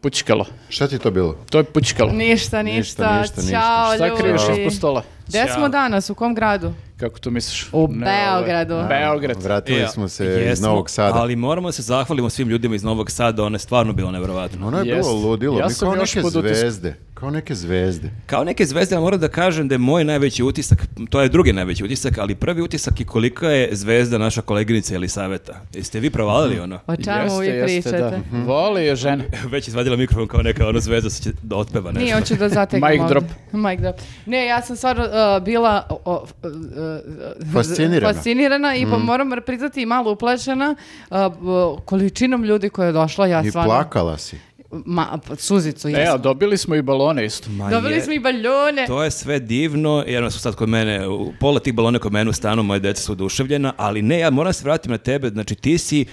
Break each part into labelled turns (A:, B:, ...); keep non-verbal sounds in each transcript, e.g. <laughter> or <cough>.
A: pučkalo.
B: Šta ti je to bilo?
A: To je pučkalo.
C: Ništa, ništa,
B: Ništa, ništa, ništa.
C: Ćao,
A: Šta kriješ
C: ljudi.
A: ispod stola?
C: Gde smo danas? U kom gradu?
A: Kako to misliš?
C: U
A: Ne,
C: Beogradu.
A: ovaj, Beograd.
B: Vratili
D: Ja,
B: smo se iz
D: E, jesmo,
B: Novog Sada.
D: Ali moramo da se zahvalimo svim ljudima iz Novog Sada, ono je stvarno bilo nevjerovatno.
B: Ono je
A: Jest.
B: bilo ludilo,
A: Ja
B: mi
A: sam
B: kao
A: još
B: neke
A: pod utiskom.
B: zvezde. Kao neke zvezde.
D: Kao neke zvezde, ali moram da kažem da je moj najveći utisak, to je drugi najveći utisak, ali prvi utisak je kolika je zvezda naša koleginica Elisaveta. Jeste vi provalili ono?
C: O čemu vi pričate?
A: da. Voli je žene.
D: Već je izvadila mikrofon kao neka ono zvezda se će da otpeva nešto.
C: Nije,
A: <laughs>
C: hoću da zategnem
A: Mic
C: ovde.
A: drop.
C: Mic drop. Ne, ja sam stvarno uh, bila o, o, uh, uh,
B: Fascinirana. Mm.
C: fascinirana i pa moram priznati i malo uplašena uh, b- količinom ljudi koja je došla. Ja
B: I
C: stvarno,
B: plakala si.
C: Ma, pa, suzicu
A: E, a
C: jesam.
A: dobili smo i balone isto.
D: Ma
C: Dobili
D: je-
C: smo i baljone.
D: To je sve divno, jer su sad kod mene, u- pola tih balona kod mene u stanu, moje djeca su oduševljena, ali ne, ja moram da se vratim na tebe, znači ti si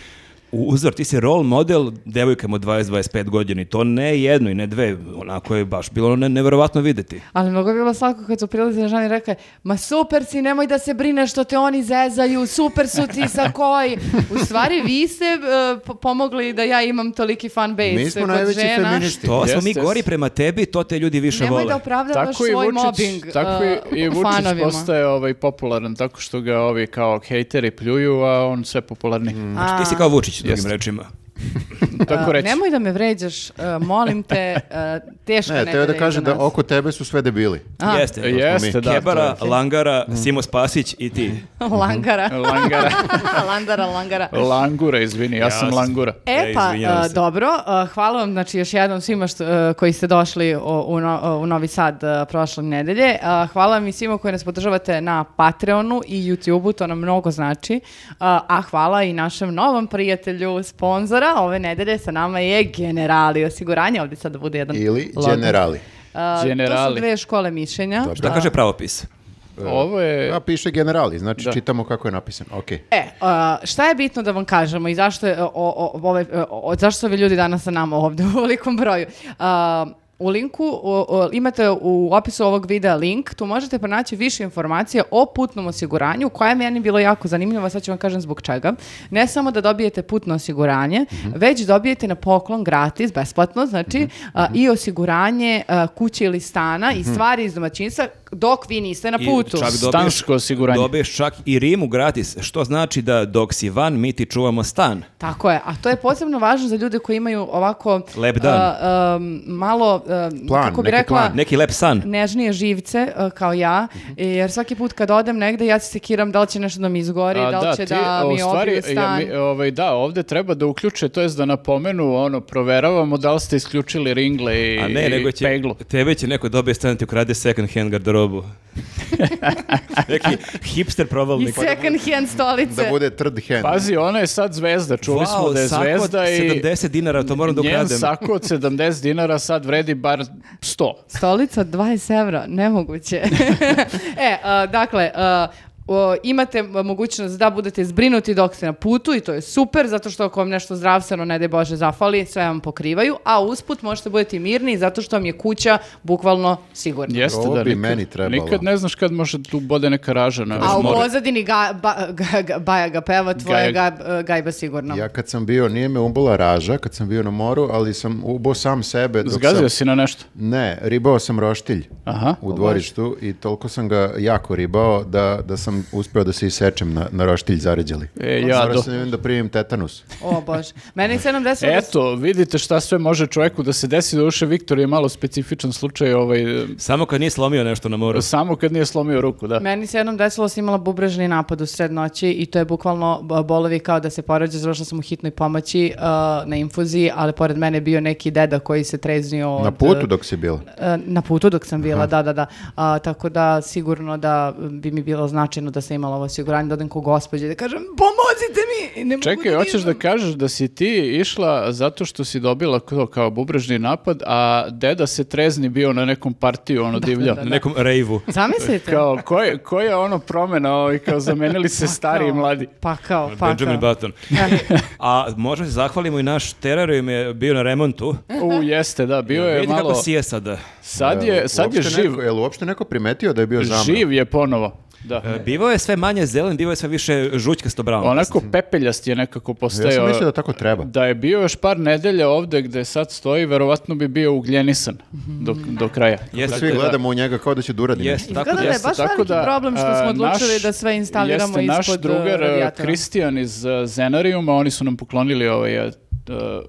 D: u- uzor, ti si role model devojkama od 20-25 godina i to ne jedno i ne dve, onako je baš bilo ne, nevjerovatno videti.
C: Ali mnogo je bilo slatko kad su prilazili žani i rekli ma super si, nemoj da se brineš što te oni zezaju, super su ti sa koji. U stvari vi ste e, po- pomogli da ja imam toliki fan base
B: Mi smo
C: kod
B: najveći
C: žena.
B: feministi.
D: To smo
A: Jeste,
D: mi
A: jeste.
D: gori prema tebi, to te ljudi više
C: Nemoj
D: vole.
C: da opravdavaš
A: Tako i
C: svoj
A: Vučić,
C: mobbing
A: tako i,
C: uh,
A: i Vučić
C: fanovima.
A: postaje ovaj, popularan tako što ga ovi kao hejteri pljuju, a on sve popularni.
C: Mhm.
D: Znači, ti si kao Vučić, drugim
A: Jeste.
D: rečima.
A: <laughs> Tako
C: Uh,
A: reći.
C: Nemoj da me vređaš, uh, molim te, uh, teško
B: Ne,
C: ne,
B: teo da
C: vređa
B: kažem da
C: <laughs> nas.
B: oko tebe su sve debili.
C: A,
D: Jeste. to pa smo
A: Jeste,
B: mi.
A: da.
D: Kebara, Langara, Simo Spasić i ti.
A: to
C: Langara.
A: je Mhm. Langara.
C: Landara, <laughs> langara.
A: Langura, izvini, ja, sam
D: sam-
A: Langura.
C: E
D: E,
C: pa,
D: izvinjavam
C: a,
D: se.
C: dobro, a, hvala vam znači još jednom svima što, e, koji ste došli o- u, no- o, u Novi Sad a, prošle nedelje. A, hvala vam i svima koji nas podržavate na Patreonu i YouTubeu, to nam mnogo znači. A, a hvala i našem novom prijatelju, sponzora ove nedelje sa nama je Generali osiguranje, ovdje sad da bude jedan
B: Ili
C: logo.
B: generali.
C: A, To
A: Generali.
C: su dve škole mišljenja.
B: Dobro. Dakle,
D: Šta kaže pravopis?
A: Ovo je...
B: A piše generali, znači čitamo kako je napisan. Ok.
C: E, a, šta je bitno da vam kažemo i zašto, je, o, o, ovaj, o, o- zašto su ovi ljudi danas sa nama ovdje u velikom broju? A, u linku o, o, imate u opisu ovog videa link, tu možete pronaći više informacija o putnom osiguranju, koja je meni bilo jako zanimljiva, sad ću vam kažem zbog čega. Ne samo da dobijete putno osiguranje,
D: Mhm.
C: već dobijete na poklon gratis, besplatno, znači a,
D: Mhm.
C: i osiguranje a, kuće ili stana i stvari iz domaćinstva dok vi niste na
D: I
C: putu.
D: čak dobiješ-
A: Stansko osiguranje.
D: Dobiješ čak i Rimu gratis, što znači da dok si van, mi ti čuvamo stan.
C: Tako je, a to je posebno važno za ljude koji imaju ovako
D: Lep dan.
C: a, um, malo a,
B: Plan,
C: kako bi
B: neki
C: rekla
B: plan.
D: Neki lep san.
C: nežnije živce a, kao ja, jer svaki put kad odem negde ja se sekiram da li će nešto da mi izgori,
A: A,
C: da li će
A: ti,
C: Pa da
A: a, u
C: mi obiju
A: stvari, ja,
C: stan.
A: mi, ovaj, da, ovdje treba da uključe, to jest da napomenu, ono, proveravamo da li ste isključili ringle i,
D: A ne,
A: i
D: nego će,
A: peglu.
D: tebe će neko dobije stan i ti ukrade second
A: <laughs>
D: hand garderobu. Neki hipster
C: I
D: provalnik.
C: second hand stolice.
B: Da bude third hand.
A: Pazi, ona je sad zvezda, čuli smo da je
D: sako od
A: zvezda i
D: 70 dinara, to moram da
A: njen
D: ukradem.
A: sako od 70 dinara sad vredi bar 100.
C: Stolica od 20 evra, nemoguće. <laughs> e, a, dakle, a, o, imate mogućnost da budete zbrinuti dok ste na putu i to je super, zato što ako vam nešto zdravstveno, ne daj Bože, zafali, sve vam pokrivaju, a usput možete budeti mirni zato što vam je kuća bukvalno sigurna.
A: Jeste
B: Ovo
A: da
B: bi
A: nikad,
B: meni trebalo.
A: Nikad ne znaš kad može tu bode neka raža na
C: A u
A: more.
C: pozadini ga, ba, ga- ga- Baja ga peva, tvoja
A: Gaja-
C: ga- e, gajba sigurno.
B: Ja kad sam bio, nije me ubola raža, kad sam bio na moru, ali sam ubo sam sebe. Dok
A: Zgazio
B: sam,
A: si na nešto.
B: Ne, ribao sam roštilj
A: Aha.
B: u dvorištu i toliko sam ga jako ribao da, da sam uspeo da se isečem na, na roštilj zaređali.
A: E, jado.
B: Morao sam im da primim tetanus.
C: O bože. Mene je 70
A: Eto, vidite šta sve može čovjeku da se desi, da uše Viktor je malo specifičan slučaj, ovaj,
D: Samo kad nije slomio nešto na moru.
A: samo kad nije slomio ruku, da.
C: Meni se jednom desilo da sam imala bubrežni napad u sred noći i to je bukvalno b- bolovi kao da se porađa, završila sam u hitnoj pomoći uh, na infuziji, ali pored mene je bio neki deda koji se treznio od,
B: Na putu dok si bila.
C: e, na putu dok sam bila, da, da, da. A, tako da sigurno da bi mi bilo značajno da sam imala ovo osiguranje, da odem kod gospođe i da kažem pomozite mi! Ne mogu
A: Čekaj,
C: da
A: hoćeš da
C: dižem."
A: kažeš da si ti išla zato što si dobila to kao bubrežni napad, a deda se trezni bio na nekom partiju, ono divljao.
D: Na nekom
C: <laughs>
D: rejvu.
C: Zamislite?
A: Kao, koja je, ko je ono promena, ovaj, kao zamenili se stari i
C: Kao,
A: mladi.
C: Pa kao, pa
D: Benjamin
C: kao.
D: Button. A možda se zahvalimo i naš terarium je bio na remontu.
A: U, jeste, da, bio je
D: Vidi
A: malo...
D: kako si je sada.
A: Sad je, sad je
B: Uopšte
A: živ,
B: Neko, je uopšte neko primetio da je bio zamro?
A: živ je ponovo. Da.
D: E, Bivao je sve manje zelen, bivao je sve više žućkasto bravo.
A: Onako pepeljast je nekako
B: Ja sam
A: postao.
B: mislio da tako treba.
A: Da je bio još par nedelja ovde gde sad stoji, verovatno bi bio ugljenisan do, do kraja.
D: Jeste,
B: Svi gledamo u njega kao da će da uradi.
D: Jeste,
C: Izgleda
D: tako
C: da
D: da-
C: je baš veliki Pa problem što smo
A: a,
C: odlučili
A: naš-
C: da sve instaliramo
A: jeste, naš
C: ispod, e,
A: drugar e,
C: radijatora.
A: Kristijan iz e, Zenarijuma, oni su nam poklonili ovaj e, t- e,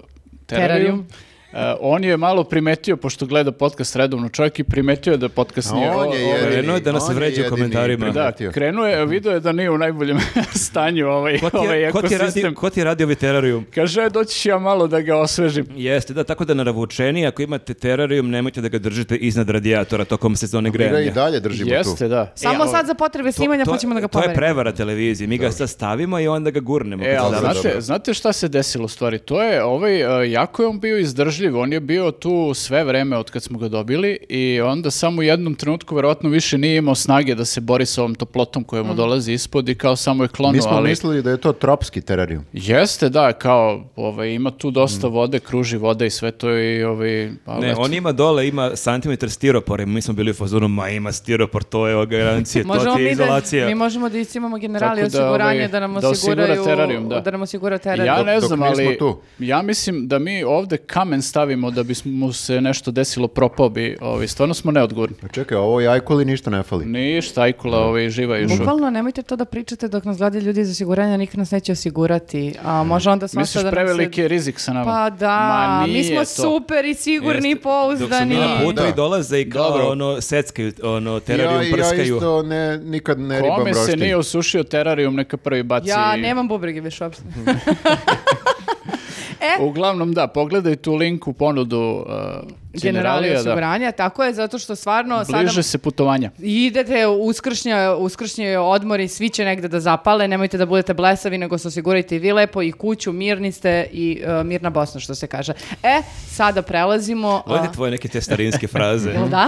C: Terarium.
A: Terarium. E, on je malo primetio, pošto gleda podcast redovno čovjek i primetio je da podcast
B: A
A: nije...
B: on
A: o-
B: je
A: ovaj,
B: jedini.
D: krenuo je da nas
B: on je
D: vređa u
B: jedini
D: komentarima.
A: Da,
B: primetio.
A: krenuo je, video je da nije u najboljem <laughs> stanju ovaj,
D: Ko ti, je,
A: ovaj
D: ko ti je
A: ekosistem.
D: radi, ko ti je radio ovaj terarijum?
A: Kaže, "E, doći ću ja malo da ga osvežim.
D: Jeste, da, tako da naravučeni, ako imate terarijum, nemojte da ga držite iznad radijatora tokom sezone
B: Mi ga i
D: grejanja.
B: dalje držimo tu.
A: Jeste, da.
C: E,
A: E,
C: Samo
D: a-
C: sad za potrebe snimanja hoćemo da ga
D: To je
C: pomerimo.
D: prevara televizije, mi ga sad stavimo i onda ga gurnemo.
A: E,
D: kad
A: ali
B: Dobro,
D: završi.
A: znate,
B: dobro.
A: znate šta se desilo u stvari? To je, ovaj, e, jako je on bio izdržljiv, on je bio tu sve vreme od kad smo ga dobili i onda samo u jednom trenutku verovatno više nije imao snage da se bori sa ovom toplotom koja mu dolazi ispod i kao samo je
B: Mi
A: klonuo,
B: smo
A: Ono, ali...
B: mislili da je to tropski terarijum.
A: Jeste, da, kao, ovaj, ima tu dosta
B: Mm.
A: vode, kruži voda i sve to i, ovaj, pa
D: Ne,
B: znači-
A: eto.
D: on ima dole, ima santimetar stiropora i mi smo bili u fazonu, ma ima stiropor, to je garancija, to
C: Možemo
D: ti je
C: mi, da,
D: izolacija.
C: mi možemo da imamo generali
A: Tako da,
C: osiguranje
A: ovaj,
C: da nam
A: da osigura
C: osiguraju
A: terarium, da.
C: nam osigura terarium.
A: Ja
B: Dok-
A: ne
B: dok
A: znam,
B: nismo
A: ali
B: tu.
A: ja mislim da mi ovde kamen stavimo da bi mu se nešto desilo, propao bi, ovaj, stvarno smo neodgovorni.
B: Pa čekaj, ovo jajkoli ništa ne fali.
A: Ništa, Ajkula ovaj, živa još uvijek.
C: Bukvalno nemojte to da pričate dok nas gledaju ljudi iz osiguranja, niko nas neće osigurati. A može onda svašta
A: Misliš
C: da nam se-
A: preveliki je rizik sa nama?
C: Pa da,
A: Ma
C: mi smo
A: nije to.
C: super i sigurni i
D: Jeste, Dok su
C: pouzdani.
D: mi na putu
B: Da.
D: i dolaze i kao
A: Dobro.
D: ono seckaju, ono
B: Ja,
D: terarijum
B: ja
D: prskaju.
B: isto ne, nikad ne ribam
A: Kome se
B: roštilj.
A: nije osušio terarijum, neka prvi baci.
C: Ja nemam bubrege više uopšte.
A: Uglavnom da, pogledaj tu link u ponudu uh,
C: E! Generali
A: generalija, da.
C: osiguranja, tako je, zato što stvarno sada
A: Bliže se putovanja.
C: idete u uskršnja, uskršnje odmori, svi će negde da zapale, nemojte da budete blesavi, nego se osigurajte i vi lepo i kuću, mirni ste i e, mirna Bosna, što se kaže. E, sada prelazimo...
D: Ovo
C: a,
D: je tvoje neke te starinske fraze.
C: Jel <laughs> da?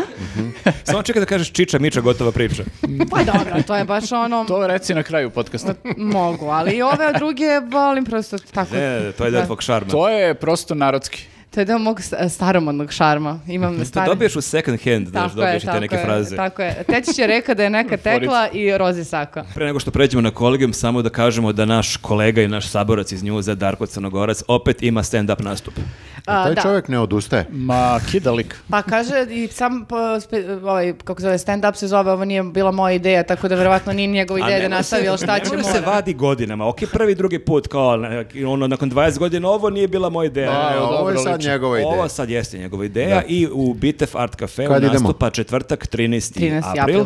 D: Samo čekaj da kažeš čiča, miča, gotova priča.
C: Pa dobro, to je baš ono...
A: To reci na kraju podcasta.
C: Mogu, ali i ove druge volim prosto tako.
D: Ne, to je deo tvog šarma.
A: To je prosto narodski.
C: To je deo mog sta- staromodnog šarma. Imam
D: To
C: stare...
D: dobiješ u second hand, znaš, dobiješ i te neke
C: je,
D: fraze.
C: Tako je. Teći će reka da je neka tekla i rozi sako.
D: Pre nego što pređemo na kolegium, samo da kažemo da naš kolega i naš saborac iz njuza, Darko Crnogorac, opet ima stand-up nastup.
C: A,
B: Taj
C: da.
B: čovjek ne odustaje.
A: Ma, kidalik.
C: Pa kaže i sam po- spe- ovaj, kako se zove, stand-up se zove, ovo nije bila moja ideja, tako da verovatno nije njegova
D: A
C: ideja da
D: ne mora
C: nastavi,
D: se-
C: ali šta
D: ne
C: će
D: mora se
C: mora.
D: vadi godinama. Ok, prvi, drugi put, kao ne, ono, nakon 20 godina, ovo nije bila moja ideja.
B: Ne,
A: evo,
B: E, ovo je
A: dobro
B: sad
A: liči.
B: njegova ideja.
D: Ovo sad jeste njegova ideja i u Bitef Art Cafe
B: Kad idemo?
D: nastupa četvrtak 13.
C: 13.
D: april.
C: april.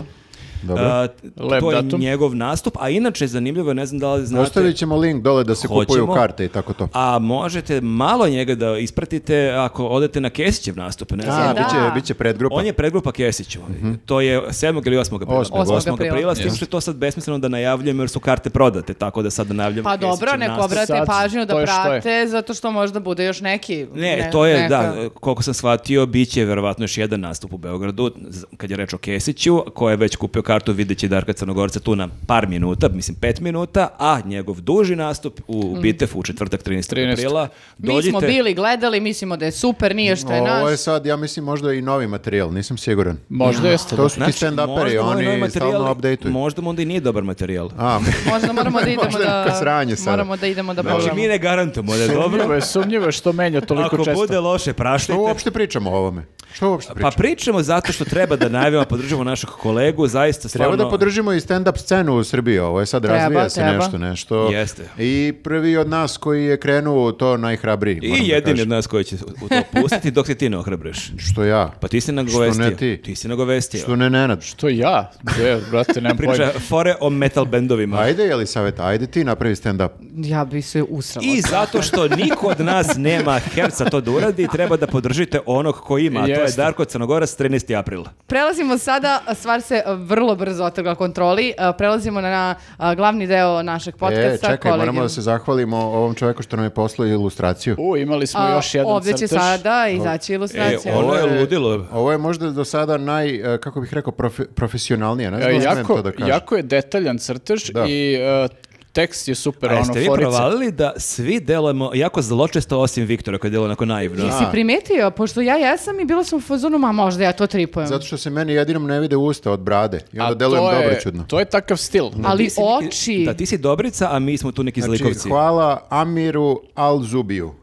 B: Dobro.
D: A,
A: Lep
D: to je
A: datum.
D: njegov nastup, a inače zanimljivo, je, ne znam da li znate.
B: Ostavit ćemo link dole da se kupuju
D: Hoćemo.
B: karte i tako to.
D: A možete malo njega da ispratite ako odete na Kesićev nastup. Ne znam.
B: A,
C: da.
B: biće, biće predgrupa.
D: On je predgrupa Kesiću. To je 7. ili 8. aprila.
B: Mhm. Osmog,
D: 8.
C: osmog.
D: aprila, s tim što je to sad besmisleno da najavljujem jer su karte prodate, tako da sad najavljujem
C: Pa dobro,
D: Kesićev
C: neko
D: nastup.
C: obrate
A: Sad,
C: pažnju da
A: to je što je.
C: prate, zato što možda bude još neki.
D: Ne,
C: ne-
D: to je,
C: neka-
D: da, koliko sam shvatio, bit će verovatno još jedan nastup u Beogradu, z- kad je reč o Kesiću, ko je već kupio kartu, vidjet će Darka Crnogorca tu na par minuta, mislim pet minuta, a njegov duži nastup u Bitefu u četvrtak 13.
A: 13..
D: aprila.
C: Mm. Mi smo
D: Dođite-
C: bili, gledali, mislimo da je super, nije što je
B: Ovo je
C: naš.
B: sad, ja mislim, možda i novi materijal, nisam siguran.
A: Možda jeste.
B: To
A: da.
B: su ti
D: Znači,
B: stand-uperi,
D: možda ovaj novi
B: oni
D: materijal-
B: stalno update-uju.
D: Možda mu onda i nije dobar materijal.
B: A, <laughs>
C: Možda moramo da idemo
B: Možda je neko
C: da
B: sranje sada.
C: moramo da idemo da
D: Znači, mi
C: pogledamo.
D: ne garantujemo da je dobro.
A: Sumnjivo je, sumnjivo je što menja toliko
D: Ako
A: često.
D: bude loše,
B: što
D: praštajte.
B: uopšte pričamo o ovome? Što uopšte
D: Pa
B: pričamo?
D: pričamo zato što treba da najavimo, podržimo našeg kolegu, zaista
B: Treba
D: stvarno...
B: da podržimo i stand-up scenu u Srbiji, ovo je sad
C: Treba,
B: razvija se
C: treba.
B: nešto, nešto.
D: Jeste.
B: I prvi od nas koji je krenuo u to najhrabriji, moram
D: I
B: da
D: jedini od
B: kažem.
D: nas koji će u to pustiti dok se ti ne ohrabriš.
B: Što ja?
D: Pa ti si nagovestio.
B: Što ne ti?
D: si nagovestio.
B: Što ne Nenad?
A: To ja, je, brate, nemam pojma.
D: Priča fore o metal bendovima.
B: Ajde, Jelisaveta, ajde ti napravi stand-up.
C: Ja bi se usrala.
D: I zato što niko od nas nema herca to da uradi, treba da podržite onog koji ima. A to je
A: Jeste.
D: Darko Crnogorac 13. aprila.
C: Prelazimo sada, stvar se vrlo brzo otrgla kontroli, prelazimo na, a, glavni deo našeg podcasta.
B: E, čekaj, moramo
C: kolegijum.
B: da se zahvalimo ovom čovjeku što nam je poslao ilustraciju.
A: U, imali smo
C: A,
A: još jedan
C: Ovdje će
A: crtež.
C: sada izaći
D: E,
C: ilustracija.
D: ovo je ludilo.
B: Ovo je možda do sada naj, e, kako bih rekao, profe- profesionalnije, ne
A: E,
B: znam da smem
A: jako,
B: to da kažem.
A: jako je detaljan crtež
B: Da.
A: i e, tekst je super,
D: A
A: ono,
D: jeste vi
A: forice.
D: provalili da svi delujemo jako zločesto osim Viktora koji deluje onako naivno?
B: Ja.
C: Jesi
B: A.
C: primetio? Pošto ja jesam i bila sam u fazonu, ma možda ja to tripujem.
B: Zato što se meni jedinom ne vide usta od brade i onda
A: A
B: delujem
A: to je-
B: dobro čudno.
A: To je takav stil.
C: Ali
D: Ti si neki-
C: oči...
D: Da, ti si Dobrica, a mi smo tu neki
B: Znači,
D: zlikovci.
B: hvala Amiru Alzubiju,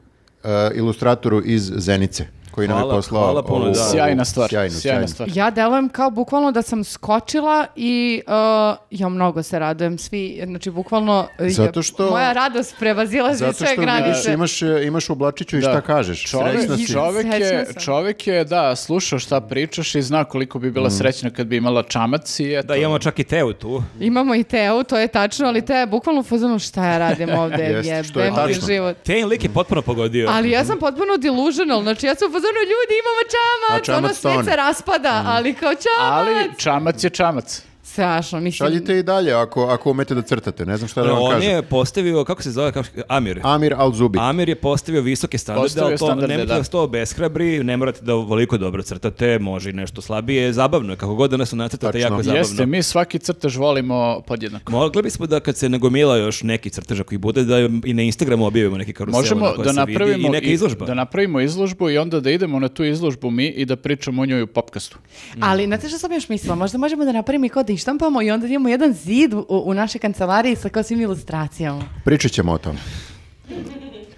B: e, ilustratoru iz Zenice, koji nam je
D: Hvala-
B: poslao
D: hvala puno,
B: ovu-
D: da.
A: Sjajna stvar.
B: sjajnu,
A: sjajna
B: sjajnu.
A: stvar.
C: Ja delujem kao bukvalno da sam skočila i uh, ja mnogo se radujem svi, znači bukvalno uh,
B: Zato što-
C: moja radost prevazilazi
B: Zato
C: sve
B: što vidiš,
C: granice.
B: imaš, e, imaš u oblačiću i
A: Da.
B: šta kažeš.
A: Čovek,
B: Srećna si.
A: čovek je,
C: Srećna sam.
A: čovek je, da, slušao šta pričaš i zna koliko bi
B: Mhm.
A: bila srećna kad bi imala čamac i eto.
D: Da, imamo čak i Teu tu.
C: Imamo i Teu, to je tačno, ali Teja je bukvalno u fazonu šta ja radim ovde,
B: <laughs> Jeste, što je
C: jebem ti
B: tačno.
C: život.
D: Te lik je potpuno pogodio.
C: Ali ja sam potpuno delusional, znači ja sam u fazonu ljudi imamo čamac,
B: A čamac
C: ono sve
B: tone. Mm.
C: se raspada, ali kao čamac.
A: Ali čamac je čamac.
C: Strašno, ono, mislim.
B: Šaljite i dalje ako, ako umete da crtate, ne znam šta da vam
D: on
B: kažem.
D: je postavio, kako se zove, kako, Amir.
B: Amir Alzubi.
D: Amir je postavio visoke standarde,
A: Postavio
D: ali to
A: standarde,
D: nemojte
A: da.
D: da vas to obeshrabri, ne morate da voliko dobro crtate, može i nešto slabije, zabavno je, kako god da nas nacrtate,
B: Tačno.
D: jako zabavno.
A: Jeste, mi svaki crtež volimo podjednako.
D: Mogli bismo da kad se nagomila još neki crtež koji bude, da i na Instagramu objavimo neki karusel na
A: Možemo
D: kojoj
A: da
D: ono se vidi
A: napravimo
D: i neka izložba.
A: da napravimo izložbu i onda da idemo na tu izložbu mi i da pričamo o njoj u popkastu.
D: Mm.
C: Ali, znate što sam još mislila? Možda možemo da napravimo i kod i štampamo i onda imamo jedan zid u, u našoj kancelariji sa kao svim ilustracijama.
B: Pričat ćemo o tom.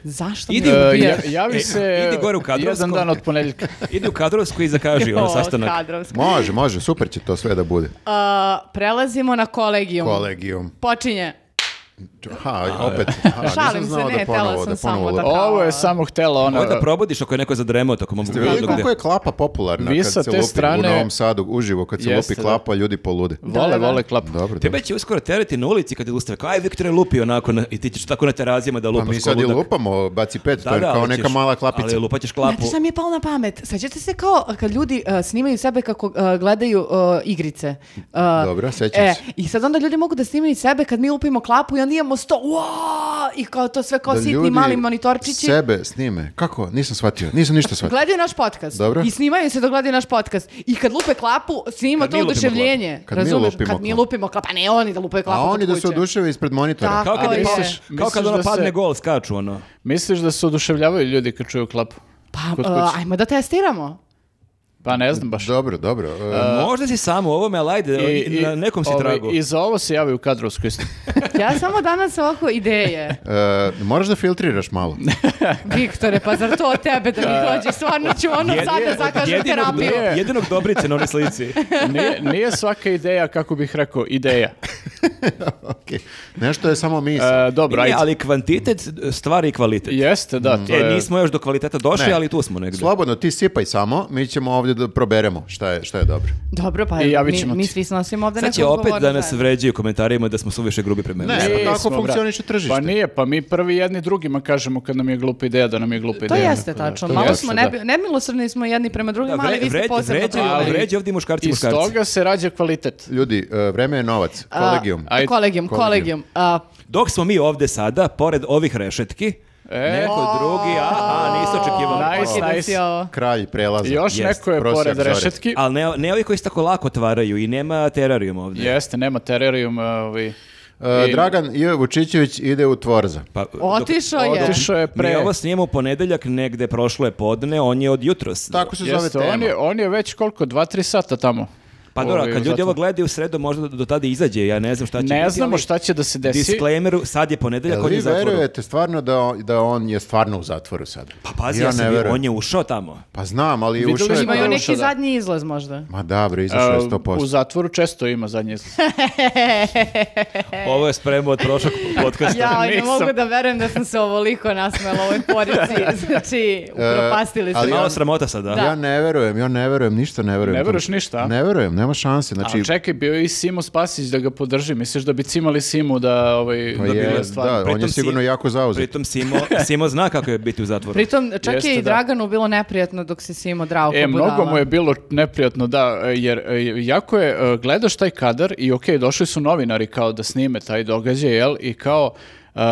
C: Zašto
D: Idi
C: mi
D: u-
A: E,
C: odbijaš?
A: ja, javi
D: E,
A: se
D: idi gore u kadrovsko.
A: jedan dan od ponedjeljka.
D: Idi u kadrovsku
A: <laughs>
D: i zakaži ono
C: O,
D: sastanak.
C: kadrovsko.
B: Može, može, super će to sve da bude.
C: A, prelazimo na kolegijum.
B: Kolegijum.
C: Počinje.
B: Ha, opet. Ha,
C: Šalim
B: nisam
C: se,
B: znao
C: ne,
B: da
C: htela
B: ponovo,
C: sam
B: da
C: samo
B: ponovo.
C: da-
B: da-
A: Ovo je samo htela ona...
D: Možda probodiš ako je neko zadremao tokom ovog
B: Ste vidjeli
D: radnog
B: koliko
D: dela.
B: je klapa popularna
A: Vi
B: kad
A: sa
B: se
A: te
B: lupi u
A: strane-
B: Novom Sadu, uživo, kad se
A: Jeste,
B: lupi klapa, ljudi polude.
A: Vole,
C: Da, da.
A: vole klap.
B: Dobro, dobro.
D: Tebe će uskoro tereti na ulici kad ilustave kao, aj Viktor je lupi onako na- i ti ćeš tako na terazijama da
B: Pa
D: lupaš.
B: mi
D: ko
B: sad i
D: ludak.
B: lupamo, baci pet, to je
D: Da, da,
B: kao
D: ali
B: neka
D: ćeš-
B: mala klapica.
D: Ali lupaćeš klapu.
C: Znate šta mi je palo na pamet? Sećate se kao kad ljudi e, snimaju sebe kako e, gledaju e, igrice. E,
B: Dobro, sećam
C: e,
B: se.
C: I sad onda ljudi mogu da snimaju sebe kad mi lupimo klapu i onda imamo sto, "Uaa!" i kao to sve kao
B: Da
C: sitni
B: ljudi
C: mali monitorčići.
B: Sebe snime. Kako? Nisam shvatio. Nisam ništa shvatio.
C: Gledaju naš podcast.
B: Pa- Dobro.
C: I snimaju se dok gledaju naš podcast. I kad lupe klapu, snima
D: Kad
C: to
D: mi lupimo
C: oduševljenje.
B: Kad mi
C: razumeš?
B: lupimo
C: kad mi
B: klapu.
C: lupimo klapu. Pa ne oni da lupaju klapu.
B: A
C: kod
B: oni da se
C: kuće.
B: oduševe ispred monitora.
C: Tako.
D: Kao kad,
C: Ali
D: pa-
C: je.
D: kao kad
A: Misliš
D: ono
A: da se-
D: padne gol, skaču ono.
A: Misliš da se oduševljavaju ljudi kad čuju klap?
C: Pa,
A: Kod
C: e,
A: kuće.
C: ajmo da testiramo.
A: Pa ne znam baš.
B: Dobro, dobro. E,
D: Možda si samo u ovome, ali ajde,
A: I- i-
D: E, na nekom si
A: ovaj,
D: tragu.
A: I za ovo se javi u kadrovsku isto.
C: Ja samo danas ovako ideje.
B: e, moraš da filtriraš malo. <laughs>
C: Viktore, pa zar to od tebe da mi dođe? Stvarno ću ono sad da zakažem
D: jedinog,
C: terapiju.
A: Nije.
D: jedinog Dobrice na onoj
C: <laughs>
D: slici.
A: Nije, nije svaka ideja, kako bih rekao, ideja.
B: Okej. Nešto je samo misla.
A: E, dobro,
D: Nije,
A: ajde.
D: ali kvantitet e, stvari i kvalitet.
A: Jeste, da, to
D: E,
A: je...
D: nismo još do kvaliteta došli,
B: Ne.
D: ali tu smo negdje.
B: Slobodno, ti sipaj samo, mi ćemo ovdje da proberemo šta je, šta je dobro.
C: Dobro, pa
D: E,
A: I javit
C: mi,
A: ćemo
C: mi
A: ti.
C: svi snosimo ovde
D: Sad će
C: neku
D: opet da
C: odgovornost
D: nas
C: zajedno.
D: vređaju komentarima da smo suviše grubi prema
B: Ne,
A: Nismo,
B: tako
A: bra.
B: funkcioniše tržište.
A: Pa nije, pa mi prvi jedni drugima kažemo kad nam je glupa ideja da nam je glupa
C: To
A: ideja.
C: jeste
A: Tako da,
C: tačno.
A: to
C: Malo
A: jeste,
C: smo
A: da.
C: nebi- nemilosrdni smo jedni prema drugima, ali vi ste posebno
A: ali-
C: prijavljeni.
D: ovdje i muškarci i
A: Iz
D: muškarci.
A: toga se rađa kvalitet.
B: Ljudi, e, vreme je novac.
C: A,
B: Kolegijum.
A: Ajde.
C: Kolegijum, kolegijum. A,
D: Dok smo mi ovdje sada, pored ovih rešetki,
A: E.
D: neko drugi, a, a nisu očekivali.
A: Nice,
C: pokidam
A: nice.
C: pa si ovo.
B: Kralj prelaza.
A: Još
D: Jeste,
A: neko je
B: prosjak
A: pored
B: zore.
A: rešetki.
D: Ali ne, ne ovi koji se tako lako otvaraju i nema terarijum ovdje.
A: Jeste, nema terarium. Ovi.
B: E,
A: I-
B: Dragan J. Vučićević ide u Tvorza.
D: Pa,
C: Otišao je.
A: Otišao je
D: Mi
A: pre...
D: ovo snijemo u ponedeljak negde prošlo je podne, on je od jutros.
B: Tako se zove
A: Jeste,
B: tema.
A: on je, on je već koliko, dva, tri sata tamo.
D: Pa dobro,
A: Ovaj,
D: a kad ljudi
A: zato-
D: ovo gledaju znači u sredu, možda do tada izađe, ja ne znam šta će
A: Ne
D: biti,
A: znamo
D: ali
A: šta će da se desi.
D: Disclaimer, sad je
B: Jel
D: ponedeljak, on je
B: vi
D: u zatvoru.
B: verujete stvarno da on, da on je stvarno u zatvoru sad?
D: Pa pazi, ja, sam,
B: ne
D: bio-
B: verujem.
D: on je ušao tamo.
B: Pa znam, ali
A: Videli
B: ušao je...
A: smo-
C: Imaju
A: Imaju
C: neki
A: ušao, da.
C: zadnji izlaz možda.
B: Ma da, bre, izašao je
A: A, e, U
B: 100%.
A: zatvoru često ima zadnji izlaz.
D: Znači- Ovo je spremao od prošlog podcasta.
C: Ja ne
A: Nisam.
C: mogu da verujem da sam se ovoliko nasmela ovoj porici. Znači, upropastili ste
B: ali
C: me.
D: Malo
B: on-
D: sramota sada.
C: Da.
B: Ja ne verujem, ja ne verujem, ništa ne verujem.
A: Ne veruješ ništa, a?
B: Ne verujem, nema šanse. Znači,
A: A čekaj, bio je i Simo Spasić da ga podrži. Misliš da bi cimali Simu da, ovaj,
B: pa
A: da bi
B: je,
A: bila stvar?
B: da, on
D: Pritom
B: je
D: si-
B: sigurno jako zauzet.
D: Pritom Simo, Simo zna kako je biti u zatvoru.
C: Pritom, čak
A: Jeste,
C: je i
A: da.
C: Draganu bilo neprijatno dok se Simo drao
A: E,
C: ko budala.
A: mnogo mu je bilo neprijatno, da, jer e, jako je, e, gledaš taj kadar i okej, došli su novinari kao da snime taj događaj, jel, i kao, e, Uh,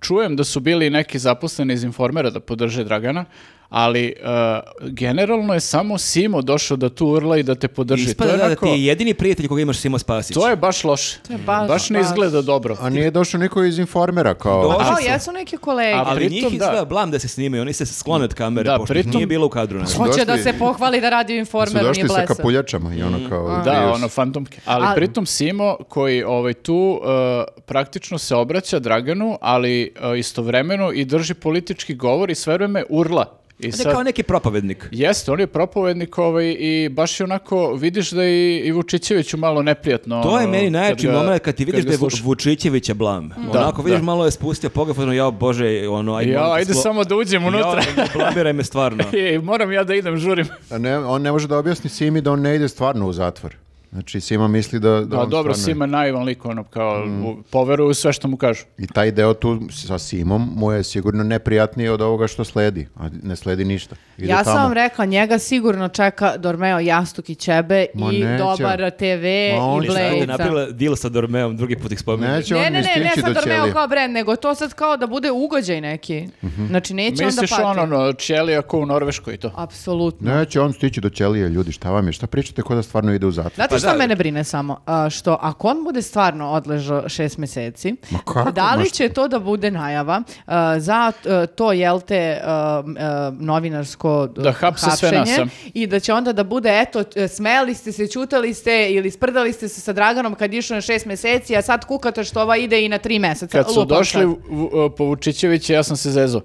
A: čujem da su bili neki zaposleni iz Informera da podrže Dragana, ali uh, generalno je samo Simo došao da tu urla i da te podrži. To
D: Ispada
A: je
D: da, da
A: onako-
D: ti je jedini prijatelj koga imaš Simo Spasić.
A: To je baš loše.
C: To je baš-
A: ne
C: baš.
A: izgleda dobro.
B: A nije došao niko iz informera kao...
D: Do-
C: Kao,
D: su.
C: jesu neke kolege.
A: A-
D: Ali njih
A: pritom da.
D: izgleda blam da se snimaju, oni se sklone od kamere,
A: Da,
D: pošto ih
A: pritom- Pa
D: nije bilo u kadru. ne.
B: su
C: Hoće da
B: došli-
C: se pohvali da radi u
B: su
C: informeru, nije
B: došli sa
C: blesav.
B: kapuljačama i ono kao...
A: Da,
B: bio
A: ono, fantomke. Ali,
C: Ali-
A: pritom Simo, koji ovaj, tu uh, praktično se obraća Draganu, ali uh, istovremeno i drži politički govor i sve vreme urla. I
D: On je kao
A: sad,
D: neki propovednik.
A: jeste, on je propovednik ovaj, i baš je onako, vidiš da je i, i Vučićeviću malo neprijatno.
D: To je
A: ono,
D: meni najjači
A: kad ga-
D: moment kad ti vidiš
A: ga
D: da je Vu-
A: sluša.
D: Vučićevića blam. Onako vidiš malo je spustio pogled, ono jao bože, ono ajde.
A: Ja,
D: molim te,
A: ajde
D: slo-
A: samo da uđem
D: <laughs>
A: unutra.
D: Jao, blamiraj me
A: <laughs>
D: stvarno.
A: I moram ja da idem, žurim.
B: A ne, on ne može da objasni Simi da on ne ide stvarno u zatvor. Znači, Sima misli da... da
A: Pa
B: on
A: dobro,
B: stvarno-
A: Sima je naivan lik, ono, kao,
D: Mm.
A: u- poveruju sve što mu kažu.
B: I taj deo tu sa Simom mu je sigurno neprijatniji od ovoga što sledi, a ne sledi ništa. Ide
C: Ja sam
B: tamo.
C: vam rekla, njega sigurno čeka Dormeo Jastuk i Čebe
B: Ma
C: i
B: neće.
C: Dobar TV
B: Ma on
C: i
D: Ili šta, ajde,
C: Blejca.
D: napravila deal sa Dormeom, drugi put ih spominje.
B: Neće on
C: Ne,
B: ni
C: ne, ne,
B: stići
C: ne
B: do
C: sad Dormeo
B: ćelije.
C: kao brend, nego to sad kao da bude ugođaj neki. Znači, neće onda
A: Misliš
C: pati.
A: ono, ono, Čelija ko u Norveškoj i to?
C: Apsolutno.
B: Neće on stići do ćelije, ljudi, šta vam je? Šta pričate ko da stvarno ide u zatvor?
C: Znate
D: Pa
C: šta
D: da.
C: mene brine samo? A, što ako on bude stvarno odležao šest meseci,
B: Ma kako?
C: da
B: Ma
C: li
B: šta-
C: će to da bude najava a, za a, to, jel te, a, m, a, novinarsko d-
A: Da hapse sve nas,
C: hapšenje
A: a?
C: i da će onda da bude, eto, t- smeli ste se, čutali ste ili sprdali ste se sa Draganom kad je išao na šest meseci, a sad kukate što ova ide i na tri meseca.
A: Kad su
C: Lupam
A: došli
C: sad. Mhm,
A: u- u- po Vučićevića, ja sam se zezao.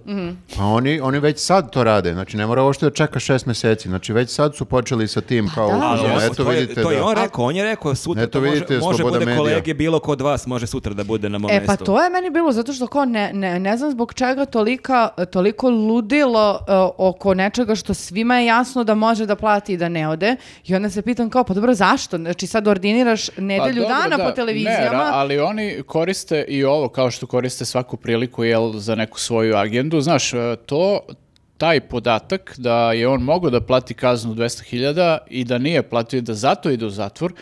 B: Pa oni, oni već sad to rade, znači ne mora ovo što da čeka šest meseci, znači već sad su počeli sa tim kao,
C: da.
D: Ali
B: uzmano,
D: on-
B: eto
D: to, je,
B: vidite
D: to je
B: da-
D: on rekao, on je rekao sutra
B: Eto
D: to može-
B: vidite,
D: može,
B: sloboda
D: bude
B: medija.
D: kolege bilo ko od vas, može sutra da bude na mom
A: Ono
C: E pa
D: mestu.
C: to je meni bilo zato što kao ne, ne, ne znam zbog čega tolika, toliko ludilo e, oko nečega što svima je jasno da može da plati i da ne ode i onda se pitam kao pa dobro zašto? Znači sad ordiniraš
A: Pa
C: nedelju
A: dobro, da,
C: dana po
A: ne, ra-
C: televizijama.
A: ali oni koriste i ovo kao što koriste svaku priliku jel, za neku svoju agendu. Znaš, e, to taj podatak da je on mogao da plati kaznu 200.000 i da nije platio i da zato ide u zatvor,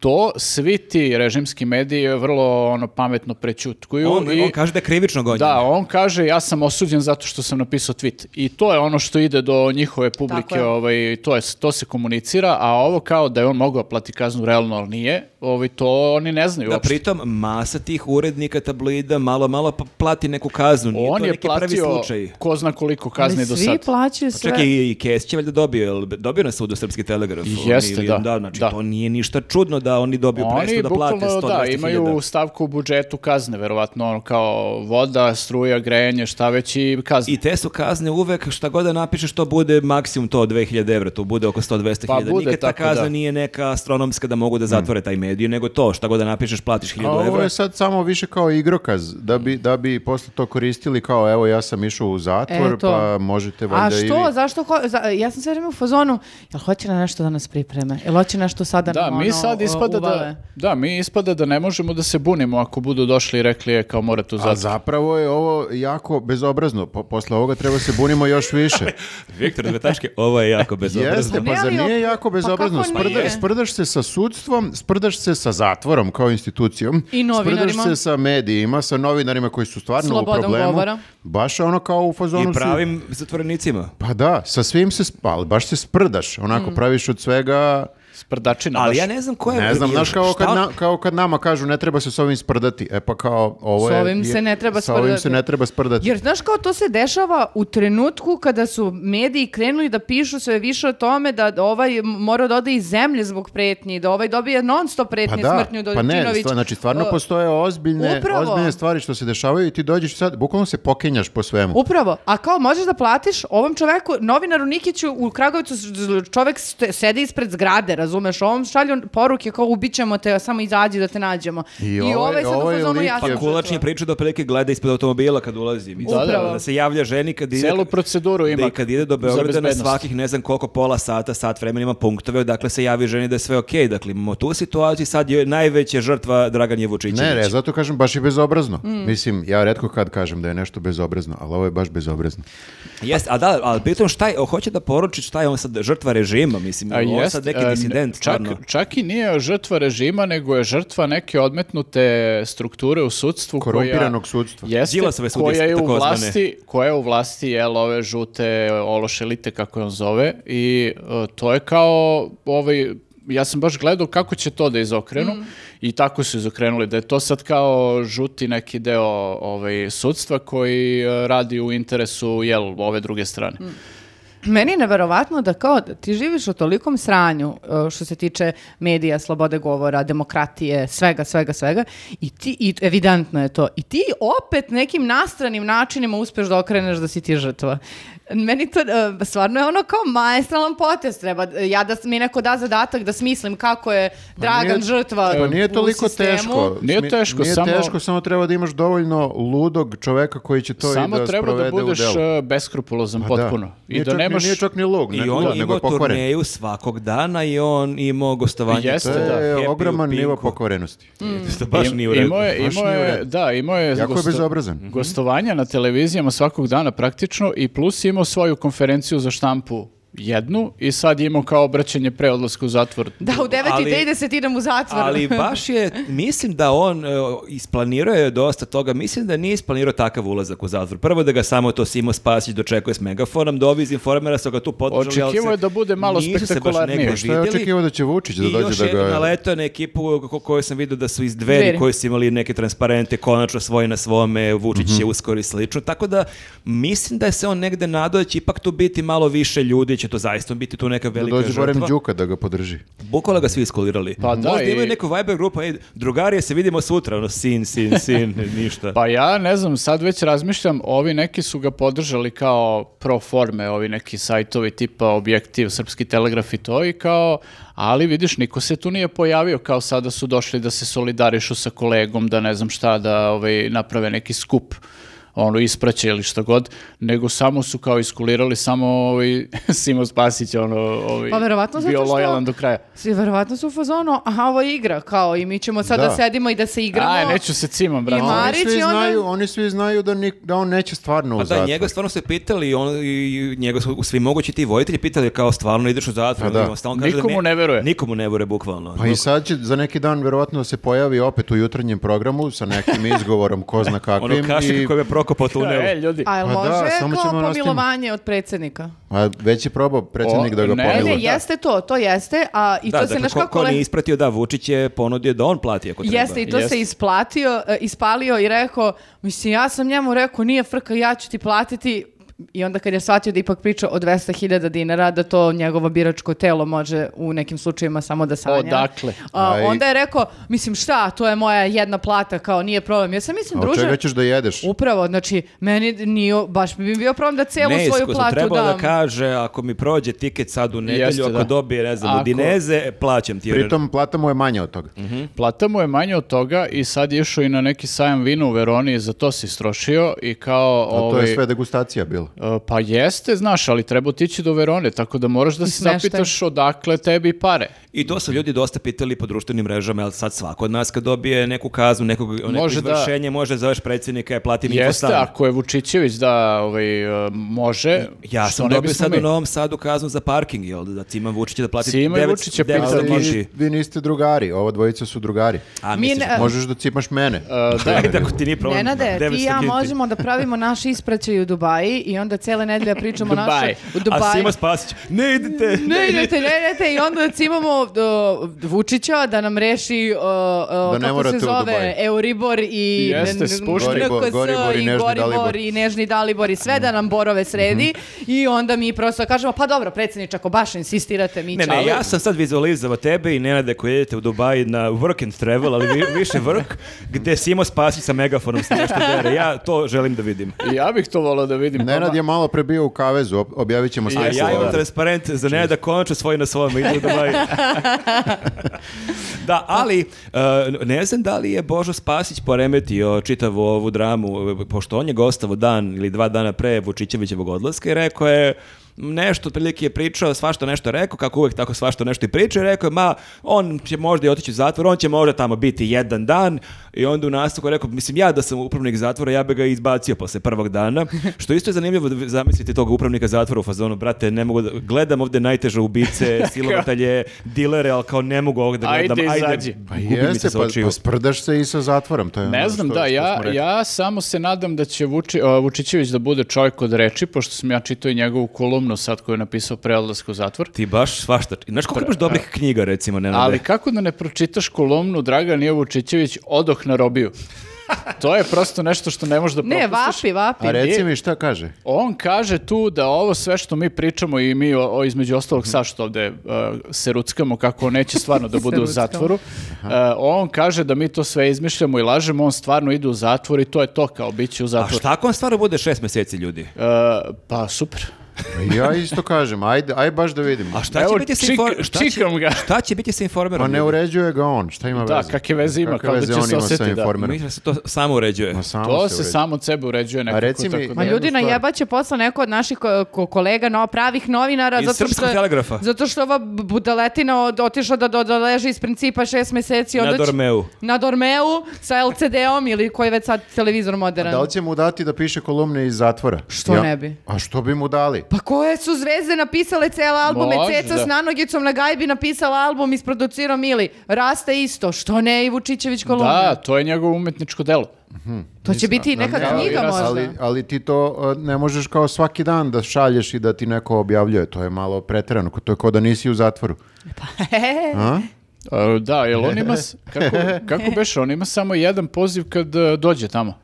A: to svi ti režimski mediji vrlo ono pametno prećutkuju.
D: On,
A: i-
D: on kaže da je krivično gonjen.
A: Da, on kaže ja sam osuđen zato što sam napisao tweet. I to je ono što ide do njihove
C: Tako
A: publike,
C: je.
A: ovaj, to, je, to se komunicira, a ovo kao da je on mogao plati kaznu, realno ali nije, ovaj, to oni ne znaju
D: Da
A: uopšte.
D: pritom masa tih urednika tablida malo malo pa plati neku kaznu, nije
A: on
D: to
A: je
D: neki pravi
A: platio
D: slučaj.
A: ko zna koliko
C: Ali
A: kazni do
C: svi
A: sad.
C: plaćaju
D: Pa
C: sve.
D: Čak i, i Kesić je valjda dobio, jel dobio na sudu Srpski telegraf?
A: Jeste,
D: Ili-
A: da,
D: znači,
A: da.
D: to nije ništa čudno da oni dobiju
A: Oni
D: presudu da plate
A: bukvalno
D: 100
A: da, imaju stavku u budžetu kazne, verovatno, ono kao voda, struja, grejanje, šta već i kazne.
D: I te su kazne uvek, šta god da napišeš, to bude maksimum to 2000 evra, to bude oko 100-200
A: Pa
D: hiljada.
A: bude
D: Nikad ta
A: tako,
D: kazna
A: da. Mm.
D: nije neka astronomska da mogu da zatvore taj medij, nego to, šta god da napišeš, platiš
B: A
D: 1000
B: ovo
D: evra.
B: je sad samo više kao igrokaz, da bi, da bi posle to koristili kao evo ja sam išao u zatvor,
C: Eto.
B: pa možete
C: A
B: valjda i
C: što,
B: vi.
C: zašto, ho- za- ja sam sve vreme u fazonu, jel hoće na nešto da nas pripreme? Jel hoće nešto sada
A: Da,
C: nam
A: mi
C: ono,
A: sad
C: o,
A: ispada da,
C: uvale?
A: da, mi ispada da ne možemo da se bunimo ako budu došli i rekli je kao morate u
B: A
A: zatvor.
B: zapravo je ovo jako bezobrazno, po, posle ovoga treba se bunimo još više.
D: Viktor Zvetaške, ovo
A: <laughs>
D: je jako <laughs> bezobrazno.
B: Jeste,
C: Ne,
B: pa zar
C: ali
B: nije
C: op-
B: jako
C: pa
B: bezobrazno?
C: kako
B: Sprda-
C: nije?
B: sprdaš se sa sudstvom, sprdaš se sa zatvorom kao institucijom.
C: I novinarima.
B: Sprdaš se sa medijima, sa novinarima koji su stvarno
C: Slobodom
B: u problemu.
C: govora.
B: Baš ono kao u fazonu
D: I
B: su-
D: pravim zatvorenicima.
B: Pa da, sa svim se spali, baš se sprdaš, onako
C: Mm.
B: praviš od svega,
A: Sprdačina
D: Ali
A: baš.
D: ja ne znam ko je...
B: ne znam,
D: jel-
B: znaš kao kad,
D: šta-
B: na- kao kad nama kažu ne treba se s ovim sprdati, e pa kao ovo
C: S
B: je...
C: ovim
B: je-
C: se ne treba
B: s ovim se
C: sprdati.
B: ne treba sprdati.
C: Jer znaš kao to se dešava u trenutku kada su mediji krenuli da pišu sve više o tome da ovaj mora da ode iz zemlje zbog pretnji, da ovaj dobije non stop
B: Pa
C: pretnje
B: da,
C: smrtnju do
B: pa ne,
C: Đukanović.
B: stvar- znači stvarno
C: O,
B: postoje ozbiljne,
C: upravo.
B: ozbiljne stvari što se dešavaju i ti dođeš sad, bukvalno se pokenjaš po svemu.
C: Upravo, a kao možeš da platiš ovom čoveku, novinaru Nikiću u Kragovicu, s- z- čovek ste- sedi ispred zgrade, razumeš, ovom šalju poruke kao ubićemo te, samo izađi da te nađemo.
B: I ovaj-
C: sad u
B: ovaj
C: fazonu,
B: lik
C: ja sam
B: je-
D: Pa kulač
C: žrtva.
D: je pričao da otprilike gleda ispod automobila kad ulazi. Mislim,
A: Upravo.
D: da, da se javlja ženi kad ide...
A: Celu proceduru ima
D: Da i kad ide do
A: za
D: Beograda na
A: bezbednost.
D: svakih ne znam koliko pola sata, sat vremena ima punktove, dakle se javi ženi da je sve okej. Dakle, imamo tu situaciju, sad je najveća žrtva Znači, Dragan je Vučićević.
B: Ne, ne, zato kažem baš je bezobrazno.
C: Mm.
B: Mislim, ja redko kad kažem da je nešto bezobrazno, ali ovo je baš bezobrazno.
D: Jeste, a da, ali pritom šta je, hoće da poruči šta je on sad žrtva režima, mislim,
A: A
D: on
A: jest,
D: sad neki
A: e,
D: transcendent,
A: čak,
D: stvarno.
A: čak i nije žrtva režima, nego je žrtva neke odmetnute strukture u sudstvu. koja-
B: Korumpiranog sudstva.
A: Jeste,
D: Đilasove sudije,
A: koja je u
D: takozvane.
A: vlasti, koja je u vlasti jel, ove žute ološelite, kako je on zove, i e, to je kao, ovaj, ja sam baš gledao kako će to da izokrenu i tako su izokrenuli, da je to sad kao žuti neki deo ovaj, sudstva koji e, radi u interesu jel, ove druge strane.
C: Meni je neverovatno da kao da ti živiš u tolikom sranju e, što se tiče medija, slobode govora, demokratije, svega, svega, svega i ti, i evidentno je to, i ti opet nekim nastranim načinima uspeš da okreneš da si ti žrtva. Meni to e, stvarno je ono kao maestralan potez treba. e, Ja da s- mi neko da zadatak da smislim kako je Dragan
B: nije-
C: žrtva
B: Pa nije
C: u
B: toliko
C: sistemu.
B: teško.
A: Nije
B: Smi-
A: teško,
B: nije
A: samo-
B: teško, samo treba da imaš dovoljno ludog čoveka koji će to
A: Samo
B: i da
A: treba da
B: sprovede
A: budeš
B: u delu.
A: e, beskrupulozan
B: Pa da.
A: potpuno. I
B: Nije
A: da
B: čak ni-
A: nemaš...
B: Nije čak ni log,
D: I
B: nego,
D: on je
B: nego
D: imao
B: je pokvaren.
D: turneju svakog dana i on imao gostovanje.
A: Jeste,
D: kod
A: da.
B: To je
D: Happy u
B: ogroman
D: Pinku.
B: nivo pokvarenosti.
D: To baš
A: Mm. Im-
D: nije u redu.
A: Imao je,
B: Baš
A: imao
B: nije u
A: je,
B: redu.
A: da, imao je,
B: Jako je Mhm.
A: gosto-
B: bezobrazan.
A: gostovanja na televizijama svakog dana praktično i plus je imao svoju konferenciju za štampu jednu i sad je imao kao obraćanje pre odlaska u zatvor.
C: Da, u 9.30 idem u zatvor.
D: Ali baš je, mislim da on e, isplanirao je dosta toga, mislim da nije isplanirao takav ulazak u zatvor. Prvo da ga samo to Simo Spasić dočekuje s megafonom, da ovi iz informera su ga tu podržali. ali
A: Očekivao
D: se-
A: je da bude malo
D: nisu se baš
A: spektakularnije.
D: negde
B: Šta je
D: vidjeli.
B: očekivao da će Vučić da
D: I
B: dođe
D: još
B: da ga-
D: jedno naletao je na ekipu ko- koju sam vidio da su iz dveri,
C: Dveri.
D: koji su imali neke transparente, konačno svoje na svome, Vučić
B: Mhm.
D: je uskoro i slično. Tako da mislim da je se on negde nadao da će ipak tu biti malo više ljudi, će to zaista biti tu neka
B: Da
D: velika
B: dođe Goran
D: žrtva.
B: Đuka da ga podrži.
D: Bukvalno ga svi iskolirali.
A: Pa da,
D: Možda
A: i-
D: imaju neku Viber grupu, ej, drugarije se vidimo sutra, ono, sin, sin, sin, ništa.
A: Pa ja ne znam, sad već razmišljam, ovi neki su ga podržali kao pro forme, ovi neki sajtovi tipa Objektiv, Srpski telegraf i to i kao, ali vidiš, niko se tu nije pojavio kao sada su došli da se solidarišu sa kolegom, da ne znam šta, da ovaj, naprave neki skup ono ispraće ili šta god, nego samo su kao iskulirali, samo ovaj, <laughs> Simo Spasić ono, ovaj,
C: Pa verovatno zato
A: bio
C: što-
A: lojalan do kraja.
C: Svi verovatno su u fazonu, aha, ovo je igra, kao i mi ćemo sad da,
B: Da.
C: sedimo i da se igramo.
A: Aj, neću se cimam, brate.
C: Ima-
B: Oni
C: Marić
B: svi
C: i onda-
B: znaju, oni svi znaju da, ni- da on neće stvarno
D: Pa
B: u zatvor.
D: da, njega stvarno se pitali, i on, i njega su svi mogući ti vojitelji pitali kao stvarno ideš u zatvor.
B: Pa da.
D: ono, stalno kaže
A: Nikomu
D: mi-
A: ne veruje.
D: Nikomu ne veruje, bukvalno. Ono,
B: Pa i sad će za neki dan verovatno da se pojavi opet u jutarnjem programu sa nekim izgovorom ko zna
D: ono
B: kakvim.
D: kašik
B: i-
D: koji je prokopao tunel.
A: E, ljudi.
C: A jel
B: Pa da,
C: može
B: samo
C: kao
B: ćemo nastaviti.
C: pomilovanje od predsjednika?
B: A već je probao predsjednik
A: O,
B: da ga
A: ne,
C: Ne, ne,
B: pomiluje.
A: je-
C: jeste to, to jeste, a i
D: da,
C: to se
D: dakle,
C: naš
D: ko,
C: kako...
D: ko nije ispratio, da, Vučić je ponudio da on plati ako treba.
C: Jeste, i to
A: Jeste.
C: se isplatio, e, ispalio i rekao, mislim, ja sam njemu rekao, nije frka, ja ću ti platiti. I onda kad je shvatio da ipak priča o 200.000 dinara, da to njegovo biračko telo može u nekim slučajevima samo da sanja.
A: Odakle?
C: A,
B: Aj.
C: onda je rekao, mislim, šta, to je moja jedna plata, kao nije problem. Ja sam
B: A
C: mislim,
B: od
C: druže,
B: čega ćeš da jedeš?
C: Upravo, znači, meni nije, baš bi mi bio problem da celu svoju
D: Neiskusno,
C: platu
D: trebao da
C: dam.
D: kaže ako mi prođe tiket sad u
A: Jeste,
D: nedelju, ako
A: da.
D: dobije, ne znam,
A: Ako-
D: u dineze, e, plaćam ti. jer-
B: Pritom plata mu je manja od toga.
A: Plata mu je manje od toga i sad je išao i na neki sajam vina u Veroni i za to se istrošio i kao...
B: A to
A: ovaj,
B: je sve degustacija bila.
A: e, Pa jeste, znaš, ali treba otići do Verone, tako da moraš da se
C: smeštaj.
A: zapitaš odakle tebi pare.
D: I to su ljudi dosta pitali po društvenim mrežama, ali sad svako od nas kad dobije neku kaznu, nekog, neko
A: Može da-
D: izvršenje, može zoveš predsjednika, ja platim
A: Jeste,
D: infostan.
A: ako je Vučićević da ovaj, e, može,
D: Ja
A: što
D: sam
A: ne
D: dobio
A: bismo
D: sad
A: mi?
D: u
B: ono-
D: Novom Sadu kaznu za parking, jel? Da Ciman Vučić da plati
A: Cima i
D: 900
A: Vučić je
D: 900
A: pitali-
D: moži.
B: vi, vi niste drugari, ova dvojica su drugari.
D: A,
C: Mi
D: misliš,
C: ne-
B: Možeš da cipaš mene.
A: E, da,
D: Ajde, ako ti nije problem.
C: Nenade, ti i
D: 900
C: ja
D: kinti.
C: možemo da pravimo naš ispraćaj u Dubaji i onda cele nedelje pričamo
A: Dubai.
C: naše... U
D: A
C: Dubaji.
D: Simo Spasić, ne idete!
C: Ne idete, ne idete i onda imamo Vučića da nam reši, uh, uh,
B: ne
C: kako se
B: morate u
C: zove,
B: Dubai.
C: Euribor i
A: Jeste,
C: n- n-
A: spušti.
B: Goribor,
C: NKS
B: Goribor i
C: i
B: Nežni
C: Goribor
B: Dalibor.
C: i Nežni Dalibor i sve da
D: Mhm.
C: nam borove sredi i onda mi prosto kažemo, pa dobro, predsjedniče, ako baš insistirate, mi
D: Ne,
C: ćemo.
D: ne, ja sam sad vizualizovao tebe i Nenade koji idete u Dubai na work and travel, ali vi- više work, gde Simo Spasić sa megafonom se nešto dere. Ja to želim da vidim.
A: ja bih to volao da vidim.
B: Nenad je malo prebio u kavezu, ob- objavit ćemo
D: A
B: sliku
D: ja imam
B: ovde.
D: transparent za ne da konačno svoj na svome idu u Dubai. da, ali e, ne znam da li je Božo Spasić poremetio čitavu ovu dramu, e, pošto on je gostavo dan ili dva dana pre Vučićevićevog odlaska i rekao je nešto otprilike je pričao, svašta nešto rekao, kako uvek tako svašta nešto i pričao i rekao je, ma, on će možda i otići u zatvor, on će možda tamo biti jedan dan i onda u nastavku je rekao, mislim, ja da sam upravnik zatvora, ja bi ga izbacio posle prvog dana, što isto je zanimljivo da zamisliti tog upravnika zatvora u fazonu, brate, ne mogu da, gledam ovde najteže ubice, silovatelje, dilere, ali kao ne mogu ovog da
A: Ajde,
D: gledam, ajde,
A: izađi.
B: Pa
D: gubi mi se
B: jeste,
D: sa
B: pa,
D: očiju.
B: pa sprdaš se i sa zatvorom. To je ono
A: Ne znam,
B: što-
A: da,
B: što
A: ja,
B: smo rekli.
A: ja samo se nadam da će Vuči, a, Vučićević da bude čovjek od reči, pošto sam ja čitao i njegovu kolumnu sad koju je napisao pre odlaska u zatvor.
D: Ti baš svašta. Znaš koliko imaš dobrih knjiga, recimo, ne
A: Ali kako da ne pročitaš kolumnu Dragan je Vučićević odoh na robiju? To je prosto nešto što ne možeš da
C: Ne,
A: propustiš.
C: vapi, vapi.
B: A reci
A: nije-
B: mi šta kaže?
A: On kaže tu da ovo sve što mi pričamo i mi o, o- između ostalog sa što ovde uh, se ruckamo kako on neće stvarno
C: <laughs>
A: da bude u
C: ruckamo.
A: zatvoru. uh, on kaže da mi to sve izmišljamo i lažemo, on stvarno ide u zatvor i to je to kao bit će u
D: A
A: zatvoru.
D: šta ako on stvarno bude šest mjeseci, ljudi?
A: Uh, pa super.
B: Pa Ja isto kažem, ajde, aj baš da vidimo.
D: A šta
A: Evo,
D: će biti sa
A: čik-
D: inform- šta će-
A: čikam ga.
D: Šta će biti sa
B: Pa
D: informerom?
B: ne uređuje ga on, šta ima
A: Da,
B: veze?
A: kakve veze ima,
B: Kakve
A: kao da
B: veze
A: će
B: on
A: se
B: ima sa
A: osjetiti, da.
B: informerom?
D: Mislim da se to samo uređuje.
B: Ma samo
A: To se
B: uredi.
A: samo od sebe uređuje nekako.
B: reci mi-
A: tako da-
C: Ma ljudi
B: jednu stvar.
C: najebaće posla neko od naših ko- ko- kolega, no, pravih novinara.
D: Iz
C: zato što,
D: Srpskog telegrafa.
C: Zato što ova b- budaletina od, otišla da, do- da leži iz principa šest meseci.
D: Na
C: onda će-
D: Dormeu.
C: Na Dormeu sa LCD-om ili koji je već sad televizor modern.
B: Da li će mu dati da piše kolumne iz zatvora?
C: Što ne bi?
B: A što bi mu dali?
C: Pa koje su zvezde napisale cele albume,
A: Može,
C: Ceca
A: da.
C: s nanogicom na gajbi napisala album, isproducirao Mili, Rasta isto, što ne i Vučićević kolumna.
A: Da, to je njegovo umetničko delo.
C: to će biti i neka
B: Ne, ali-
C: E, knjiga možda.
B: Ali, ali ti to uh, ne možeš kao svaki dan da šalješ i da ti neko objavljuje. To je malo preterano. To je kao da nisi u zatvoru.
C: Pa,
B: A?
A: E, Da, jel on ima,
D: <laughs>
A: s- kako, kako beše, on ima samo jedan poziv kad e, dođe tamo.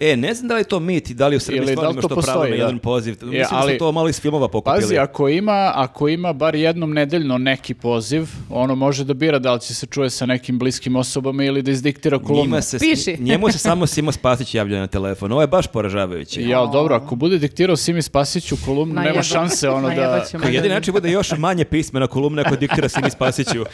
D: E, ne znam da li je to mit i da li u Srbiji
A: Ili da li
D: stvarno ima
A: to
D: što pravo
A: postoji,
D: na
A: da.
D: jedan poziv.
A: Je,
D: Mislim da su
A: ali-
D: to malo iz filmova pokupili.
A: Pazi, ako ima, ako ima bar jednom nedeljno neki poziv, ono može da bira da li će se čuje sa nekim bliskim osobama ili da izdiktira kolumnu.
D: Njima se,
C: Piši.
D: njemu
A: <laughs>
D: se samo Simo Spasić javlja na telefon. Ovo je baš poražavajući.
A: Ja, dobro, ako bude diktirao Simi Spasiću kolumnu, nema
C: Najeba-
A: šanse ono da...
C: najebaćemo
D: Kao
C: ga.
D: jedini način bude još manje pismena kolumna ako diktira Simi Spasiću.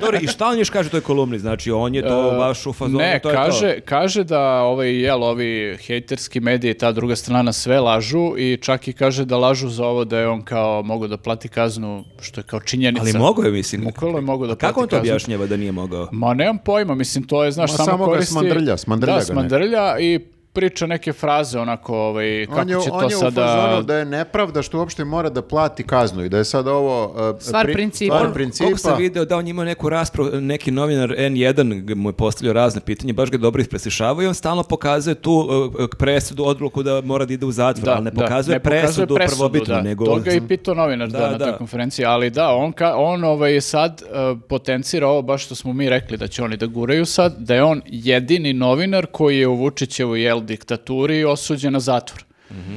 D: Dobro, i šta on još kaže u toj kolumni? Znači, on je to baš u fazonu.
A: Ne,
D: to je to.
A: kaže, kaže da ovaj, jel, ovi hejterski mediji, ta druga strana sve lažu i čak i kaže da lažu za ovo da je on kao mogu da plati kaznu, što je kao činjenica.
D: Ali mogu je, mislim.
A: Bukvalno je mogao da
D: A Kako
A: plati
D: on to
A: kaznu.
D: objašnjava da nije mogao?
A: Ma nemam pojma, mislim to je, znaš,
B: Ma,
A: samo,
B: samo ga
A: koristi...
B: smandrlja, smandrlja
A: da,
B: ga
A: smandrlja i priča neke fraze onako, ovaj, kako
B: On je,
A: će
B: on
A: to
B: je u
A: sada...
B: fazonu da je nepravda što uopšte mora da plati kaznu i da je sad ovo... uh,
C: Stvar principa.
B: Stvar
C: On-
D: Koliko sam
B: principa.
D: video da on imao neku raspravu, neki novinar N1 g- mu je postavljao razne pitanje, baš ga dobro ispresišavao i on stalno pokazuje tu uh, presudu, odluku da mora da ide u zatvor, ali ne pokazuje, presudu, prvobitnu,
A: da.
D: nego...
A: To ga je i pitao novinar da,
D: Da,
A: na
D: da.
A: toj konferenciji, ali da, on, ka, on ovaj, sad uh, potencira ovo baš što smo mi rekli da će oni da guraju sad, da je on jedini novinar koji je u Vučićevoj jel, diktaturi osuđen na zatvor.
D: Mhm.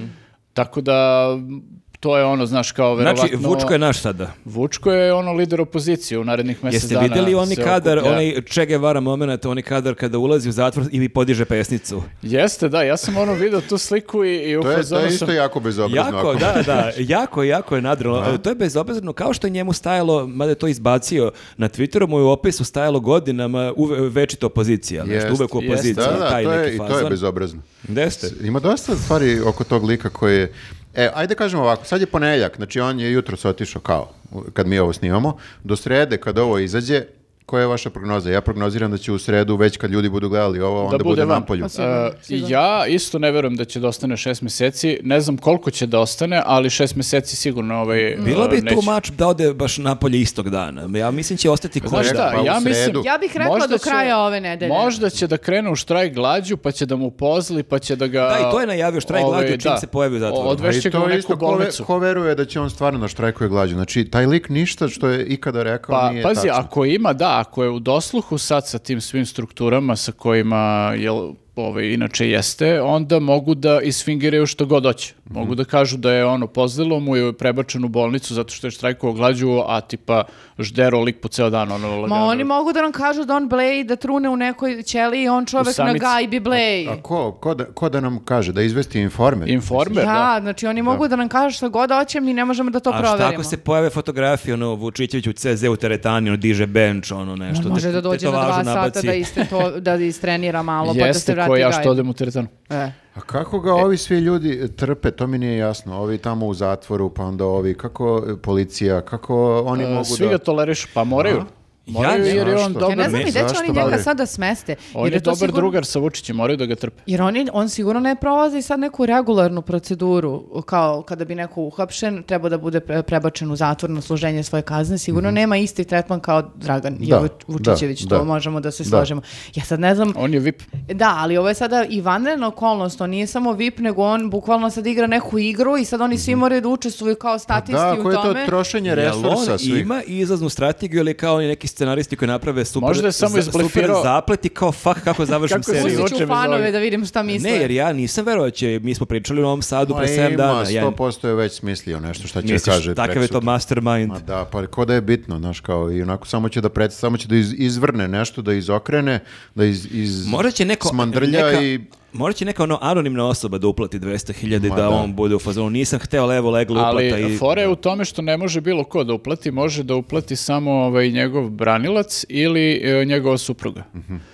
A: Tako da m, to je ono, znaš, kao verovatno...
D: Znači, Vučko je naš sada.
A: Vučko je ono lider opozicije u narednih mjesec
D: Jeste
A: dana.
D: vidjeli oni
A: se
D: kadar,
A: okuplja.
D: onaj Che Guevara moment, oni kadar kada ulazi u zatvor i mi podiže pesnicu.
A: Jeste, da, ja sam ono vidio tu sliku i, i u
B: To je, to
A: fazonu
B: je
A: sam-
B: isto jako bezobrazno.
D: Jako,
B: ako-
D: da,
B: <laughs>
D: da, jako, jako je nadralo. E, To je bezobrazno, kao što je njemu stajalo, mada je to izbacio, na Twitteru mu je u opisu stajalo godinama uve, večito opozicija, nešto,
B: Jest,
D: uvek u
A: jest.
D: opoziciji,
B: Da, da,
D: taj
B: to je,
D: neki
B: i to je
D: fazon.
B: bezobrazno.
D: Gde ste?
C: Mm.
B: Ima dosta stvari oko tog lika koji je... E, ajde kažemo ovako, sad je ponedjeljak, znači on je jutro se otišao kao, u- kad mi ovo snimamo, do srede kad ovo izađe, koja je vaša prognoza? Ja prognoziram da će u sredu, već kad ljudi budu gledali ovo, onda
A: bude
B: bude
A: van.
B: napolju.
C: Pa sigurno,
A: E,
C: sigurno.
A: ja isto ne verujem da će da ostane šest mjeseci, ne znam koliko će da ostane, ali šest mjeseci sigurno ovaj,
C: Mm.
D: Bilo
A: e,
D: bi
A: neće.
D: tu mač da ode baš napolje istog dana. Ja mislim će ostati koji
A: Znaš
B: Da,
A: šta,
B: pa u
A: ja mislim...
B: sredu.
C: Ja bih rekla
A: možda
C: do
A: će-
C: kraja ove nedelje.
A: Možda će da krenu u štrajk glađu, pa će da mu pozli, pa će da ga...
D: Da, i to je najavio štrajk
A: ovaj,
D: glađu čim
A: da,
D: se pojavi u zatvoru.
B: A Pa i
A: Odvešće ga
B: to
A: u
B: je
A: neku
B: isto ko, ve-
A: bolnicu.
B: ko veruje da će on stvarno na štrajku i glađu. Znači, taj lik ništa što je ikada rekao
A: Pa,
B: nije
A: pazi,
B: tačno.
A: ako ima, da, ako je u dosluhu sad sa tim svim strukturama sa kojima, jel, ovaj, inače jeste, onda mogu da isfingiraju što god hoće.
C: Mhm.
A: Mogu da kažu da je ono pozdelo mu je prebačen u bolnicu zato što je štrajkovao glađu, a tipa ždero lik po ceo dan. Ono,
C: Ma
A: lagano.
C: oni mogu da nam kažu da on bleji, da trune u nekoj ćeliji, on čovek na
A: samici.
C: gajbi bleji.
B: A ko, ko, da, ko da nam kaže? Da izvesti informer?
A: Informer, da.
C: Da, znači oni mogu da nam kažu šta god hoće, mi ne možemo da to
D: A
C: proverimo.
D: šta ako se pojave fotografije, ono, Vučićević u CZ u teretani, ono, diže bench, ono, nešto.
C: On može
D: te-
C: da dođe na dva
D: tetovažu
C: sata
D: nabaci.
C: da, iste to, da istrenira malo, pa da se
A: Jeste
C: vrati
A: ko ja
C: gajbi.
A: što odem u teretanu.
C: E.
B: A kako ga ovi svi ljudi e, trpe, to mi nije jasno. Ovi tamo u zatvoru, pa onda ovi, kako e, policija, kako oni
A: E,
B: mogu
A: Svi
B: da...
A: ga tolerišu, pa moraju.
B: Aha.
A: Moraju
D: Ja ne
A: jer je on
B: znam što.
C: Ja
A: dobar,
C: ne znam i gde će
B: Zašto
C: oni njega
B: vade?
C: sada smeste.
A: on
C: jer
A: je
C: to
A: dobar
C: sigurno-
A: drugar sa Vučićem, moraju da ga trpe.
C: Jer on, je- on sigurno ne prolazi sad neku regularnu proceduru, kao kada bi neko uhapšen, treba da bude pre- prebačen u zatvor na služenje svoje kazne, sigurno nema isti tretman kao Dragan Jović- Vučićević,
B: da,
C: to
B: da.
C: možemo da se
B: Da.
C: složimo. Ja sad ne znam,
A: On je VIP.
C: da, ali ovo je sada i vanredna okolnost, to nije samo VIP, nego on bukvalno sad igra neku igru i sad oni svi moraju da učestvuju kao statisti
B: Da,
C: u
B: koje je to
C: tome.
B: trošenje
D: Jel
B: resursa
D: on
B: svih?
D: ima izlaznu strategiju ili kao oni neki scenaristi koji naprave super,
A: Možda je samo
D: za- super
A: izblefirao-
D: zapleti kao fuck kako završim
A: <laughs> Kako se
D: seriju.
A: izvuče?
C: Pustit
A: Zvuče
C: ću
A: bez
C: fanove
A: ovih.
C: da vidim šta misle.
D: Ne, jer ja nisam verovao da će, mi smo pričali u Novom Sadu pre 7
B: ima,
D: dana. Ja,
B: 100% je već smislio nešto šta će da
D: misliš,
B: kaže.
D: takav je to
B: prekosutra.
D: mastermind.
B: Ma da, pa ko da je bitno, znaš, kao i onako samo će da pred, samo će da iz- izvrne nešto, da izokrene, da iz, iz
D: Možda će neko,
B: smandrlja
D: neka,
B: i...
D: možda će neka ono anonimna osoba da uplati 200.000 i
B: Ma
D: da,
B: da.
D: on bude u fazonu. Nisam hteo levo leglo uplata
A: Ali
D: i...
A: fora je u tome što ne može bilo ko da uplati, može da uplati samo ovaj, njegov branilac ili e, njegova supruga.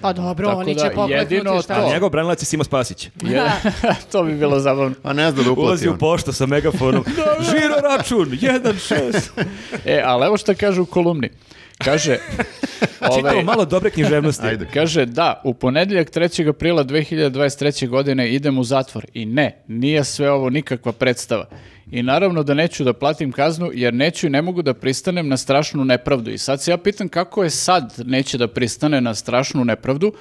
C: Pa dobro,
A: Tako
C: oni
A: da,
C: će pokretnuti
A: jedino
C: šta
A: to.
D: A
C: će.
D: njegov branilac je Simo Spasić.
A: Je- <laughs> to bi bilo zabavno.
B: A ne zna da uplati ono.
D: Ulazi
B: on.
D: u poštu sa
A: <laughs>
D: megafonom. Žiro račun, 1.6.
A: E, ali evo šta kaže u kolumni. Kaže,
D: Čitamo
A: ovaj,
D: malo dobre književnosti.
B: Ajde.
A: kaže da, u ponedjeljak 3. aprila 2023. godine idem u zatvor. I ne, nije sve ovo nikakva predstava. I naravno da neću da platim kaznu jer neću i ne mogu da pristanem na strašnu nepravdu. I sad se ja pitam kako je sad neće da pristane na strašnu nepravdu,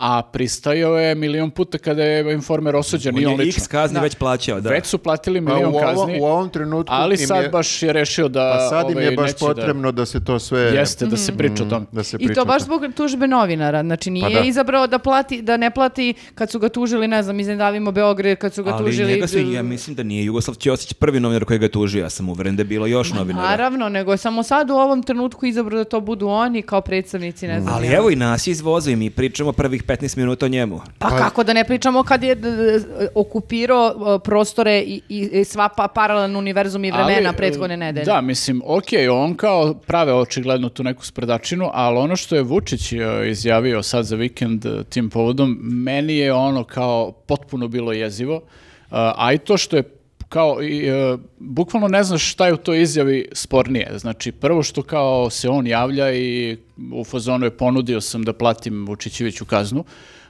A: a pristajao je milion puta kada je informer osuđen i on
D: On je
A: lično.
D: x kazni
C: Da.
D: već plaćao. Da.
A: Već su platili
B: Pa
A: milion
B: u, ovo-
A: kazni,
B: u ovom trenutku
A: ali
B: im
A: sad
B: je,
A: baš je rešio da...
B: pa sad im
A: ovaj,
B: je baš
A: neće da-
B: potrebno da... se to sve... Mm,
A: Jeste, da se priča o tome.
B: Da se
C: I
B: priča
C: to
B: o
C: baš
B: tome.
C: zbog tužbe novinara. Znači nije
B: da.
C: izabrao da plati, da ne plati kad su ga tužili, ne znam, iznedavimo Beograd, kad su ga
D: Ali
C: tužili.
D: njega su, ja mislim da nije Jugoslav Ćosić prvi novinar koji ga je tužio, ja sam uveren da je bilo još novinara.
C: Naravno, nego je samo sad u ovom trenutku izabrao da to budu oni kao predstavnici, ne znam.
D: Ali
C: ja.
D: evo i nas je izvozio i mi pričamo prvih 15 minuta o njemu.
C: Pa kako da ne pričamo kad je d- d- okupirao e, prostore i, i- i sva pa, paralelni univerzum i vremena
A: Ali,
C: prethodne
A: e,
C: nedelje.
A: Da, mislim, okej, on kao prave očigledno tu neku sprdačinu, ali ono što je Vučić e, izjavio sad za vikend e, tim povodom, meni je ono kao potpuno bilo jezivo, E, a i to što je kao, i, e, bukvalno ne znaš šta je u toj izjavi spornije. Znači, prvo što kao se on javlja i u fazonu je ponudio sam da platim Vučićeviću kaznu,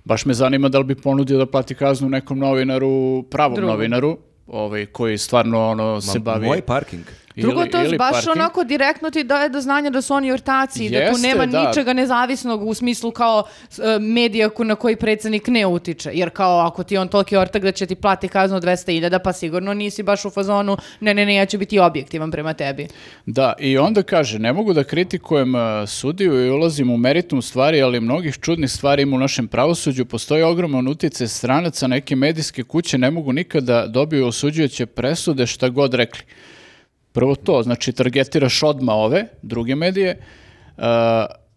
A: baš me zanima da li bi ponudio da plati kaznu nekom novinaru, pravom
C: Drugom.
A: novinaru, ovaj, koji stvarno ono, se bavi...
D: Moj parking.
C: Drugo,
A: Ili-
C: to
A: ili
C: baš
A: parking.
C: onako direktno ti daje do znanja da su oni ortaci i da tu
A: Jeste,
C: nema
A: da.
C: ničega nezavisnog u smislu kao s- e, medija ko- na koji predsjednik ne utiče. Jer kao ako ti je on toliki ortak da će ti plati kaznu od 200.000, pa sigurno nisi baš u fazonu ne, ne, ne, ja ću biti objektivan prema tebi.
A: Da, i onda kaže, ne mogu da kritikujem e, sudiju i ulazim u meritum stvari, ali mnogih čudnih stvari ima u našem pravosuđu. Postoji ogroman utjecaj stranaca, neke medijske kuće ne mogu nikada dobiju osuđujuće presude šta god rekli. Prvo to, znači targetiraš odma ove, druge medije, e,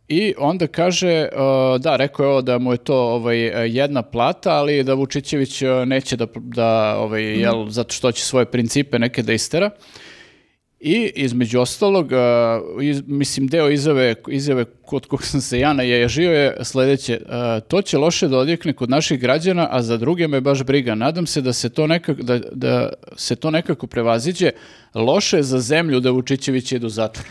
A: i onda kaže, e, da, rekao je ovo da mu je to ovaj, e, jedna plata, ali da Vučićević e, neće da, da ovaj, jel, zato što će svoje principe neke da istera. I između ostalog, a, iz- mislim, deo izjave, izjave kod kog sam se ja naježio je sledeće. a, to će loše da odjekne kod naših građana, a za druge me baš briga. Nadam se da se to nekako, da, da se to nekako prevaziđe. Loše je za zemlju da Vučićević ide u
D: <laughs>
A: zatvor.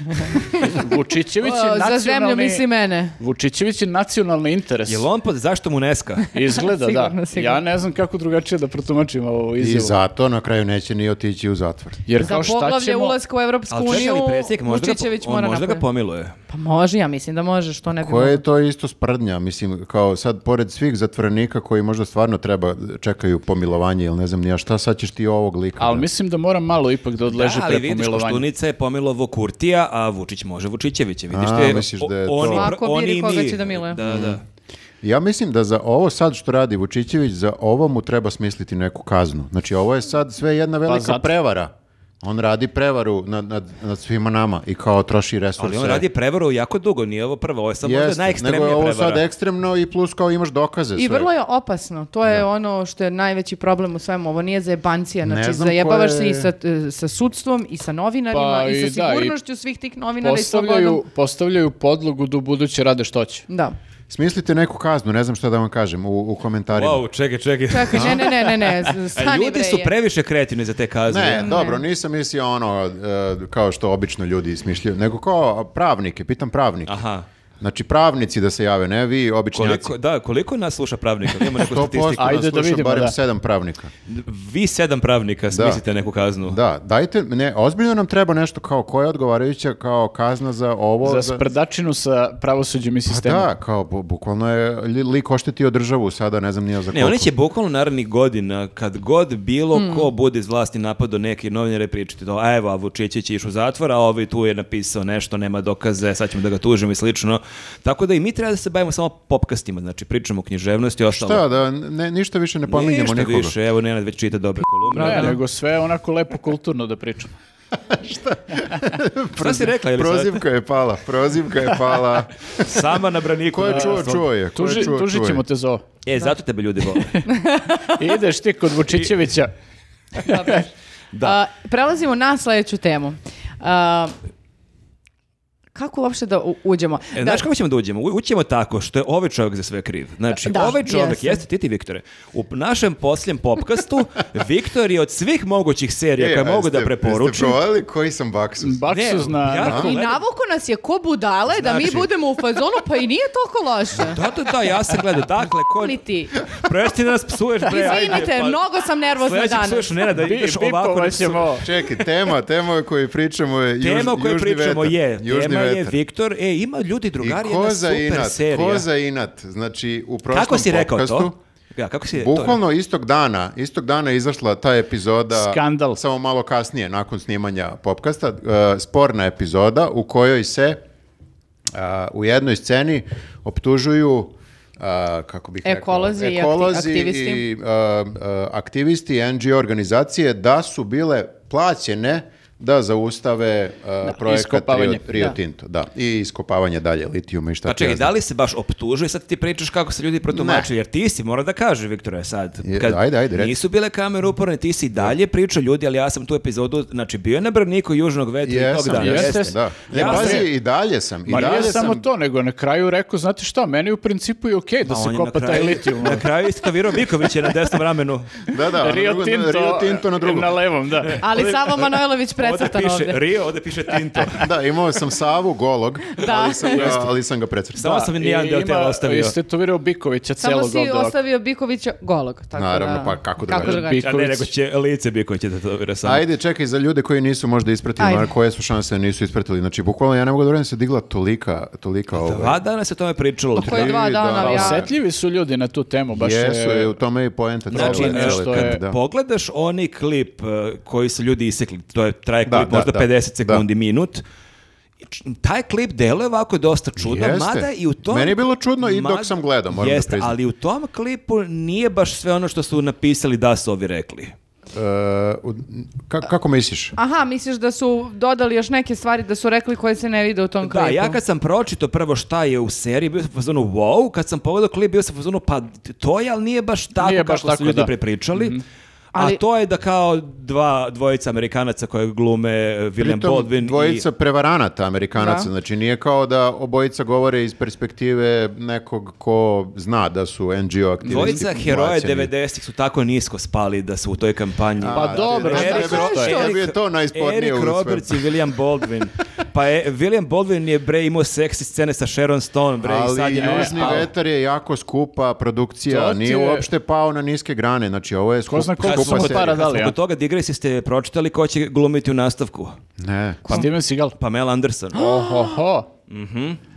A: Vučićević je
C: O,
A: nacionalni...
C: E, Za zemlju misli mene.
A: Vučićević je nacionalni interes.
D: Jel on pod zašto mu
C: <laughs>
D: neska?
A: Izgleda, da.
C: Sigurno, sigurno.
A: Ja ne znam kako drugačije da protumačim ovu
B: I
A: izjavu.
B: zato na kraju neće ni otići u zatvor.
A: Jer
C: Za
A: kao šta
C: poglavlje
A: ćemo...
C: ulaska u Evropsku
D: Ali čekaj, ali
C: uniju,
D: predsjednik možda, ga,
C: Vučićević
D: on
C: mora
D: možda ga
C: napraviti.
D: pomiluje.
C: Pa može, ja mislim da može, što ne bi
B: Koje
C: mogao.
B: je to isto sprdnja, mislim, kao sad, pored svih zatvorenika koji možda stvarno treba, čekaju pomilovanje ili ne znam ni ja šta, sad ćeš ti ovog lika.
A: Ali
B: da-
A: mislim da moram malo ipak da odleže
D: da, ali
A: pre
D: vidiš,
A: pomilovanja.
D: Koštunica je pomilovo Kurtija, a Vučić može Vučićevića. Vidiš
B: A,
D: te,
B: misliš da je
D: o-
B: to-
D: Oni,
C: Svako
D: pro-
C: biri
D: oni
C: koga
D: mi-
C: će da miluje.
D: Da, da.
B: Ja mislim da za ovo sad što radi Vučićević, za ovo mu treba smisliti neku kaznu. Znači, ovo je sad sve jedna
D: Pa
B: velika
A: zato-
B: prevara. On radi prevaru nad, nad, nad svima nama i kao troši resurse.
D: Ali on radi prevaru jako dugo, nije ovo prvo, ovo je samo možda
B: Jeste, nego je
D: najekstremnija
B: ovo
D: prevara.
B: sad ekstremno i plus kao imaš dokaze
C: I
B: sve.
C: vrlo je opasno. To je ono što je najveći problem u svemu. Ovo nije zajebancija.
B: Ne
C: Znači,
B: znam ko
C: zajebavaš se
B: je-
C: i sa, e, sa sudstvom, i sa novinarima,
A: Pa
C: i
A: i
C: sa
A: da, i
C: sigurnošću svih tih novinara i
A: postavljaju,
C: slobodom.
A: postavljaju podlogu da ubuduće rade što će.
C: Da.
B: Smislite neku kaznu, ne znam šta da vam kažem u, u komentarima.
D: Wow, čekaj, čekaj.
C: Čekaj, ne, ne, ne, ne, ne,
D: E,
C: stani
D: Ljudi
C: bre,
D: su
C: je.
D: previše kretini za te kazne.
B: Ne, dobro, nisam mislio ono e, kao što obično ljudi smišljaju, nego kao pravnike, pitam pravnike.
D: Aha.
B: Znači pravnici da se jave, ne vi običnjaci.
D: Koliko, da, koliko nas sluša pravnika?
B: <laughs>
D: Imamo neku
B: 100%
D: statistiku.
B: nas
A: Ajde da
B: sluša
A: vidimo,
B: barem
A: da.
B: sedam pravnika.
D: Vi sedam pravnika smislite neku kaznu.
B: Da, dajte, ne, ozbiljno nam treba nešto kao koja je odgovarajuća kao kazna za ovo.
A: Za sprdačinu sa pravosuđem i
B: Pa
A: sistemom.
B: da, kao bu- bukvalno je li- lik oštetio državu sada, ne znam nije za
D: Ne,
B: koliko.
D: oni će bukvalno narednih godina, kad god bilo ko bude iz vlasti napado neki novinare pričati to, a evo, a Vučićić je išao u zatvor, a ovaj tu je napisao nešto, nema dokaze, sad ćemo da ga tužimo i slično. Tako da i mi treba da se bavimo samo popkastima, znači pričamo o književnosti i ostalo.
B: Šta, da, ne, ništa više ne pominjemo
D: Ništa
B: nikoga.
D: više, evo Nenad već čita dobre kolumne.
A: Ne, nego sve onako lepo kulturno da pričamo.
D: Šta si rekla, Elisaveta?
B: Prozivka je pala, prozivka je
D: <laughs>
B: pala.
D: Sama na braniku.
B: Ko je
D: na
B: čuo,
D: svom-
B: čuo je. E, Ko je
A: Tuži,
B: čuo,
A: tužit
B: čuo je.
A: ćemo te za
B: <laughs>
A: ovo.
D: E, zato tebe ljudi vole.
A: Ideš ti kod Vučićevića.
C: Dobro. A, prelazimo na sledeću temu. A, kako uopšte da u- uđemo?
D: E,
C: Da,
D: Znaš kako ćemo da uđemo? U- Ućemo tako što je ovaj čovjek za sve kriv. Znači,
C: Da,
D: ovaj čovjek,
C: jeste.
D: jeste ti ti Viktore, u našem posljednjem
B: <laughs>
D: popkastu, Viktor je od svih mogućih serija
B: E,
D: koje
B: a
D: mogu da
B: jeste- Jeste
D: preporučim.
B: provalili koji sam baksus?
A: Baksus
D: Ne,
A: na...
D: jako-
C: I
D: gledam-
C: navuku nas je ko budale da mi
D: Znači-
C: budemo u fazonu, pa i nije toliko loše.
D: <laughs> Da, da, da, ja sam gledao. Dakle, ko...
C: Ali ti.
D: Presti da nas psuješ, bre. ajde,
C: Izvinite,
D: pa-
C: mnogo sam nervozna
D: Sledeći
C: danas.
D: psuješ Nenada, da
A: Bi-
D: ideš ovako.
A: bipovat
D: na psu-
A: ćemo.
B: Čekaj, tema, tema o kojoj pričamo je juž,
D: Tema o kojoj
B: južni
D: pričamo
B: vetar.
D: je,
B: Južni
D: tema je
B: vetar.
D: Viktor, e, ima ljudi
B: I
D: drugari,
B: ko
D: jedna
B: za
D: super
B: inat,
D: serija.
B: ko za inat. Znači, u prošlom
D: Kako si rekao
B: podcastu-
D: to? Ja, kako
A: <laughs>
D: si to?
B: Bukvalno istog dana, istog dana je izašla ta epizoda,
A: Skandal.
B: samo malo kasnije nakon snimanja popkasta, e, sporna epizoda u kojoj se a, u jednoj sceni optužuju a, kako bih rekao,
C: Ekolozi i akti-
B: ekolozi
C: aktivisti.
B: i, a, a, aktivisti NGO organizacije da su bile plaćene da zaustave a, projekat Rio,
A: iskopavanje.
B: Rio
C: Da.
B: Tinto. Da. I iskopavanje dalje litijuma i šta
D: Pa
B: ti ja
D: čekaj,
B: znam.
D: da li se baš optužuje, sad ti pričaš kako se ljudi protumačili, jer ti si, mora da kaže, Viktore, sad,
B: Je,
D: kad
B: ajde, ajde, reci.
D: nisu bile kamere uporne, ti si dalje pričao ljudi, ali ja sam tu epizodu, znači bio je na braniku Južnog vetra i tog
B: Jesam,
D: dana.
A: jeste.
B: jesam, da. Ne,
D: Ja
B: pazi,
D: sam-
B: i dalje sam. I
A: Ma
B: dalje
A: nije
B: sam,
A: samo to, nego na kraju rekao, znate šta, meni u principu je okej da
D: A on
A: se
D: je
A: kopa
D: na
A: taj
D: kraju-
A: litijum.
B: ono.
D: Na kraju istovirao Miković je na desnom ramenu.
B: <laughs> Da, da, ono
A: Rio,
B: drugo-
A: Tinto,
B: Rio Tinto na drugom. E.
A: levom, da.
C: Ali Savo Manojlović
D: Ovde
C: precrtan
D: piše
C: ovde.
D: Rio, ovde piše
B: <laughs>
D: Tinto.
B: Da, imao sam Savu golog,
C: Da.
B: ali, sam ga, ali sam ga precrtao.
D: Samo sam i nijedan deo tela ostavio.
A: Istetovirao Bikovića
C: Samo
A: celog
C: si
A: ovde ovako.
C: ostavio Bikovića golog. Tako
B: Naravno,
C: da.
B: pa kako drugačije?
C: Kako drugačije?
D: A ne, nego će lice Biković da to vira samo.
B: Ajde, čekaj, za ljude koji nisu možda ispratili,
C: Ajde.
B: Ajde. koje su šanse da nisu ispratili. Znači, bukvalno ja ne mogu da vredim se digla tolika, tolika
D: Dva
B: ova.
D: dana Pa se o tome pričalo.
C: Koje dva
B: Tri
C: dana,
B: dana.
C: ja-
A: Osetljivi su ljudi na tu temu, baš je-
B: Jesu, je, u tome je i poenta.
D: Znači,
B: cele-
D: nešto
B: cele
A: je-
B: priče, da.
D: Pogledaš onaj klip eh, koji su ljudi isekli, to je traje klip
B: Da, da,
D: možda
B: da.
D: 50 sekundi, minut, I č- taj klip deluje ovako dosta čudno,
B: Jeste.
D: mada i u tom...
B: Meni je bilo čudno i dok sam gledao, moram da
D: Jeste,
B: priznam.
D: ali u tom klipu nije baš sve ono što su napisali da su ovi rekli.
B: E, u- ka- kako misliš?
C: Aha, misliš da su dodali još neke stvari da su rekli koje se ne vide u tom
D: Da,
C: klipu?
D: ja kad sam pročito prvo šta je u seriji, bio sam u fazonu wow, kad sam pogledao klip, bio sam u fazonu pa to je, ali nije baš tako
A: Nije baš
D: kako su
A: tako,
D: ljudi
A: da. Mhm.
D: prepričali.
C: Ali-
D: A to je da kao dva dvojica Amerikanaca koje glume eh, William
B: Pritom,
D: Baldwin
B: dvojica
D: i...
B: prevaranata Amerikanaca,
C: Da.
B: znači nije kao da obojica govore iz perspektive nekog ko zna da su NGO aktivisti.
D: Dvojica heroja
B: plaćeni.
D: 90-ih su tako nisko spali da su u toj kampanji.
A: Pa
B: A,
A: dobro,
B: tebi-
A: onda
B: tebi-
A: što je?
B: tebi je to najspornije u
D: Eric
B: svemu.
D: Roberts i William Baldwin. Pa je, William Baldwin je bre imao seksi scene sa Sharon Stone, bre, i sad
B: Ali
D: je ne
B: Južni
D: spao.
B: vetar je jako skupa produkcija,
A: To ti
B: nije
A: je-
B: uopšte pao na niske grane, znači ovo je skup,
A: zna
D: Kad
A: koliko
B: skupa
D: smo
A: mu
D: kod-
A: je para
B: serija.
D: kad smo
A: dali, a?
D: kod toga digresi ste pročitali ko će glumiti u nastavku.
B: Ne,
A: Steven Seagal.
D: Pamela Anderson.
A: Ohoho.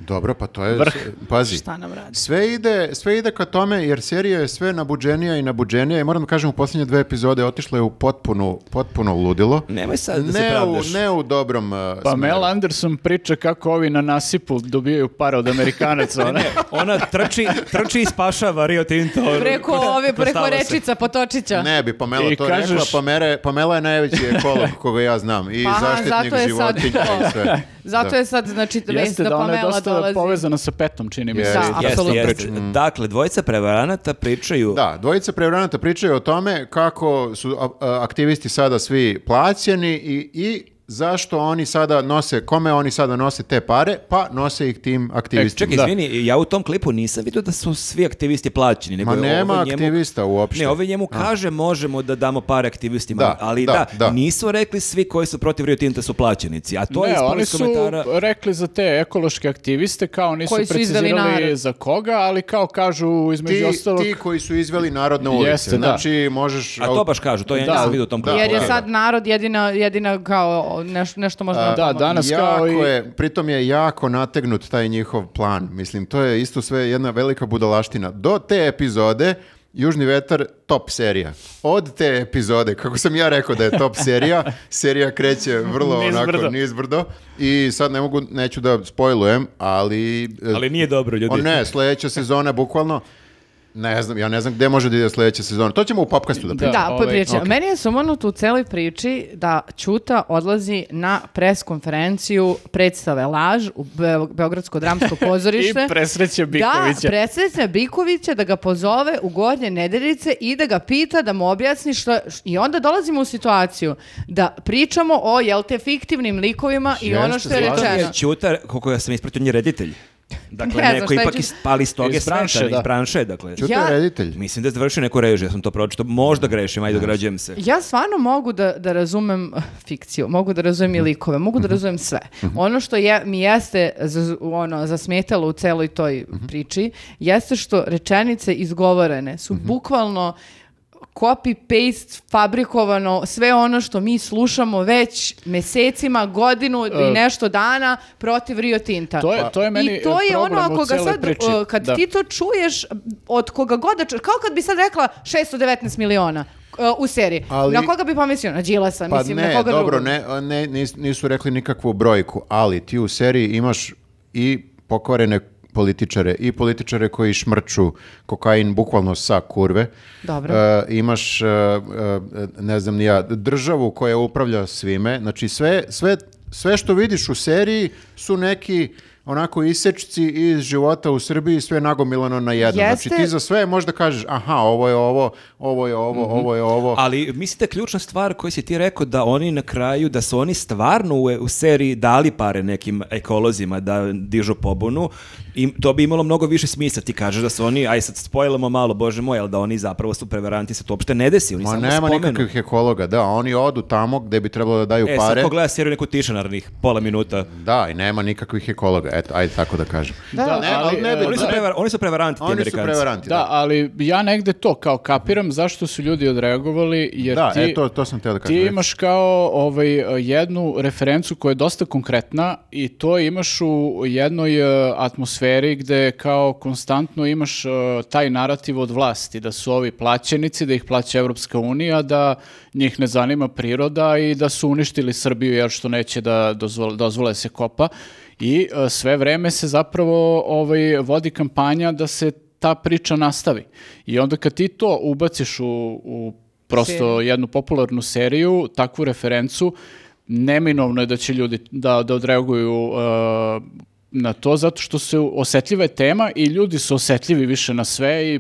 B: dobro, pa to je,
A: Vrh.
B: pazi,
C: Šta nam radi?
B: sve ide, sve ide ka tome, jer serija je sve nabuđenija i nabuđenija i moram da kažem u posljednje dve epizode otišla je u potpuno, potpuno ludilo.
D: Nemoj sad da se
B: Ne
D: pravdaš.
B: u, ne u dobrom uh,
A: Pa
B: smeru.
A: Mel Anderson priča kako ovi na nasipu dobijaju pare od
B: <laughs>
A: Amerikanaca. ono. ona.
D: Ona trči, trči i spašava Rio Tinto.
C: Preko ove, preko
D: Prostava se.
C: rečica Potočića.
B: Ne bi Pamela
A: I
B: to
A: kažeš-
B: rekla, Pamela, Pamela je najveći
D: <laughs>
B: ekolog koga ja znam i
C: Pa aha, zato
B: zaštitnik
C: je sad-
B: životinja i sve.
C: Zato
B: Da.
C: je sad, znači, vest
A: Jeste
C: da
A: da ona je
C: Pamela
A: dosta
C: dolazi.
A: povezana sa petom, čini mi se.
B: Jeste.
C: Da,
D: Jeste,
C: apsolutno.
D: jeste. Dakle, dvojica prevaranata pričaju
B: Mm. Da, dvojica prevaranata pričaju o tome kako su a- a- aktivisti sada svi plaćeni i, i zašto oni sada nose, kome oni sada nose te pare, pa nose ih tim
D: E,
B: aktivistima.
D: čekaj,
B: Da.
D: izvini, ja u tom klipu nisam vidio da su svi aktivisti plaćeni. Nego
B: Ma
D: je ovo
B: nema
D: njemu-
B: aktivista uopšte.
D: Ne, ovi njemu kaže možemo da damo pare aktivistima,
B: Da,
D: ali
B: da,
D: da,
B: da.
D: nisu rekli svi koji su protiv Rio Tinta su plaćenici, a to je
A: ne,
D: ispalo
A: oni
D: iz
A: su
D: komentara...
B: e,
A: rekli za te ekološke aktiviste, kao nisu
C: Koji su izveli
A: precizirali
C: narod.
A: za koga, ali kao kažu između
B: Ti,
A: ostalog...
B: ti koji su izveli narod na ulici.
A: Jeste, da.
B: znači, možeš...
D: A to baš kažu, to ja
A: Da,
D: nisam vidio u tom
B: da,
D: klipu.
C: Jer je
B: da.
C: sad narod jedina, jedina kao neš- nešto možda...
A: Da,
C: napravimo.
A: danas kao i...
B: Jako je, pritom je jako nategnut taj njihov plan. Mislim, to je isto sve jedna velika budalaština. Do te epizode Južni vetar top serija. Od te epizode, kako sam ja rekao da je top
A: <laughs>
B: serija, serija kreće vrlo onako
A: Nizbrdo.
B: nizbrdo i sad ne mogu, neću da spojlujem, ali... e,
D: Ali nije dobro, ljudi.
B: O ne, sledeća sezona bukvalno, ne znam, ja ne znam gde može da ide sledeća sezona. To ćemo u popkastu da
A: Da.
B: pričamo.
C: Da,
A: ovaj,
C: popričaj.
A: ok.
C: Meni je sumanuto u celoj priči da Ćuta odlazi na pres konferenciju predstave Laž u Beo-
A: <laughs>
C: Beogradsko dramsko pozorište.
A: I presreće Bikovića.
C: Da, presreće Bikovića da ga pozove u Gornje Nedeljice i da ga pita da mu objasni što... š- I onda dolazimo u situaciju da pričamo o, jel te, fiktivnim likovima i ono
B: Jeste,
C: što je
B: slažem se.
C: rečeno.
D: Jer Pa Ćutar, koliko ja sam ispratio, on je reditelj.
C: Ne
D: Dakle,
C: znam
D: neko
C: šta je
D: ipak
C: Ćuta-
D: iz, pali iz toge
A: Iz branše,
D: sveta,
A: da.
D: iz branše, dakle.
B: Ćuta
C: Ja-
B: je reditelj.
D: Mislim da je završio neku režiju, ja sam to pročito, možda grešim, ajde, dograđujem se.
C: Ja stvarno mogu da, da razumem eh, fikciju, mogu da razumem i
A: Mhm.
C: likove, mogu da razumem sve. Ono što je, mi jeste za- ono, zasmetalo u celoj toj
A: Mhm.
C: priči, jeste što rečenice izgovorene su
A: Mhm.
C: bukvalno copy-paste fabrikovano sve ono što mi slušamo već mesecima, godinu i
A: E,
C: nešto dana protiv Rio Tinta.
A: To je- to je meni,
C: I to
A: e,
C: je ono
A: problem u
C: ako ga
A: celoj
C: sad,
A: priči.
C: e, kad
A: Da.
C: ti to čuješ od koga god da čuješ, kao kad bi sad rekla 619 miliona e, u seriji.
B: Ali-
C: Na koga bi pomislio? Na Đilasa,
B: Pa
C: mislim, na
B: ne,
C: koga
B: dobro,
C: drugog.
B: ne, ne, nis- nisu rekli nikakvu brojku, ali ti u seriji imaš i pokvarene političare i političare koji šmrču kokain bukvalno sa kurve.
C: Dobro.
B: E, imaš, e, e, ne znam ni ja, državu koja upravlja svime. Znači sve, sve, sve što vidiš u seriji su neki onako isečci iz života u Srbiji sve je nagomilano na jedno.
C: Jeste.
B: Znači ti za sve možda kažeš aha, ovo je ovo, ovo je ovo, ovo je ovo.
D: Ali mislite ključna stvar koju si ti rekao da oni na kraju, da su oni stvarno u, u seriji dali pare nekim ekolozima da dižu pobunu i to bi imalo mnogo više smisla. Ti kažeš da su oni, aj sad spojlamo malo, bože moj, ali da oni zapravo su prevaranti, se to uopšte ne desi, oni
B: Ma
D: samo
B: nema
D: spomenu.
B: nikakvih ekologa, da, oni odu tamo gde bi trebalo da daju
D: E, sad
B: pare.
D: ko gleda seriju neku tiša naravnih pola minuta.
B: Da, i nema nikakvih ekologa, eto, ajde tako da kažem.
A: Da,
B: ne, ali ne bi-
A: e,
D: Oni su,
B: Da.
D: prevar- oni su prevaranti ti
B: Oni su
D: Amerikanci.
B: prevaranti.
A: Da, ali ja negde to kao kapiram zašto su ljudi odreagovali jer
B: Da,
A: ti,
B: e, to- to sam teo da kažem,
A: ti
B: reci.
A: imaš kao ovaj, jednu referencu koja je dosta konkretna i to imaš u jednoj e, atmosferi gde kao konstantno imaš e, taj narativ od vlasti da su ovi plaćenici, da ih plaća Evropska unija, da njih ne zanima priroda i da su uništili Srbiju jer što neće da dozvole, dozvole da se kopa i e, sve vreme se zapravo ovaj, vodi kampanja da se ta priča nastavi. I onda kad ti to ubaciš u, u prosto
C: Seriju.
A: jednu popularnu seriju, takvu referencu, neminovno je da će ljudi da, da odreaguju e, na to, zato što se osetljiva je tema i ljudi su osetljivi više na sve i e,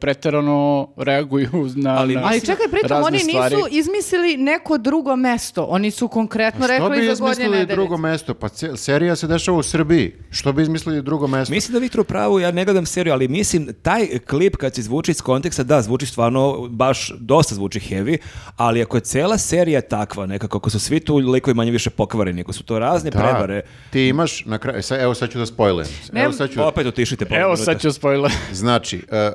A: preterano reaguju na,
D: Ali-
A: na
C: Ali čekaj, pritom
A: razne
C: oni nisu
A: stvari.
C: izmislili neko drugo mesto. Oni su konkretno
B: Što bi
C: rekli za Gornje
B: izmislili
C: Nedeljice.
B: drugo mesto? Pa ce- serija se dešava u Srbiji. Što bi izmislili drugo mesto?
D: Mislim da Viktor u pravu, ja ne gledam seriju, ali mislim taj klip kad se zvuči iz konteksta, da, zvuči stvarno baš dosta zvuči heavy, ali ako je cela serija takva nekako, ako su svi tu likovi manje više pokvareni, ako su to razne
B: Da,
D: prevare,
B: ti imaš na kraju, sa- evo sad ću da spojlujem. Evo
C: Nem-
B: sad ću,
D: opet otišite pola
A: Evo
D: minuta.
A: sad ću spojila.
B: znači, e, e,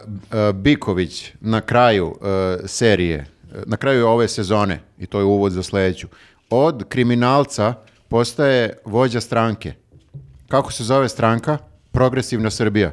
B: Biković na kraju e, serije, e, na kraju ove sezone, i to je uvod za sledeću, od kriminalca postaje vođa stranke. Kako se zove stranka? Progresivna Srbija.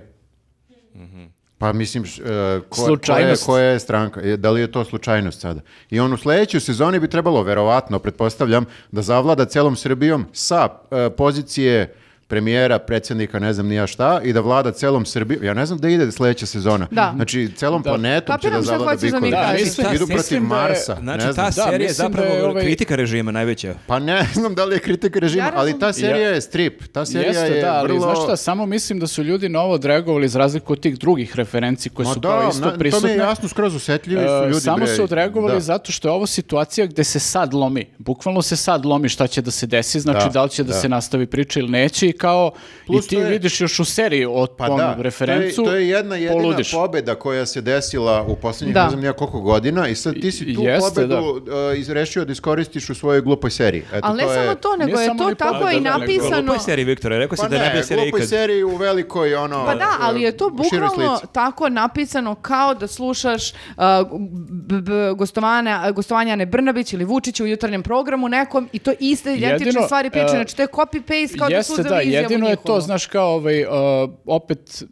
B: Pa mislim, š- e, ko,
A: Slučajnost.
B: koja je stranka, E, da li je to slučajnost sada? I on u sledećoj sezoni bi trebalo, verovatno, pretpostavljam, da zavlada celom Srbijom sa e, pozicije premijera, predsjednika, ne znam ni ja šta, i da vlada celom Srbijom. Ja ne znam da ide sljedeća sezona.
C: Da.
B: Znači, celom
A: Da.
B: planetom će
C: Kapiram
B: da
C: šta
B: zavlada
C: hoćeš da mi
B: bikovi.
A: kažeš. Da,
B: Mislim,
A: mislim-
B: Idu
D: mislim
B: protiv
A: da je-
B: Marsa. ne
D: Znači,
B: znam.
D: ta serija je
A: mislim da
D: zapravo
A: je ovaj-
D: kritika režima najveća.
B: Pa ne znam da li je kritika režima,
C: Ja
B: ali ta
C: razumem.
B: serija je strip. Ta <laughs> serija
A: Jeste,
B: je
A: da, ali
B: vrlo...
A: znaš šta, samo mislim da su ljudi na ovo odreagovali za razliku od tih drugih referenci koje
B: Ma
A: su
B: da,
A: kao
B: na-
A: isto
B: to mi
A: prisutne.
B: je jasno, skroz osjetljivi su
A: E,
B: ljudi.
A: samo
B: bre.
A: su odreagovali
B: Da.
A: zato što je ovo situacija gde se sad lomi. Bukvalno se sad lomi šta će da se desi, znači
B: Da,
A: da, li će da,
B: da.
A: se nastavi priča ili neće i kao
B: Plus
A: i ti
B: to je-
A: vidiš još u seriji o
B: Pa
A: tom
B: da, to je-
A: referencu,
B: to je, jedna jedina
A: poludiš.
B: pobeda koja se desila u posljednjih
C: Da.
B: ne znam ni ja koliko godina i sad ti si tu
A: Jeste,
B: pobedu e, izrešio da iskoristiš u svojoj glupoj seriji. Eto,
C: Ali ne
B: to je-
C: samo to, nego
A: Nije
C: je
A: samo
C: to
A: ni
C: tako
A: pogled,
C: i
A: da, nego-
D: Glupoj
C: napisano.
D: seriji, Viktore, rekao si
B: Pa
D: da ne
B: ne,
D: bi serija
B: glupoj
D: ikad.
B: seriji u velikoj ono...
C: Pa da, ali je to
B: u široj
C: bukvalno
B: slici.
C: tako napisano kao da slušaš uh, b- b- gostovanja, gostovanja Ane Brnabić ili Vučić u jutarnjem programu nekom i to iste identične
A: Jedino,
C: stvari priče.
A: e,
C: Znači to je copy-paste kao da
A: Jeste
C: su uzeli
A: da,
C: izjavu
A: jedino je to,
C: njihovu.
A: znaš kao ovaj, e, opet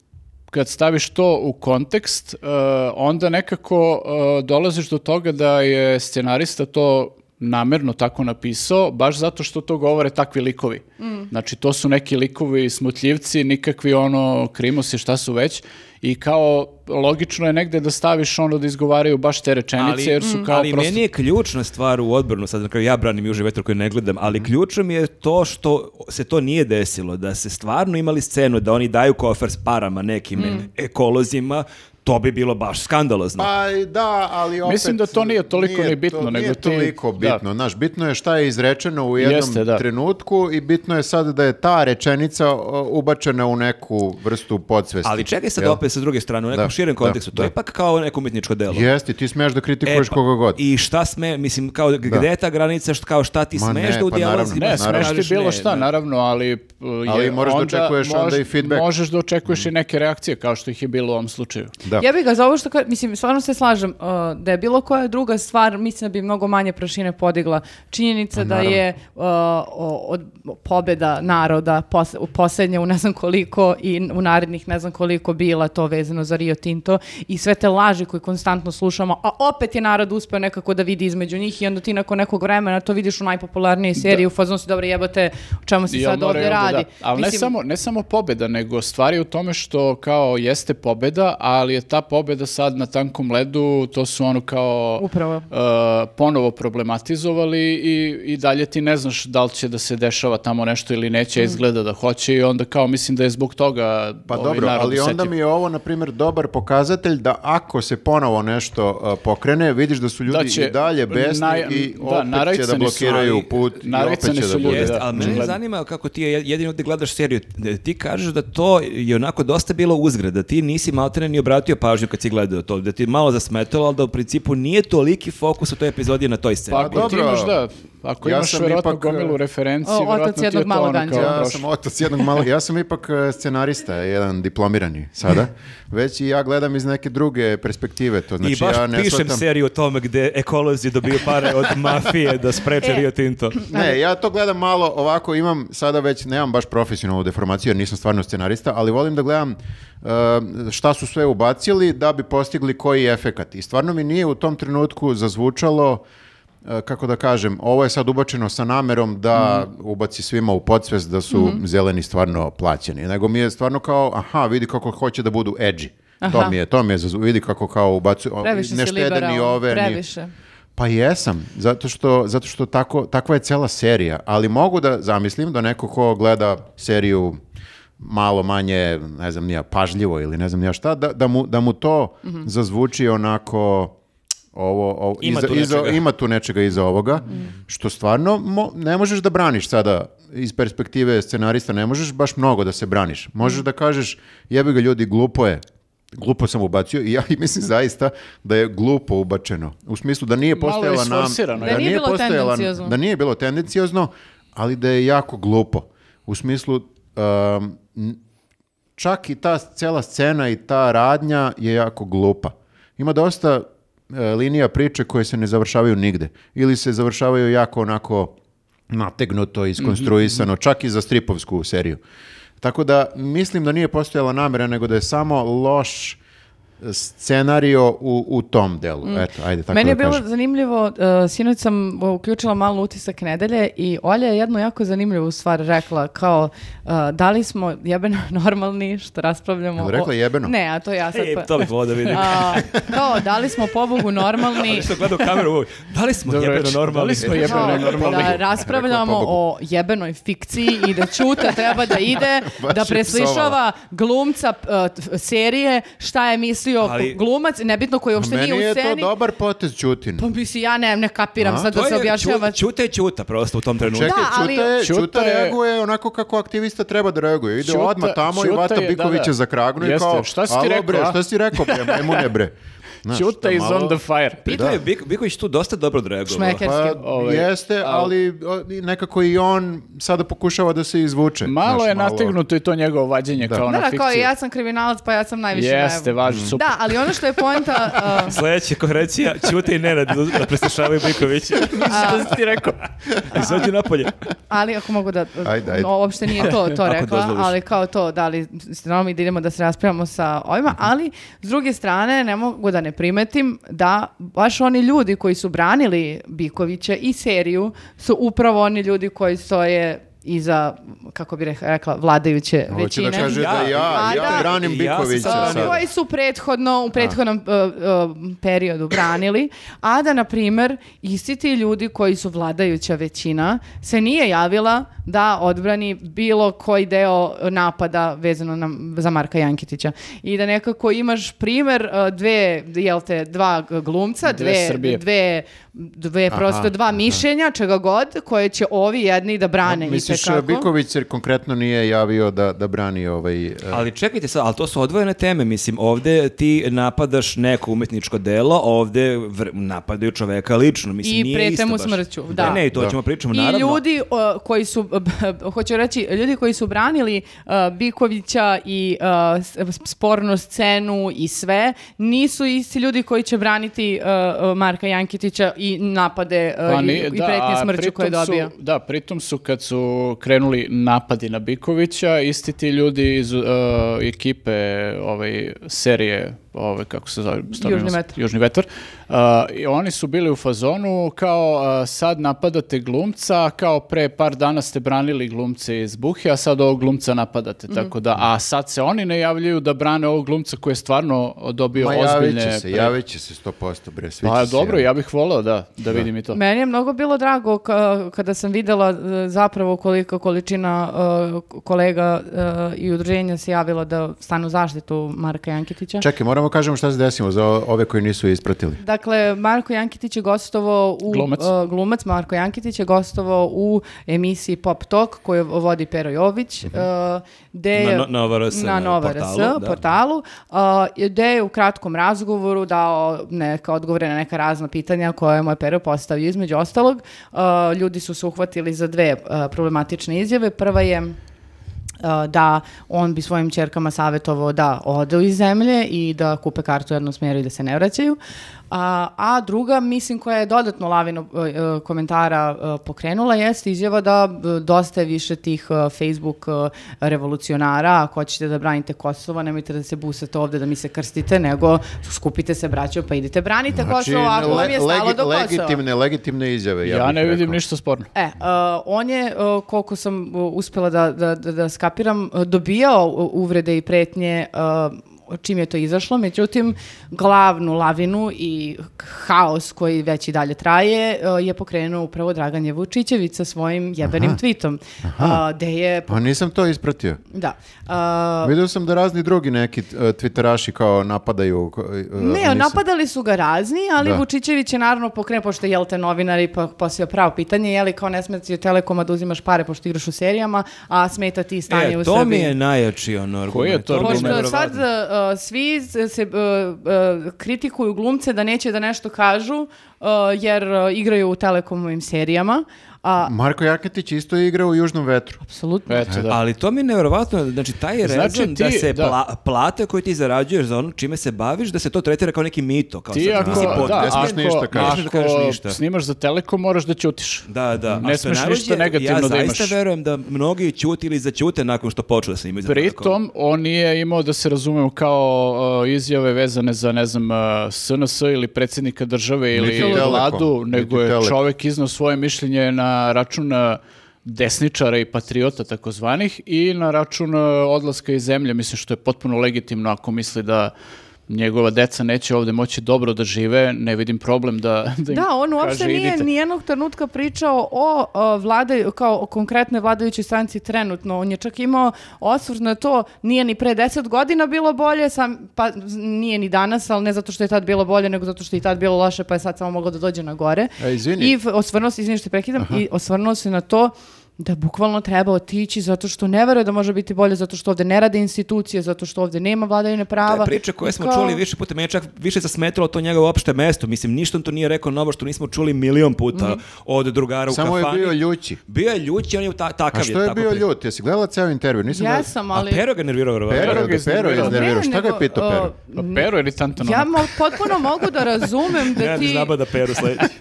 A: kad staviš to u kontekst, e, onda nekako e, dolaziš do toga da je scenarista to namerno tako napisao, baš zato što to govore takvi likovi.
C: Mm.
A: Znači, to su neki likovi smutljivci, nikakvi ono krimosi, šta su već. I kao, logično je negde da staviš ono da izgovaraju baš te rečenice, jer su kao
D: ali
A: prosto...
D: meni je ključna stvar u odbranu, sad na kraju ja branim Juži vetar koji ne gledam, ali ključno mi je to što se to nije desilo, da se stvarno imali scenu da oni daju kofer s parama nekim ekolozima, to bi bilo baš skandalozno.
B: Pa i da, ali opet...
A: Mislim da to nije toliko ni bitno,
B: to,
A: nego
B: nije
A: ti-
B: toliko
A: da.
B: bitno, znaš, bitno je šta je izrečeno u jednom
A: Jeste, da.
B: trenutku i bitno je sad da je ta rečenica o, ubačena u neku vrstu podsvesti.
D: ali čekaj sad
B: jel?
D: opet sa druge strane, u nekom
B: Da,
D: širem
B: da,
D: kontekstu, to
B: da.
D: je ipak kao neko umjetničko delo.
B: Jeste, ti smeš da
D: E,
B: kritikuješ
D: pa,
B: koga god.
D: I šta sme, mislim, kao, g- gde je ta granica, št- kao šta ti
B: Ma
D: smeš
B: ne,
D: da u
B: pa naravno,
D: dijalozima
B: pa
A: Ne,
B: naravno.
A: smeš ti
D: kažeš
A: bilo
D: ne,
A: šta,
D: ne.
A: naravno, ali... uh,
B: Ali moraš da očekuješ onda i feedback. Mm.
A: Možeš da očekuješ i neke reakcije, kao što ih je bilo u ovom slučaju.
B: Da.
C: Ja bih ga za ovo što, ka- mislim, stvarno se slažem, uh, da je bilo koja druga stvar, mislim da bi mnogo manje prašine podigla. Činjenica da je uh, o- od pobeda naroda pos, u posljednje u ne znam koliko i n- u narednih ne znam koliko bila to vezano za Rio Tinto i sve te laži koje konstantno slušamo, a opet je narod uspeo nekako da vidi između njih i onda ti nakon nekog vremena to vidiš u najpopularnijoj seriji u fazonu si dobro jebote o čemu se
A: I
C: sad
A: odmora
C: ovdje
A: je onda,
C: radi.
A: da. Ali ne,
C: Mislim,
A: samo, ne samo pobeda, nego stvari u tome što kao jeste pobeda, ali je ta pobeda sad na tankom ledu, to su ono kao...
C: Upravo.
A: uh, ponovo problematizovali i, i dalje ti ne znaš da li će da se dešava tamo nešto ili
C: Mm.
A: neće, a izgleda da hoće i onda kao mislim da je zbog toga
B: Pa
A: ovaj
B: dobro,
A: narod
B: ali onda
A: osetio.
B: mi je ovo, na primjer, dobar pokazatelj da ako se ponovo nešto uh, pokrene, vidiš da su ljudi
A: Da će-
B: i dalje besni
A: naj-
B: i
A: da,
B: opet će da
A: naricani su,
B: blokiraju
A: ali-
B: put i opet
A: naricani
B: će da
A: su ljudi,
B: bude.
D: Jeste,
A: da,
D: ali mene
A: očigledno.
D: zanima kako ti je jedino ovdje gledaš seriju. da Ti kažeš da to je onako dosta bilo uzgrada. Ti nisi maltene ni obratio pažnju kad si gledao to. Da ti je malo zasmetalo, ali da u principu nije toliki fokus u toj epizodi na toj sceni.
A: Pa ako ti
B: dobro,
A: imaš, da, ako
B: ja
A: imaš
B: sam
A: verovatno
B: ipak,
A: gomilu
B: e,
A: referenci,
C: o, otac
A: verovatno ti je
C: jednog
A: to
C: malog
A: ono
C: anđela.
A: kao
B: Ja
A: prošlo.
B: sam otac jednog malog, ja sam ipak e, scenarista, jedan diplomirani sada, već i ja gledam iz neke druge perspektive, to znači
D: I baš
B: ja ne
D: pišem
B: shvatam-
D: seriju o tome gde ekolozi dobiju pare
A: <laughs>
D: od mafije da spreče
C: E.
D: Rio Tinto.
B: <laughs> Ne, ja to gledam malo ovako, imam sada već, nemam baš profesionalnu deformaciju jer nisam stvarno scenarista, ali volim da gledam e, šta su sve ubacili da bi postigli koji efekat. I stvarno mi nije u tom trenutku zazvučalo e, kako da kažem, ovo je sad ubačeno sa namerom da
C: Mhm.
B: ubaci svima u podsvest da su zeleni stvarno plaćeni. Nego mi je stvarno kao, aha, vidi kako hoće da budu edgy. To
C: Aha.
B: mi je, to mi je, zazvu- vidi kako kao ubacuju, o,
C: Previše
B: ne
C: si
B: štede ni
C: liberalan,
B: ove, ni-
C: previše.
B: pa jesam, zato što, zato što tako, takva je cela serija, ali mogu da zamislim da neko ko gleda seriju malo manje, ne znam nija, pažljivo ili ne znam nija šta, da, da, mu, da mu to zazvuči onako ovo, ovo-
D: Mhm. Ima
B: iza,
D: tu
B: iza-
D: nečega.
B: ima tu nečega iza ovoga, što stvarno mo- ne možeš da braniš sada iz perspektive scenarista, ne možeš baš mnogo da se braniš. Možeš da kažeš, jebi ga ljudi, glupo je, glupo sam ubacio i ja i mislim zaista da je glupo ubačeno. U smislu da nije
A: Malo je
B: postojala nam...
A: isforsirano,
C: je. Da nije bilo tendenciozno.
B: Da nije bilo tendenciozno, ali da je jako glupo. U smislu... um, n- čak i ta cela scena i ta radnja je jako glupa. Ima dosta e, linija priče koje se ne završavaju nigde. Ili se završavaju jako onako
C: Mhm,
B: nategnuto, iskonstruisano, čak i za stripovsku seriju. Tako da mislim da nije postojala namera, nego da je samo loš scenario u, u tom delu. Eto, ajde, tako
C: Mm. Meni
B: da
C: je bilo
B: kažem.
C: zanimljivo, uh, sinoć sam uh, uključila malo utisak nedelje i Olja je jednu jako zanimljivu stvar rekla, kao uh, da li smo jebeno <laughs> normalni što raspravljamo.
B: Jel rekla
C: o-
B: jebeno?
C: Ne, a to ja sad...
D: Ej,
C: pa-
D: E, to bih volao da vidim.
C: A, kao, da li smo pobogu
D: <laughs>
C: normalni?
D: Što gledao kameru u ovoj, da li smo
A: Dobro
D: jebeno
A: večer.
D: normalni?
A: Da li smo
C: Kao,
A: jebeno normalni?
C: da raspravljamo
B: Rekla pobogu.
C: o jebenoj fikciji i da Ćuta treba da ide
B: <laughs> Baš
C: da
B: je
C: preslišava
B: psovala.
C: glumca p- uh, t- serije šta je mislio
D: Ali-
C: glumac, nebitno koji uopšte
B: Meni
C: nije u
B: je to
C: sceni.
B: dobar potez Ćutin.
C: Pa mislim, ja ne, ne kapiram
B: A?
C: sad
D: To
C: da se
D: je
C: objašnjava.
D: Ću- Ćuta je Ćuta prosto u tom trenutku.
B: Čekaj,
C: Da, ali-
B: Ćuta, je,
A: Ćuta
B: Ćuta,
A: je-
B: reaguje onako kako aktivista treba da reaguje. Ide
A: Ćuta-
B: odmah tamo i
A: Ćuta
B: vata
A: je- da,
B: Bikovića
A: da.
B: za kragnu i
A: Jeste,
B: kao,
A: šta si ti
B: "Alo,
A: rekao,
B: bre,
A: a?"
B: šta si ti
A: <laughs>
B: rekao, bre, majmune, bre. Znaš, to
A: Ćuta
B: je
A: is
B: malo-
A: on the fire.
D: Pitu je Bik- Biković tu dosta dobro odreagovao.
C: Šmeker.
B: Pa,
A: Ovaj,
B: jeste, ali o, nekako i on sada pokušava da se izvuče.
A: Malo
B: Znaš,
A: je nategnuto i to njegovo vađenje kao na
C: Da,
A: fikciju.
C: kao ja sam kriminalac, pa ja sam najviše
A: Jeste,
C: najebu.
A: važi, super.
C: Da, ali ono što je poenta... <laughs> uh,
D: Sljedeća konferencija, Ćute i Nenad da- da preslušavaju
C: <laughs>
D: Bikovića.
A: Mislim da si ti rekao.
D: Izađu napolje.
C: ali ako mogu da... uh,
B: Ajde, ajde.
C: No, uopšte nije to, to
D: Ako
C: rekla,
D: dozvoliš.
C: ali kao to, da li ste normalni da idemo da se raspravljamo sa ovima, ali s druge strane ne mogu da ne primetim da baš oni ljudi koji su branili Bikovića i seriju su upravo oni ljudi koji stoje iza, kako bi rekla, vladajuće
B: Hoće
C: većine.
B: da kaže da
D: Ja,
B: ja,
C: a da.
B: ja branim
D: Ja sam
B: Bikovića
D: sad-
C: Uh,
B: sada.
C: koji su prethodno u prethodnom uh, uh, periodu branili, a da na primjer isti ti ljudi koji su vladajuća većina se nije javila da odbrani bilo koji deo napada vezano na, za Marka Jankitića i da nekako imaš primjer uh, dve jel te dva g- glumca,
A: Dve
C: dve
A: Srbije.
C: dve dve prosto dva mišljenja, čega god, koje će ovi jedni da brane
B: Misliš,
C: itekako.
B: Biković se konkretno nije javio da, da brani ovaj... e,
D: Ali čekajte sad, ali to su odvojene teme, mislim, ovdje ti napadaš neko umjetničko delo, ovdje vr- napadaju čoveka lično, mislim,
C: I
D: nije
C: prete
D: isto
C: mu
D: baš.
C: smrću, da.
D: Ne, ne, i to
B: Da.
D: ćemo pričamo,
C: I
D: naravno. E,
C: ljudi o, koji su, <laughs> b- b- hoću reći, ljudi koji su branili e, Bikovića i e, s- spornu scenu i sve, nisu isti ljudi koji će braniti e, e, Marka Jankitića i napade e,
A: Pa
C: i,
A: ni-
C: i
A: da,
C: pretnje
A: a
C: smrću koje je
A: pritom su-
C: dobio.
A: da, pritom su kad su krenuli napadi na Bikovića, isti ti ljudi iz uh, ekipe ovaj, serije, ovaj, kako se zove? stvarno
C: Južni
A: ima-
C: vetar.
A: Južni vetar. Uh, i oni su bili u fazonu kao uh, sad napadate glumca, kao pre par dana ste branili glumce iz Buhe, a sad ovog glumca napadate.
C: Mhm.
A: Tako da, a sad se oni ne javljaju da brane ovog glumca koji je stvarno dobio
B: Ma javit
A: ozbiljne...
B: će se,
A: pre-
B: javit će se 100%, bre, svi
A: Pa
B: će se
A: dobro,
B: javiti.
A: ja bih volao da, da vidim i to.
C: Meni je mnogo bilo drago ka- kada sam videla e, zapravo kolika količina e, kolega e, i udruženja se javilo da stanu u zaštitu Marka Jankitića.
B: Čekaj, moramo kažemo šta se desimo za o- ove koji nisu ispratili.
C: Dakle, Marko Jankitić je gostovao u...
A: Glumac.
C: e, glumac Marko Jankitić je gostovao u emisiji Pop Talk koju vodi Pero Jović. e, gde
D: Mhm. Na
C: je-
D: no- Nova RS
C: na Nova
D: portalu,
C: RS
D: da.
C: portalu, e, gde je u kratkom razgovoru dao neka odgovore na neka razna pitanja koje mu je Pero postavio. Između ostalog, e, ljudi su se uhvatili za dve e, problematične izjave. Prva je Uh, da on bi svojim čerkama savjetovao da ode iz zemlje i da kupe kartu u jednom smjeru i da se ne vraćaju. A, a druga, mislim, koja je dodatno lavinu uh, uh, komentara uh, pokrenula, jeste izjava da uh, dosta je više tih uh, Facebook uh, revolucionara, ako hoćete da branite Kosovo, nemojte da se busate ovde da mi se krstite, nego skupite se braćo pa idite branite Kosovo, ako vam je
B: Znači, le-
C: stalo
B: legi-
C: do Kosova.
B: legitimne, legitimne izjave. Ja,
A: Ja
B: bih
A: ne vidim
B: rekao.
A: ništa sporno.
C: E, uh, on je, uh, koliko sam uh, uspjela da, da, da, da skapiram, uh, dobijao uh, uvrede i pretnje uh, čim je to izašlo, međutim, glavnu lavinu i haos koji već i dalje traje uh, je pokrenuo upravo Dragan Jevučićević sa svojim jebenim tweetom, uh, gde je,
B: Pa nisam to ispratio.
C: da, uh,
B: Vidio sam da razni drugi neki e, twitteraši kao napadaju. ko- e,
C: Ne,
B: nisam-
C: napadali su ga razni, ali
B: Da.
C: Vučićević je naravno pokrenuo, pošto je jel te novinar i pa posio pravo pitanje, je li kao ne smeta ti od Telekoma da uzimaš pare pošto igraš u serijama, a smeta ti stanje
D: E,
C: u
D: to
C: Srbiji.
D: mi je najjači ono argument.
A: Koji je to argument?
C: Pošto
A: Neverovatno.
C: sad e, uh, svi se uh, uh, kritikuju glumce da neće da nešto kažu, uh, uh, jer uh, igraju u Telekomovim serijama. A,
B: Marko Jaketić isto je igrao u Južnom vetru.
C: apsolutno.
A: Eto, da.
D: Ali to mi je nevjerovatno, znači taj je
A: Znači,
D: rezon da
A: ti-
D: se
A: da.
D: pla- plate koje ti zarađuješ za ono čime se baviš, da se to tretira kao neki mito. Kao
A: Ti
D: sad,
A: ako,
D: nisi pod-
A: da,
B: ne smiješ
A: ako-
B: ništa
D: kažeš. Ne smiješ da kažeš
A: ako
D: ništa.
A: snimaš za Telekom, moraš da ćutiš.
D: Da, da.
A: Ne
D: A što je
A: smeš
D: najluđe,
A: ništa negativno da
D: Ja
A: imaš.
D: zaista verujem da mnogi ćuti ili zaćute nakon što počnu da se imaju za
A: Pritom, on nije imao da se razumemo kao uh, izjave vezane za, ne znam, uh, SNS ili predsjednika države ili
B: Niti Telekom,
A: vladu,
B: niti
A: nego je
B: Telekom.
A: čovek iznao svoje mišljenje na račun uh, desničara i patriota takozvanih i na račun uh, odlaska iz zemlje, mislim što je potpuno legitimno ako misli da njegova deca neće ovdje moći dobro da žive, ne vidim problem da, <laughs> da im
C: Da, on uopšte
A: kaže,
C: nije
A: "Idite."
C: nijednog trenutka pričao o, o vlada, kao o konkretnoj vladajućoj stranci trenutno. On je čak imao osvrt na to, nije ni pre deset godina bilo bolje, sam, pa z- nije ni danas, ali ne zato što je tad bilo bolje, nego zato što je i tad bilo loše, pa je sad samo moglo da dođe na gore.
B: E, izvini.
C: I v- osvrnuo se, izvini što te prekidam, i osvrnuo se na to da bukvalno treba otići zato što ne veruje da može biti bolje, zato što ovdje ne rade institucije, zato što ovdje nema vladavine
D: To
C: prava.
D: je priča koju E, smo
C: Kao-
D: čuli više puta, meni je čak više zasmetilo to njegovo opšte mesto. Mislim, ništa on to nije rekao novo što nismo čuli milion
A: Mhm.
D: puta od drugara u
B: Samo je
D: kafani.
B: bio ljući.
D: Bio je ljuć i on je ta, takav.
B: A što je
D: tako
B: bio
D: pri-
B: ljut? Jesi gledala ceo intervju? Nisam gledala.
C: Jesam, ali...
D: A Pero ga nervirao, verovatno.
B: Pero,
A: Pero
B: Pero
A: ga
B: ga Pero je
A: iznervirao.
B: iznervirao.
C: Ne,
B: Šta ga je
C: nego,
B: pitao Pero?
A: Pa
C: o,
A: Pero je iritantan
C: Ja
A: onako.
C: mo- potpuno mogu da razumem da
D: Nenad
C: ti...
D: zabada Peru sledeći.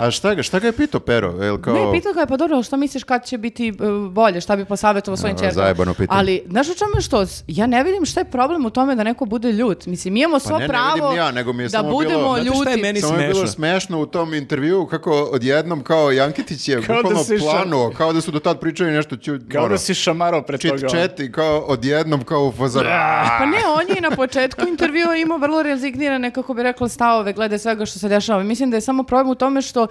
B: A šta ga, šta ga je pitao Pero? Jel kao...
C: Ne, pitao ga je, pa dobro, ali šta misliš kad će biti e, bolje, šta bi posavjetovao svojim
B: A,
C: čerkama?
B: zajebano pitanje.
C: Ali, znaš u čemu je što? S- Ja ne vidim šta je problem u tome da neko bude ljut. Mislim, mi imamo svo
B: Pa ne, ne
C: pravo
B: vidim ni ja, nego mi je
C: da
B: samo
C: budemo
B: bilo-
D: Znate
C: ljuti.
D: šta je meni
B: Samo je bilo
D: smešno?
B: smešno u tom intervju kako odjednom kao Jankitić je
A: Kao da
B: bukvalno
A: si šal-
B: planuo, kao da su do tad pričali nešto ću,
A: Kao da si šamarao pre
B: čet,
A: toga. ono.
B: čet i kao odjednom kao u fazoru.
C: Pa ne, on je i na početku intervjua imao vrlo rezignirane, kako bi rekla, stavove glede svega što se dešava. Mislim da je samo problem u tome što uh,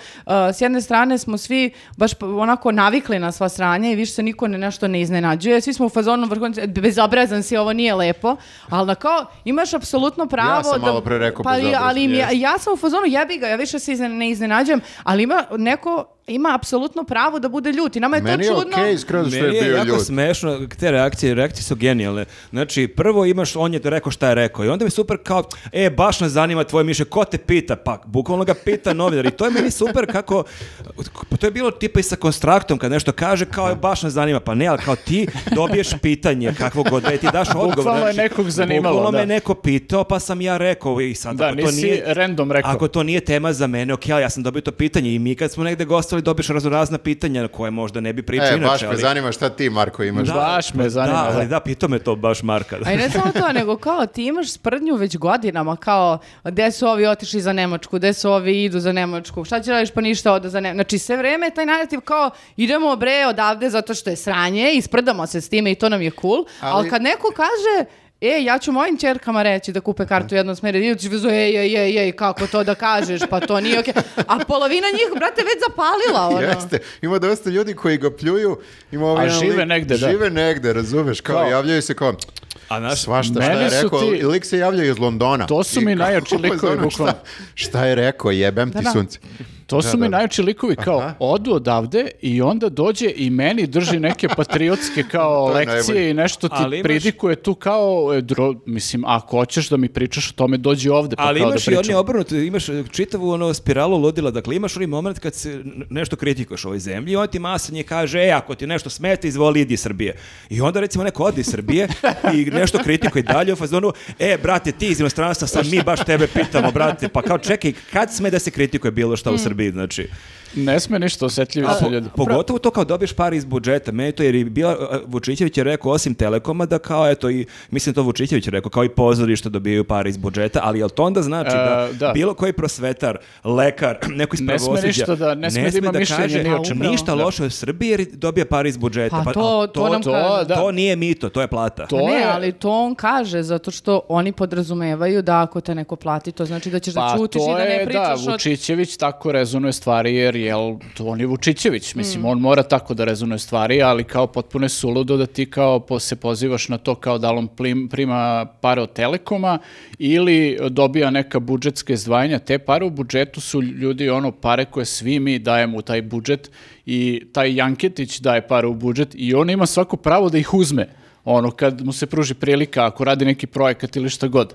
C: s jedne strane smo svi baš p- onako navikli na sva sranja i više se niko ne, nešto ne iznenađuje. Svi smo u fazonu vrhunci, "E, bezobrazan si, ovo nije lepo. Ali na kao, imaš apsolutno pravo...
B: Ja sam
C: da,
B: malo pre rekao
C: pa, i-
B: bezobrazan,
C: ali im ja,
B: jest.
C: ja sam u fazonu, jebi ga, ja više se izne- ne iznenađujem, ali ima neko ima apsolutno pravo da bude ljut i nama je
B: Meni
C: to
B: je
C: čudno.
B: okej skroz što je
D: Meni je
B: bio
D: jako
B: ljut.
D: smešno, te reakcije, reakcije su genijalne. Znači, prvo imaš, on je rekao šta je rekao i onda mi je super kao, e, baš nas zanima tvoje mišljenje, ko te pita? Pa, bukvalno ga pita novinar i to je meni super kako, pa to je bilo tipa i sa konstraktom kad nešto kaže, kao, e, baš nas zanima, pa ne, ali kao ti dobiješ pitanje kakvo god, da je, ti daš odgovor.
A: Bukvalno je
D: Znači,
A: nekog zanimalo,
D: Bukvalno
A: da.
D: me neko pitao, pa sam ja rekao i sad,
A: Da,
D: ako to
A: nisi
D: nije,
A: random rekao.
D: Ako to nije tema za mene, ok, ali ja sam dobio to pitanje i mi kad smo negde gostali dobiš raznorazna pitanja na koje možda ne bi pričao
B: E,
D: inače.
B: baš me
D: ali-
B: zanima šta ti Marko imaš. <laughs>
A: Da. Baš me zanima,
D: Da, ali
A: da.
D: da, pitao me to baš Marka.
C: A i ne samo to, nego kao ti imaš sprdnju već godinama, kao gde su ovi otišli za Nemačku, gde su ovi idu za Nemačku, šta će radiš pa ništa oda za Nemačku. Znači sve vreme je taj narativ kao idemo bre odavde zato što je sranje i sprdamo se s time i to nam je cool, ali,
B: Ali-
C: kad neko kaže E, ja ću mojim ćerkama reći da kupe kartu u jednom smeru. I ćeš vezu, ej, ej, ej, ej, kako to da kažeš, pa to nije okej. A polovina njih, brate, već zapalila, ono.
B: Jeste, ima dosta ljudi koji ga pljuju. Ima ovaj
A: A
B: jedan
A: žive
B: lik-
A: negde, da.
B: Žive negde, razumeš, kao,
A: Kao-
B: javljaju se kao
D: <laughs> A znaš,
B: svašta šta
A: Meni
B: je
A: su
B: rekao.
A: ti-
B: i Lik se javlja iz Londona.
A: To su
B: I
A: mi
B: kao, <laughs>
A: najjači likovi,
B: fazonu,
A: bukvalno.
B: Šta, šta je rekao, jebem ti
C: da.
B: sunce.
A: To su mi najjači likovi kao odu odavde i onda dođe i meni drži neke patriotske kao
B: <laughs> To je
A: lekcije
B: najbolje.
A: i nešto ti
D: Ali imaš-
A: pridikuje tu kao e, dro- mislim ako hoćeš da mi pričaš o tome dođi ovde pa
D: ali
A: kao
D: imaš
A: da
D: i oni
A: pričamo.
D: obrnuto, imaš čitavu ono spiralu ludila, dakle imaš onaj moment kad se n- nešto kritikuješ u ovoj zemlji i on ti masanje kaže, e, ako ti nešto smeta, izvoli, idi iz Srbije. I onda recimo neko odi iz Srbije i nešto kritikuje dalje u fazonu, e, brate, ti iz inostranstva sam mi baš tebe pitamo, brate, pa kao čekaj, kad sme da se kritikuje bilo šta u Srbiji, znači.
A: Ne sme ništa osjetljivi
D: A
A: su
D: po-
A: ljudi.
D: Pogotovo to kao dobiješ par iz budžeta. Meni to jer je bio, Vučićević je rekao osim Telekoma da kao eto i, mislim to Vučićević je rekao, kao i pozorišta dobijaju par iz budžeta, ali jel to onda znači da,
A: E, da.
D: bilo koji prosvetar, lekar, <clears throat> neko iz
A: Ne sme
D: pravosuđa,
A: ništa da- ne sme da ima mišljenje
D: kaže
A: ni o čemu.
D: ništa
A: Da.
D: loše u Srbiji jer dobija par iz budžeta.
C: Pa
D: al
C: to, to nam
A: to-
C: kažu.
A: Pa da.
D: to nije mito, to je plata.
A: To
C: Pa ne,
A: je-
C: ali to on kaže, zato što oni podrazumevaju da ako te neko plati, to znači da ćeš da
A: Pa
C: ćutiš i
A: to
C: da ne
A: je, da,
C: pričaš o...
A: Vučićević tako rezonuje stvari jer jel, to on je Vučićević,
C: Mm.
A: mislim, on mora tako da rezonuje stvari, ali kao potpuno je suludo da ti kao po, se pozivaš na to kao da li on plim- prima pare od Telekoma ili dobija neka budžetska izdvajanja, te pare u budžetu su ljudi ono pare koje svi mi dajemo u taj budžet i taj Janketić daje pare u budžet i on ima svako pravo da ih uzme. ono, kad mu se pruži prilika, ako radi neki projekat ili šta god.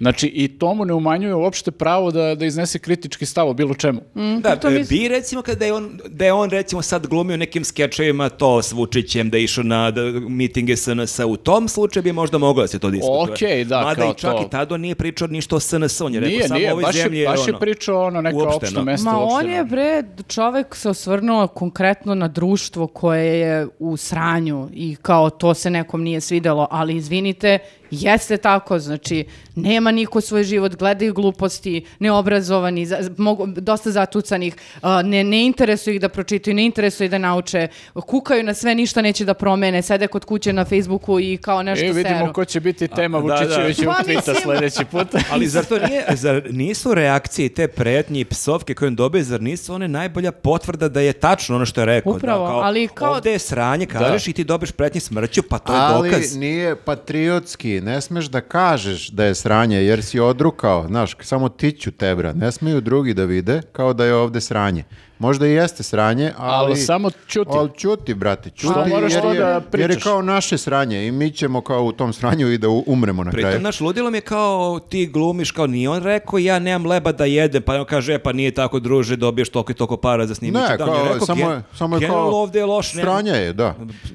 A: Znači, i to mu ne umanjuje uopšte pravo da, da iznese kritički stav o bilo čemu.
D: Da,
C: Mhm. Pa
D: e,
C: to mi-
D: bi recimo kada je on, da je on recimo sad glumio nekim skečevima to s Vučićem, da je išao na da, mitinge SNS, u tom slučaju bi možda moglo da se to diskutuje.
A: Okej, da,
D: Mada
A: kao
D: i čak
A: to.
D: i tada on nije pričao ništa o SNS, on je rekao
A: nije,
D: samo
A: nije,
D: ovoj
A: baš,
D: zemlji
A: je, baš je
D: ono,
A: pričao ono neka
D: uopšteno.
A: opšta mesta.
C: Ma on
A: uopšteno.
C: je bre, čovek se osvrnuo konkretno na društvo koje je u sranju i kao to se nekom nije svidelo, ali izvinite, jeste tako, znači nema niko svoj život, gledaju gluposti, neobrazovani, za- z- mogu- dosta zatucanih, a, ne, ne interesuju ih da pročitaju, ne interesuju ih da nauče, kukaju na sve, ništa neće da promene, sede kod kuće na Facebooku i kao nešto
A: E, vidimo
C: seru.
A: ko će biti tema
D: A, da, da.
A: Vučićevićevog
C: Pa,
A: tvita
C: mislim.
A: sledeći put.
C: <laughs>
D: Ali zar to nije, zar nisu reakcije i te pretnje i psovke koje on dobije, zar nisu one najbolja potvrda da je tačno ono što je rekao?
C: Upravo,
D: da, kao,
C: ali kao-
D: Ovde je sranje, kažeš i ti dobiješ pretnje smrću, pa to je
B: Ali
D: dokaz.
B: nije patriotski, ne smeš da kažeš da je sranje, jer si odrukao, znaš, samo tiću tebra, ne smeju drugi da vide kao da je ovde sranje. Možda i jeste sranje, ali...
A: Ali samo ćuti.
B: Ali ćuti, brate, ćuti,
A: Ali moraš
B: jer,
A: to
B: je,
A: da
B: jer je
A: pričaš.
B: kao naše sranje i mi ćemo kao u tom sranju i da u- umremo na kraju.
D: Pritom, naš ludilo mi je kao ti glumiš, kao nije on rekao ja nemam leba da jedem, pa on kaže e, pa nije tako druže, dobiješ toliko i toliko para za snimit.
B: Ne,
D: ću dan."
B: kao,
D: Ja rekao,
B: samo, je,
D: "Gen-
B: samo je
D: generalno
B: kao...
D: ovde je loš, nema-
B: Sranje je, da.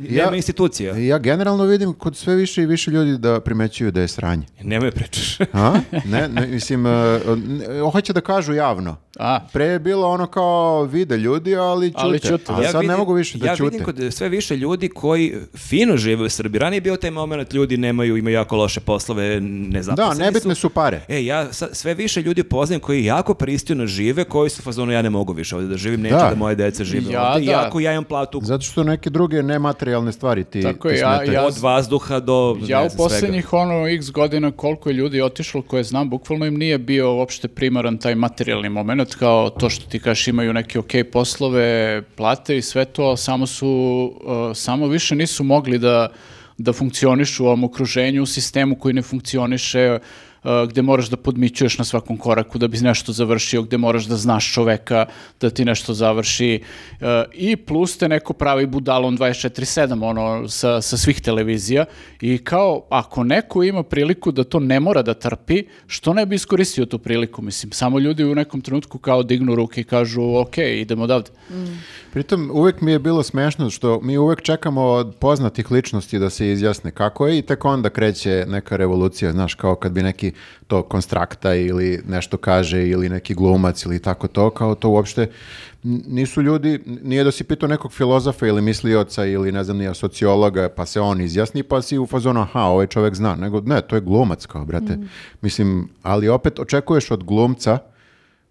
D: nema institucije.
B: Ja generalno vidim kod sve više i više ljudi da primećuju da je sranje.
D: Nemoj pričaš.
B: A? Ne, ne, mislim, e, ne, hoće da kažu javno.
A: A.
B: Pre je bilo ono kao vide ljudi, <laughs> ali ćute.
A: Ali ćute,
B: A
A: da.
B: sad ne mogu više da
D: ja
B: ćute.
D: vidim kod sve više ljudi koji fino žive u Srbiji. Ranije je bio taj moment, ljudi nemaju, imaju jako loše poslove,
B: da,
D: nezaposleni
B: nebitne su pare.
D: E, ja sa- sve više ljudi poznajem koji jako pristojno žive, koji su u fazonu ja ne mogu više ovdje da živim, neću
B: Da.
D: da, moje dece žive
A: Ja,
D: ovdje,
A: da.
D: iako ja imam platu
B: Zato što neke druge nematerijalne stvari ti,
A: Tako
B: ti
A: je, ja-
B: smetaju.
A: ja-
D: od vazduha do ne
A: Ja u
D: znam, svega.
A: poslednjih ono x godina koliko je ljudi otišlo koje znam, bukvalno im nije bio uopšte primaran taj materijalni moment kao to što ti kažeš imaju neke ok poslove, plate i sve to, ali samo su, uh, samo više nisu mogli da, da funkcionišu u ovom okruženju, u sistemu koji ne funkcioniše, uh, gde moraš da podmićuješ na svakom koraku da bi nešto završio, gde moraš da znaš čoveka da ti nešto završi uh, i plus te neko pravi budalom 24-7 ono, sa, sa svih televizija i kao ako neko ima priliku da to ne mora da trpi, što ne bi iskoristio tu priliku, mislim, samo ljudi u nekom trenutku kao dignu ruke i kažu ok, idemo odavde.
B: Pritom uvek mi je bilo smešno što mi uvek čekamo od poznatih ličnosti da se izjasne kako je i tek onda kreće neka revolucija, znaš, kao kad bi neki to konstrakta ili nešto kaže ili neki glumac ili tako to, kao to uopšte n- nisu ljudi, n- nije da si pitao nekog filozofa ili mislioca ili ne znam nije sociologa pa se on izjasni pa si u fazonu aha, ovaj čovek zna, nego ne, to je glumac kao, brate. Mislim, ali opet očekuješ od glumca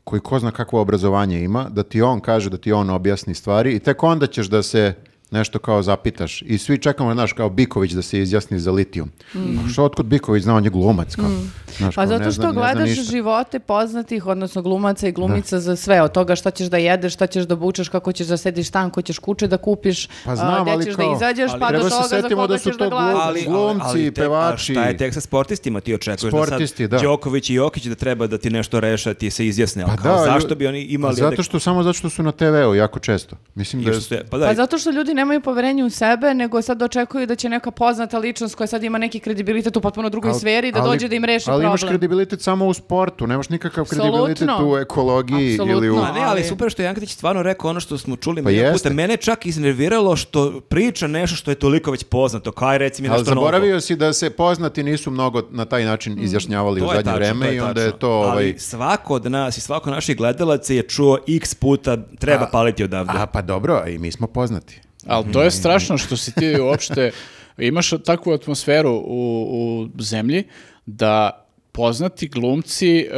B: koji ko zna kakvo obrazovanje ima, da ti on kaže, da ti on objasni stvari i tek onda ćeš da se nešto kao zapitaš. I svi čekamo, znaš, kao Biković da se izjasni za litijum. A Što otkud Biković zna, on je glumac. Kao, znaš,
C: Mm. Pa
B: kao,
C: zato
B: ne
C: što
B: zna- ne zna
C: gledaš
B: ništa.
C: živote poznatih, odnosno glumaca i glumica za sve, od toga šta ćeš da jedeš, šta ćeš da bučeš, kako ćeš da sediš stan, ko ćeš kuće da kupiš,
B: Pa
C: a,
B: znam,
C: gde
B: ali
C: ćeš
B: kao-
C: da izađeš,
B: ali
C: pa do
B: treba se
C: toga za
B: setimo
C: koga
B: da su
C: ćeš da
B: to
C: Pa glasaš.
B: glu- glumci,
D: te-
B: pevači.
D: A šta je tek sa sportistima ti očekuješ
B: Sportisti,
D: da
B: da.
D: sad Đoković i Jokić da treba da ti nešto reše, a ti se izjasne.
B: Pa
D: Pa kao,
B: da,
D: zašto
B: lju-
D: bi oni imali...
B: Zato što, samo zato što su na TV-u jako često. Mislim da
D: adek-
B: je...
D: i što se- pa da,
C: Pa zato što ljudi nemaju poverenje u sebe, nego sad očekuju da će neka poznata ličnost koja sad ima neki kredibilitet u potpuno drugoj
B: Al-
C: sferi da
B: ali-
C: dođe da im reši
B: Ali
C: problem.
B: imaš kredibilitet samo u sportu, nemaš nikakav
C: Apsolutno.
B: kredibilitet u ekologiji ili u...
C: Apsolutno.
D: A ne, ali
C: Ali-
D: super što je Jankatić stvarno rekao ono što smo čuli
B: Pa
D: milion
B: jeste.
D: puta. Mene je čak iznerviralo što priča nešto što je toliko već poznato. Kaj reci mi
B: Ali
D: nešto novo.
B: zaboravio si da se poznati nisu mnogo na taj način izjašnjavali u
D: To je
B: zadnje
D: tačno,
B: vreme
D: to je
B: i onda je
D: tačno.
B: to... Ovaj,
D: Ali svako od nas i svako naših gledalaca je čuo x puta treba paliti odavde.
B: A pa dobro, a i mi smo poznati.
A: Ali
B: Mhm.
A: to je strašno što si ti uopšte imaš takvu atmosferu u, u zemlji da poznati glumci e,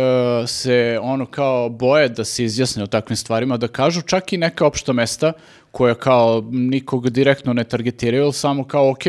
A: se ono kao boje da se izjasne o takvim stvarima, da kažu čak i neka opšta mesta koja kao nikog direktno ne targetiraju, ali samo kao ok,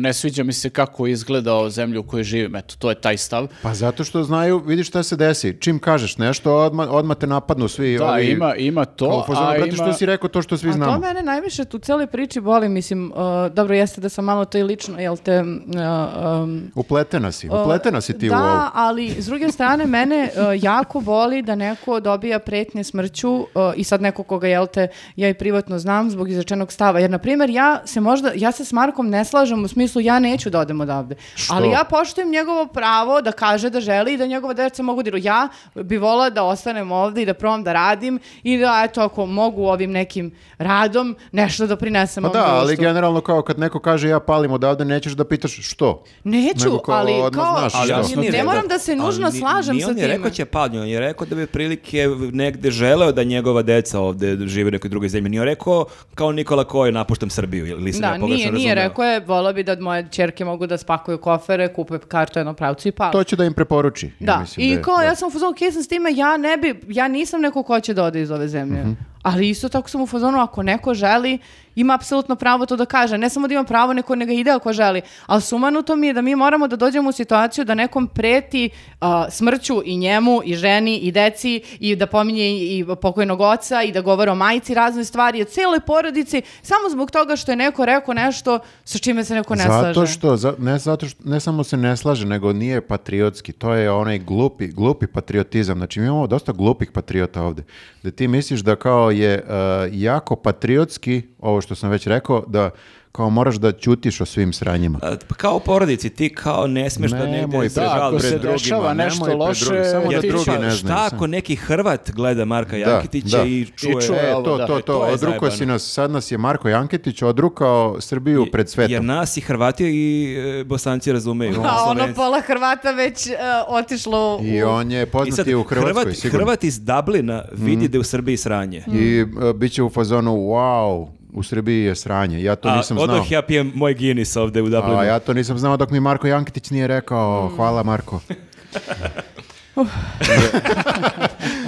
A: ne sviđa mi se kako izgleda o zemlju u kojoj živim, eto, to je taj stav.
B: Pa zato što znaju, vidiš šta se desi. Čim kažeš nešto, odma, odmah te napadnu svi.
A: Da,
B: ovi,
A: ima, ima
B: kao u
A: to,
B: fazonu,
A: a
B: "Brate,
A: ima...
B: što si rekao to što svi
C: A to
B: znamo.
C: mene najviše u cijeloj priči boli, mislim, uh, dobro jeste da sam malo to i lično, jel te, mm, uh, um,
B: Upletena si, upletena si ti
C: da,
B: u ovo.
C: ali s druge strane mene uh, e, jako boli da neko dobija pretnje smrću uh, i sad neko koga jel te ja i privatno znam znam zbog izrečenog stava. Jer, na primjer, ja se možda, ja se s Markom ne slažem u smislu ja neću da odem odavde.
B: Što?
C: Ali ja poštujem njegovo pravo da kaže da želi i da njegova deca mogu da idu. Ja bi volila da ostanem ovdje i da probam da radim i da, eto, ako mogu ovim nekim radom nešto da prinesem
B: Pa
C: ovom
B: da, ali
C: društvu.
B: generalno kao kad neko kaže ja palim odavde, nećeš da pitaš što.
C: Neću,
B: Nego kao
C: ali
B: odmah
C: kao,
B: znaš,
D: Ali
B: da.
D: on je
C: Znači, ne
D: rekao-
C: moram da se nužno
D: ali ni-
C: slažem
D: ni
C: sa
D: on je
C: time.
D: rekao će padnju, on je rekao da bi prilike negde želeo da njegova deca ovde žive u nekoj drugoj zemlji. Nije on rekao kao Nikola Koj napuštam Srbiju ili se
C: Da,
D: ne pogrešno
C: nije, nije,
D: razumeo.
C: rekao je, volao bi da moje čerke mogu da spakuju kofere, kupe kartu jednom pravcu i pale.
B: To ću da im preporuči. ja
C: da,
B: mislim da
C: i
B: je-
C: kao
B: da.
C: ja sam u fazonu, okej sam s time, ja ne bi, ja nisam neko ko će da ode iz ove zemlje.
B: Mhm.
C: Ali isto tako sam u fazonu, ako neko želi, ima apsolutno pravo to da kaže. Ne samo da ima pravo, neko nega ide ako želi. Ali sumanuto mi je da mi moramo da dođemo u situaciju da nekom preti a, smrću i njemu, i ženi, i deci, i da pominje i i pokojnog oca, i da govore o majici razne stvari, i o cijeloj porodici, samo zbog toga što je neko rekao nešto sa čime se neko ne slaže.
B: Zato što, za- ne, zato što, ne samo se ne slaže, nego nije patriotski. To je onaj glupi, glupi patriotizam. Znači, mi imamo dosta glupih patriota ovdje. Da ti misliš da kao je uh, jako patriotski, ovo što sam već rekao, da kao moraš da ćutiš o svim sranjima.
D: A, pa Kao porodici, ti kao ne smeš da
B: Nemoj,
D: negde se
B: da,
D: žali
A: ako
D: pred
A: se
D: drugim.
A: dešava
B: nemoj
A: nešto
B: pred
A: loše,
B: drugim, samo
A: ja
B: da
D: Jer
A: ti
B: drugi
D: šta,
B: ne znaju.
D: šta
B: samo.
D: ako neki Hrvat gleda Marka Jakitića
B: da.
D: i čuje...
B: E,
A: čuje, Evo,
B: to,
A: da.
B: to,
A: E,
B: to,
D: to je
B: odrukao si
D: zajebano.
B: nas, sad nas je Marko Janketić odrukao Srbiju pred svetom.
D: Jer nas i Hrvati i e,
C: <laughs>
D: Bosanci razumeju.
C: A ono
D: Slovenci.
C: pola Hrvata već e, otišlo
B: I
C: u...
B: on je
D: I
B: poznat
D: sad
B: i u Hrvatskoj,
D: Hrvat,
B: sigurno. Mhm.
D: Hrvat iz Dublina vidi da je u Srbiji sranje.
B: I e, bit će u fazonu, wow, u Srbiji je sranje. Ja to
D: A
B: nisam znao.
D: odoh ja pijem moj Guinness ovde u Dublinu.
B: A ja to nisam znao dok mi Marko Jankitić nije rekao. Hvala Marko.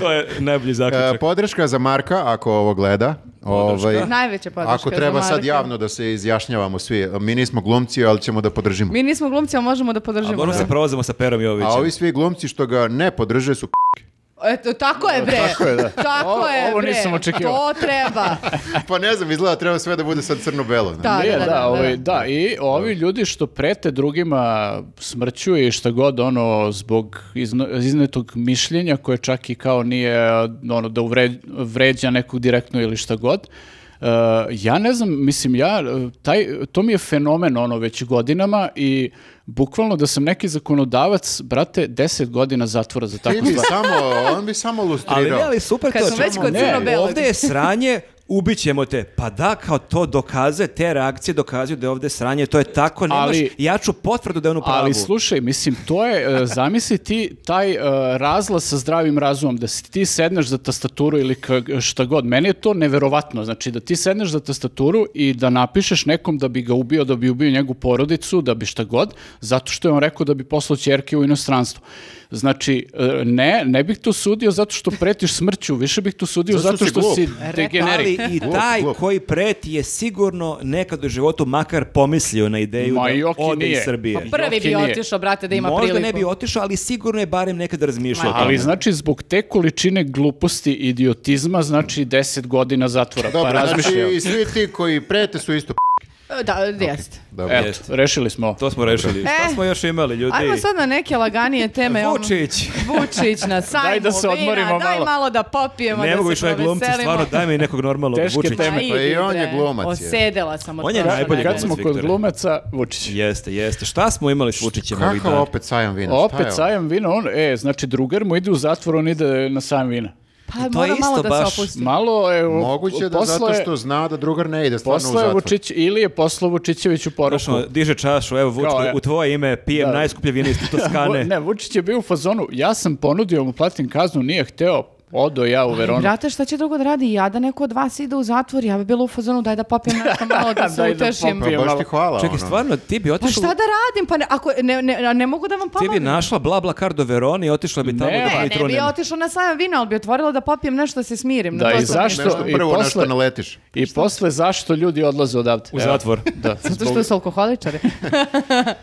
D: To je najbolji zaključak.
B: E, podrška za Marka, ako ovo gleda.
C: <laughs>
B: Ovaj,
C: Najveća podrška
B: Ako
C: za
B: treba sad
C: Marka.
B: javno da se izjašnjavamo svi. Mi nismo glumci, ali ćemo da podržimo.
C: Mi nismo glumci, ali možemo da
D: A
C: podržimo.
D: moramo Ono se provozamo sa Perom Jovićem.
B: A ovi svi glumci što ga ne podrže su <laughs>
C: Eto, tako je, bre. Tako je, da. Tako
A: Ovo-
C: je,
A: ovo
C: bre.
A: nisam očekivao.
C: To treba.
B: Pa ne znam, izgleda treba sve da bude sad crno-belo. znaš.
C: Da,
A: Ne,
C: da, da, da,
A: ovaj,
C: da.
A: da, i ovi ljudi što prete drugima smrću i šta god ono zbog izno- iznetog mišljenja koje čak i kao nije ono da uvre- vređa nekog direktno ili šta god. e, ja ne znam, mislim ja, e, taj, to mi je fenomen ono već godinama i bukvalno da sam neki zakonodavac, brate, 10 godina zatvora za
B: Ti
A: takvu
B: bi
A: stvar.
B: samo, on bi samo
D: Ali
B: lustrirao.
D: ne, ali super
C: Kad
D: to.
C: smo već
D: Samo
C: kod
D: ne,
C: crno-belog.
D: Ovde je sranje, ubićemo te. Pa da, kao to dokazuje, te reakcije dokazuju da je ovde sranje, to je tako, nemaš
A: Ali-
D: jaču potvrdu da je on u pravu.
A: Ali slušaj, mislim, to
B: <laughs>
A: je, e, zamisli ti taj e, razlaz sa zdravim razumom, da si ti sedneš za tastaturu ili ka- šta god. Meni je to neverovatno, znači da ti sedneš za tastaturu i da napišeš nekom da bi ga ubio, da bi ubio njegovu porodicu, da bi šta god, zato što je on rekao da bi poslao ćerke u inostranstvo. Znači, e, ne, ne bih to sudio zato što pretiš smrću, više bih to sudio
B: Zato
A: zato,
B: što si
A: što si
B: glup.
A: degenerik.
D: Ali i
B: Glup,
D: taj
B: glup.
D: koji preti je sigurno nekad u životu makar pomislio na ideju
A: Ma i
D: da
A: ok i
D: ode iz
A: nije.
D: Srbije.
A: Pa
C: Prvi bi
A: Joki nije.
C: otišao, brate, da ima
D: Možda
C: priliku.
D: ne bi otišao, ali sigurno je barem nekad razmišljao. o tome.
A: Ali znači zbog te količine gluposti i idiotizma znači 10 godina zatvora. pa
B: Dobro, znači
A: razmišljaj.
B: i svi ti koji prete su isto p***.
C: E, Da, jeste.
B: Dobro.
A: Eto, rešili smo.
D: To
C: <laughs>
D: smo rešili. Šta smo još imali, ljudi?
C: E. Ajmo sad na neke laganije teme. Evo,
D: Vučić.
C: Vučić na sajmu.
A: Daj da se
C: vina,
A: odmorimo
C: Daj
A: malo.
C: malo da popijemo,
D: Ne
C: da
D: mogu
C: se
D: više ove glumce,
C: proveselimo.
D: stvarno daj mi nekog normalnog
A: Teške
D: Vučića.
A: teme.
C: <laughs> Ma
B: Pa i
C: idi,
B: on je
C: bre.
B: glumac, je.
C: Osedela sam od Pa
D: On je
C: prošle
D: najbolji
A: Kad
C: nedelje.
A: smo kod
D: Viktore.
A: glumaca, Vučić.
D: Jeste, jeste. Šta smo imali s Vučićem ovih
B: Kakav
D: dana?
B: opet sajam vina? Šta je
A: Opet
B: ovo?
A: sajam vina, on, e, znači drugar mu ide u zatvor, on ide na sajam vina.
C: Pa
D: je
C: mora malo
D: isto
C: da
D: baš
C: se opusti.
A: Malo je...
B: Moguće da zato što zna da drugar ne ide stvarno u
A: Posle
B: zatvor.
A: Vučić, ili je poslao Vučićeviću poruku.
D: Znaš, ono, diže čašu, evo Vučić,
A: Kao, e.
D: u tvoje ime pijem
A: Da.
D: najskuplje vino iz
A: <laughs>
D: Toskane.
A: Vu- ne, Vučić je bio u fazonu, ja sam ponudio mu platim kaznu, nije hteo, odo ja u Veronu.
C: Brate, šta će drugo da radi? Ja da neko od vas ide u zatvor, ja bi bila u fazonu daj da popijem nešto malo da
D: <laughs>
C: se
A: Daj da
C: utešim.
B: Pa
A: popijem. Pije
B: baš
A: malo.
B: ti hvala.
D: Čekaj,
B: ono.
D: stvarno, ti bi
C: Pa
D: otišla...
C: šta da radim? Pa ne, ako, ne, ne, a ne mogu da vam
D: Ti bi
C: pomognem.
D: našla bla bla kar do Verone i otišla bi tamo
A: Ne,
D: da
A: pa
C: Ne, ne bi
D: patronim.
C: otišla na sajam vina, ali bi otvorila da popijem nešto da se smirim.
A: Da,
C: na to
A: i
C: sam
A: zašto-
C: mislila.
B: E, Nešto
A: i
B: prvo,
A: posle-
B: nešto naletiš.
A: I posle zašto ljudi odlaze odavde?
D: U
A: Evo.
D: zatvor.
A: Da,
C: Zato što su alkoholičari.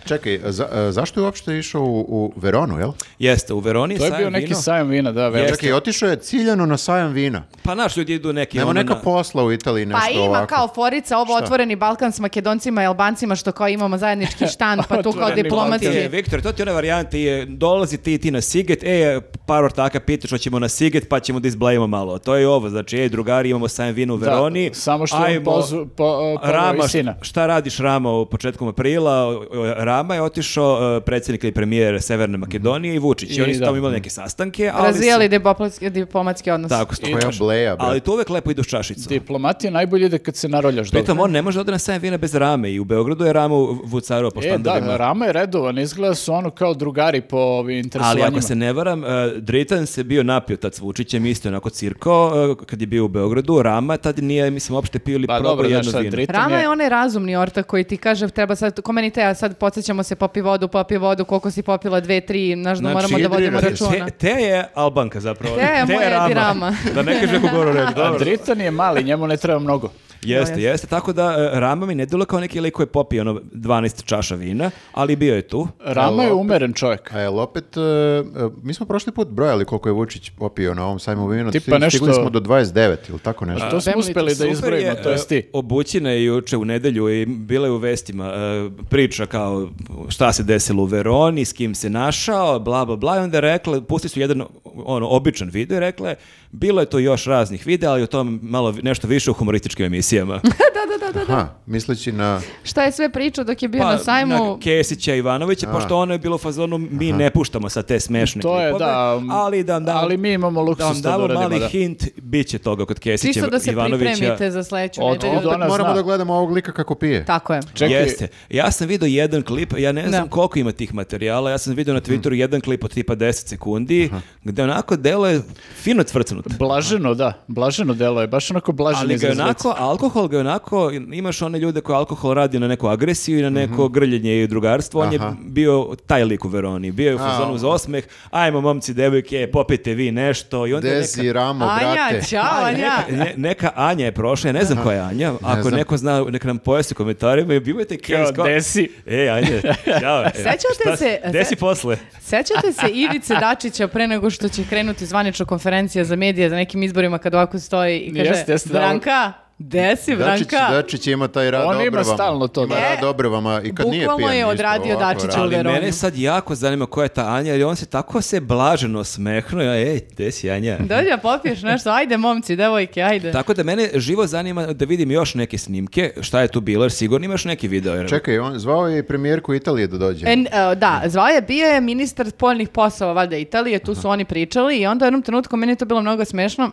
B: Čekaj, za- e, zašto je uopšte išao u, u Veronu, jel?
D: Jeste, u Veroni
A: To je
D: sajam
A: bio neki
D: vino.
A: sajam vina, da, veliki.
B: Čekaj, otišao je ciljano na sajam vina.
D: Pa naš ljudi idu neki...
B: Nema
D: ono
B: neka
D: na-
B: posla u Italiji, nešto
C: Pa ima
B: ovako.
C: kao forica ovo otvoreni Balkan s Makedoncima i Albancima što kao imamo zajednički štan pa tu kao
A: Otvoreni
D: Pa ti
C: diplomatski.
D: je, Viktor, to ti je ona varijanta je dolazi ti i ti na Siget, e, par ortaka pitaš, hoćemo na Siget, pa ćemo da izblejimo malo. To je i ovo, znači, ej, drugari, imamo sajam vino u Veroni.
A: samo što je on
D: ajmo-
A: pozvu- po- poveo i
D: Rama,
A: sina.
D: Šta radiš Rama u početkom aprila? O- o- Rama je otišao, e, predsjednik ili premijer Severne Makedonije i Vučić. I
A: I
D: oni su
A: da.
D: tamo imali neke sastanke, ali... su-
C: Razvijali diplomatski, diplomatski odnos.
D: Tako,
B: Koja
D: stojaš.
B: bleja, bre.
D: Ali to uvek lepo ide uz čašicu.
A: Diplomatija najbolje ide kad se naroljaš dobro.
D: Pritom on ne može da ode na sajam vina bez rame i u Beogradu je rama vucarao po
A: E,
D: štandovima.
A: da, Rama je redovan, izgleda su ono kao drugari po ovim
D: Ali
A: interesovanjima.
D: ako se ne varam, e, Dritan se bio napio tad s Vučićem, isto je onako cirko, e, kad je bio u Beogradu, Rama tad nije, mislim, uopšte pio ili
A: Pa
D: probao
A: dobro, znaš
D: jedno
A: šta,
D: vino.
A: Dritan
C: Rama je onaj razumni ortak koji ti kaže treba sad, ko meni te, a sad podsjećamo se popi vodu, popi vodu, koliko si popila, dve, tri, znaš da
D: Znači,
C: moramo da vodimo
B: hidrirati
D: Te, <laughs>
C: računa.
D: te je Albanka zapravo.
C: Te je moja Rama.
D: da ne kaže kako govoru reći.
A: <laughs> A
D: Dobro.
A: Dritan je mali, njemu ne treba mnogo.
D: Jeste, jeste. Tako da e, Rama mi ne delo kao neki lik koji je popio ono 12 čaša vina, ali bio je tu.
A: Rama je umeren čovjek.
B: A jel opet, e, e, mi smo prošli put brojali koliko je Vučić popio na ovom sajmu vina,
A: Tipa
B: stigli,
A: nešto-
B: stigli smo do 29 ili tako nešto.
A: To smo
C: Family
A: uspeli da
D: Super
A: izbrojimo,
D: je,
A: to
D: e,
A: jest ti.
D: Obućina je juče u nedelju i bila je u vestima e, priča kao šta se desilo u Veroni, s kim se našao, bla bla bla i onda je rekla, pusti su jedan ono običan video i rekla je, bilo je to još raznih videa, ali o tom malo vi- nešto više u humorističkim emisijama.
C: da, da, da, da.
B: Aha, misleći na...
C: Šta je sve pričao dok je bio na sajmu?
D: Pa, na Kesića i Ivanovića, pošto ono je bilo u fazonu, mi ne puštamo sad te smešne
A: To je,
D: klipove,
A: da, m,
D: ali da vam damo,
A: ali mi imamo luksuz
D: da
A: to
D: vam
A: da
D: damo
A: uradimo,
D: mali
A: da.
D: hint, bit će toga kod Kesića,
C: Čisto da se
D: Ivanovića.
C: pripremite za sledeću
A: Od-
C: nedelju.
A: od ona-
B: Moramo
A: zna.
B: da gledamo ovog lika kako pije.
C: Tako je.
A: Čekaj,
D: Jeste. Ja sam vidio jedan klip, ja ne znam
C: Da.
D: koliko ima tih materijala, ja sam vidio
A: Hm.
D: na Twitteru jedan klip od tipa 10 sekundi, gde onako delo je fino cvrcnut.
A: blaženo, da, blaženo delo je, baš onako blaženo
D: Ali ga je
A: izraz lica.
D: onako, alkohol ga je onako, imaš one ljude koje alkohol radi na neku agresiju i na neko grljenje i drugarstvo, on
B: Mhm. Aha.
D: je bio taj lik u Veroni, bio je u fazonu uz osmeh, ajmo momci, devojke, popijte vi nešto i onda je neka...
B: Deziramo, brate.
C: Anja, čao, Anja.
D: Ne- neka Anja je prošla, ja ne znam koja je Anja, ako
B: znam.
D: neko zna, neka nam pojasni u komentarima i bio je taj
A: Kao,
D: case kao-
A: desi.
D: E, ajde, ćao. E,
C: Sećate
D: šta
C: se-
D: Gde si
C: se-
D: posle?
C: Sećate se Ivice Dačića pre nego što će krenuti zvanična konferencija za medije za nekim izborima kad ovako stoji i kaže
A: Jeste, jeste, da.
C: Branka, gde si
B: Dačić,
C: Branka?
B: Dačić ima taj rad
A: On ima
B: obrvama.
A: stalno to,
B: Ima
A: da.
B: rad
C: E,
B: obrvama i kad nije pijen.
C: bukvalno je
B: isto
C: odradio
B: ovako
C: Dačić
B: radi.
D: Ali
C: Veroni.
D: mene sad jako zanima koja je ta Anja, jer on se tako se blaženo smehnuo, ja, ej, gde si Anja?
C: Dođi da popiješ nešto, ajde momci, devojke, ajde.
D: Tako da mene živo zanima da vidim još neke snimke, šta je tu bilo, jer sigurno imaš neki video. Jer...
B: Čekaj, on zvao je i premijerku Italije da dođe.
C: En, e, da, zvao je, bio je ministar spoljnih poslova, valjda Italije, tu su oni pričali i onda u jednom trenutku, meni je to bilo mnogo smešno,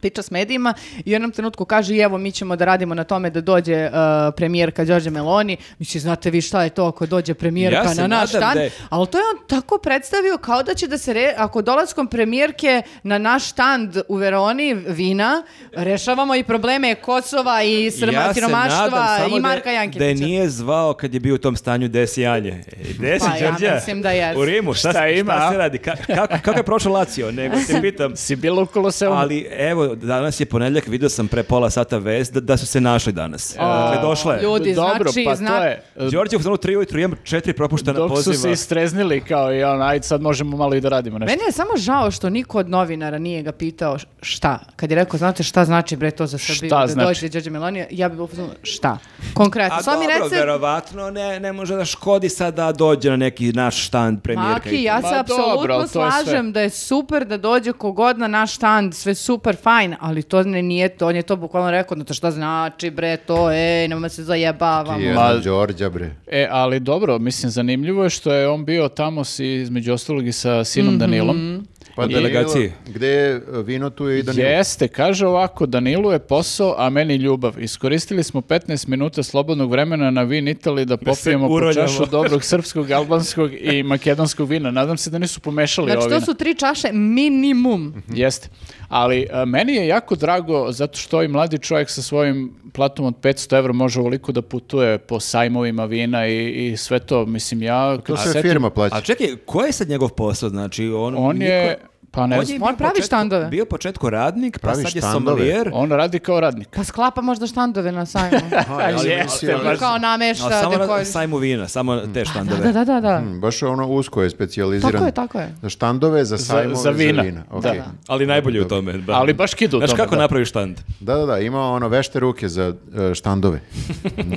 C: priča s medijima i u jednom trenutku kaže i evo mi ćemo da radimo na tome da dođe e, premijerka Đorđe Meloni. Mislim, znate vi šta je to ako dođe premijerka
D: Ja se
C: na naš
D: nadam
C: stan?
D: da je-
C: Ali to je on tako predstavio kao da će da se, re- ako dolaskom premijerke na naš štand u Veroni vina, rešavamo i probleme Kosova i srma,
D: ja se nadam
C: siromaštva
D: samo
C: i Marka
D: da, je-
C: Jankića.
D: da je nije zvao kad je bio u tom stanju gde si Anja. E, Gde si,
C: Pa ja
D: Đorđe?
C: mislim da jeste.
D: U Rimu, šta,
A: Šta
D: se-
A: ima,
D: šta
A: a?
D: se radi? Ka- kako, kako je prošao Lazio? Nego se
C: <laughs>
D: pitam.
A: Si bilo u Koloseum?
D: Ali evo, danas je ponedjeljak, vidio sam pre pola sata vest da, da su se našli danas. Dakle, došla je.
C: ljudi,
A: Dobro,
C: znači,
A: pa
C: zna-
A: to je. e,
D: Đorđe u zonu 3 ujutru, imam četiri propuštena
A: Dok
D: poziva.
A: su se istreznili kao i on, ajde sad možemo malo i da radimo nešto.
C: Meni je samo žao što niko od novinara nije ga pitao š- šta. Kad je rekao, znate šta znači bre to za Srbiju
A: Šta
C: da
A: znači?
C: dođe Đorđe Meloni, ja bih upozorila šta. Konkretno.
D: A
C: Samo mi
D: dobro,
C: reci-
D: verovatno ne, ne može da škodi sad da dođe na neki naš štand premijerka.
C: Maki,
D: i-
C: ja
A: Ma
C: se
A: dobro,
C: apsolutno
A: ali to je sve.
C: slažem da je super da dođe kogod na naš štand, sve super, fajn, ali to ne nije to, on je to bukvalno rekao, no to šta znači bre to, ej, nema se zajebavamo.
B: Ti jedna
A: Ma-
B: Đorđa, bre.
A: E, ali dobro, mislim, zanimljivo je što je on bio tamo si, između ostalog i sa
C: Mhm.
A: sinom Danilom.
B: Pa
D: U
B: Danilo,
D: delegaciji.
B: Gde je e, vino, tu je i Danilo.
A: Jeste, kaže ovako, Danilu je posao, a meni ljubav. Iskoristili smo 15 minuta slobodnog vremena na Vin Italiji da
D: Da se
A: popijemo po
D: uroljamo.
A: čašu dobrog srpskog, albanskog i makedonskog vina. Nadam se da nisu pomešali
C: Znači,
A: ova
C: to
A: vina.
C: su tri čaše minimum.
A: Jeste. Ali a, meni je jako drago zato što ovaj mladi čovjek sa svojim platom od 500 evra može ovoliko da putuje po sajmovima vina i, i sve to. Mislim, ja
B: To
A: kad se
B: sve
A: setim-
B: firma plaća.
D: A čekaj, ko je sad njegov posao? Znači, on,
A: On
D: niko-
A: je Pa ne znam.
D: bio
C: On pravi
D: početku-
C: štandove.
D: Bio u početku radnik, pa
B: Pravi
D: sad je
B: štandove.
D: sommelier.
A: On radi kao radnik.
C: Pa sklapa možda štandove na
D: <laughs>
C: sajmu.
B: Aha,
A: Ali
B: ja
A: jeste,
B: sam mislio-
A: baš-
C: Kao
D: A
C: namešta,
D: samo na
C: dekor.
D: sajmu vina, samo
A: Mm.
D: te
C: Da, da,
D: štandove.
C: da, da.
A: Hmm.
C: da.
B: Mm, Baš ono usko je specijaliziran.
C: Tako je, tako je.
B: Za štandove, za sajmove, za,
A: za vina.
B: vina.
A: Da.
B: Ok.
A: Da, da.
D: Ali najbolje u tome. Da.
A: Ali baš kidu u
D: Znaš
A: tome,
D: kako
A: da.
D: napraviš štand?
B: Da, da, da, ima ono vešte ruke za e, štandove.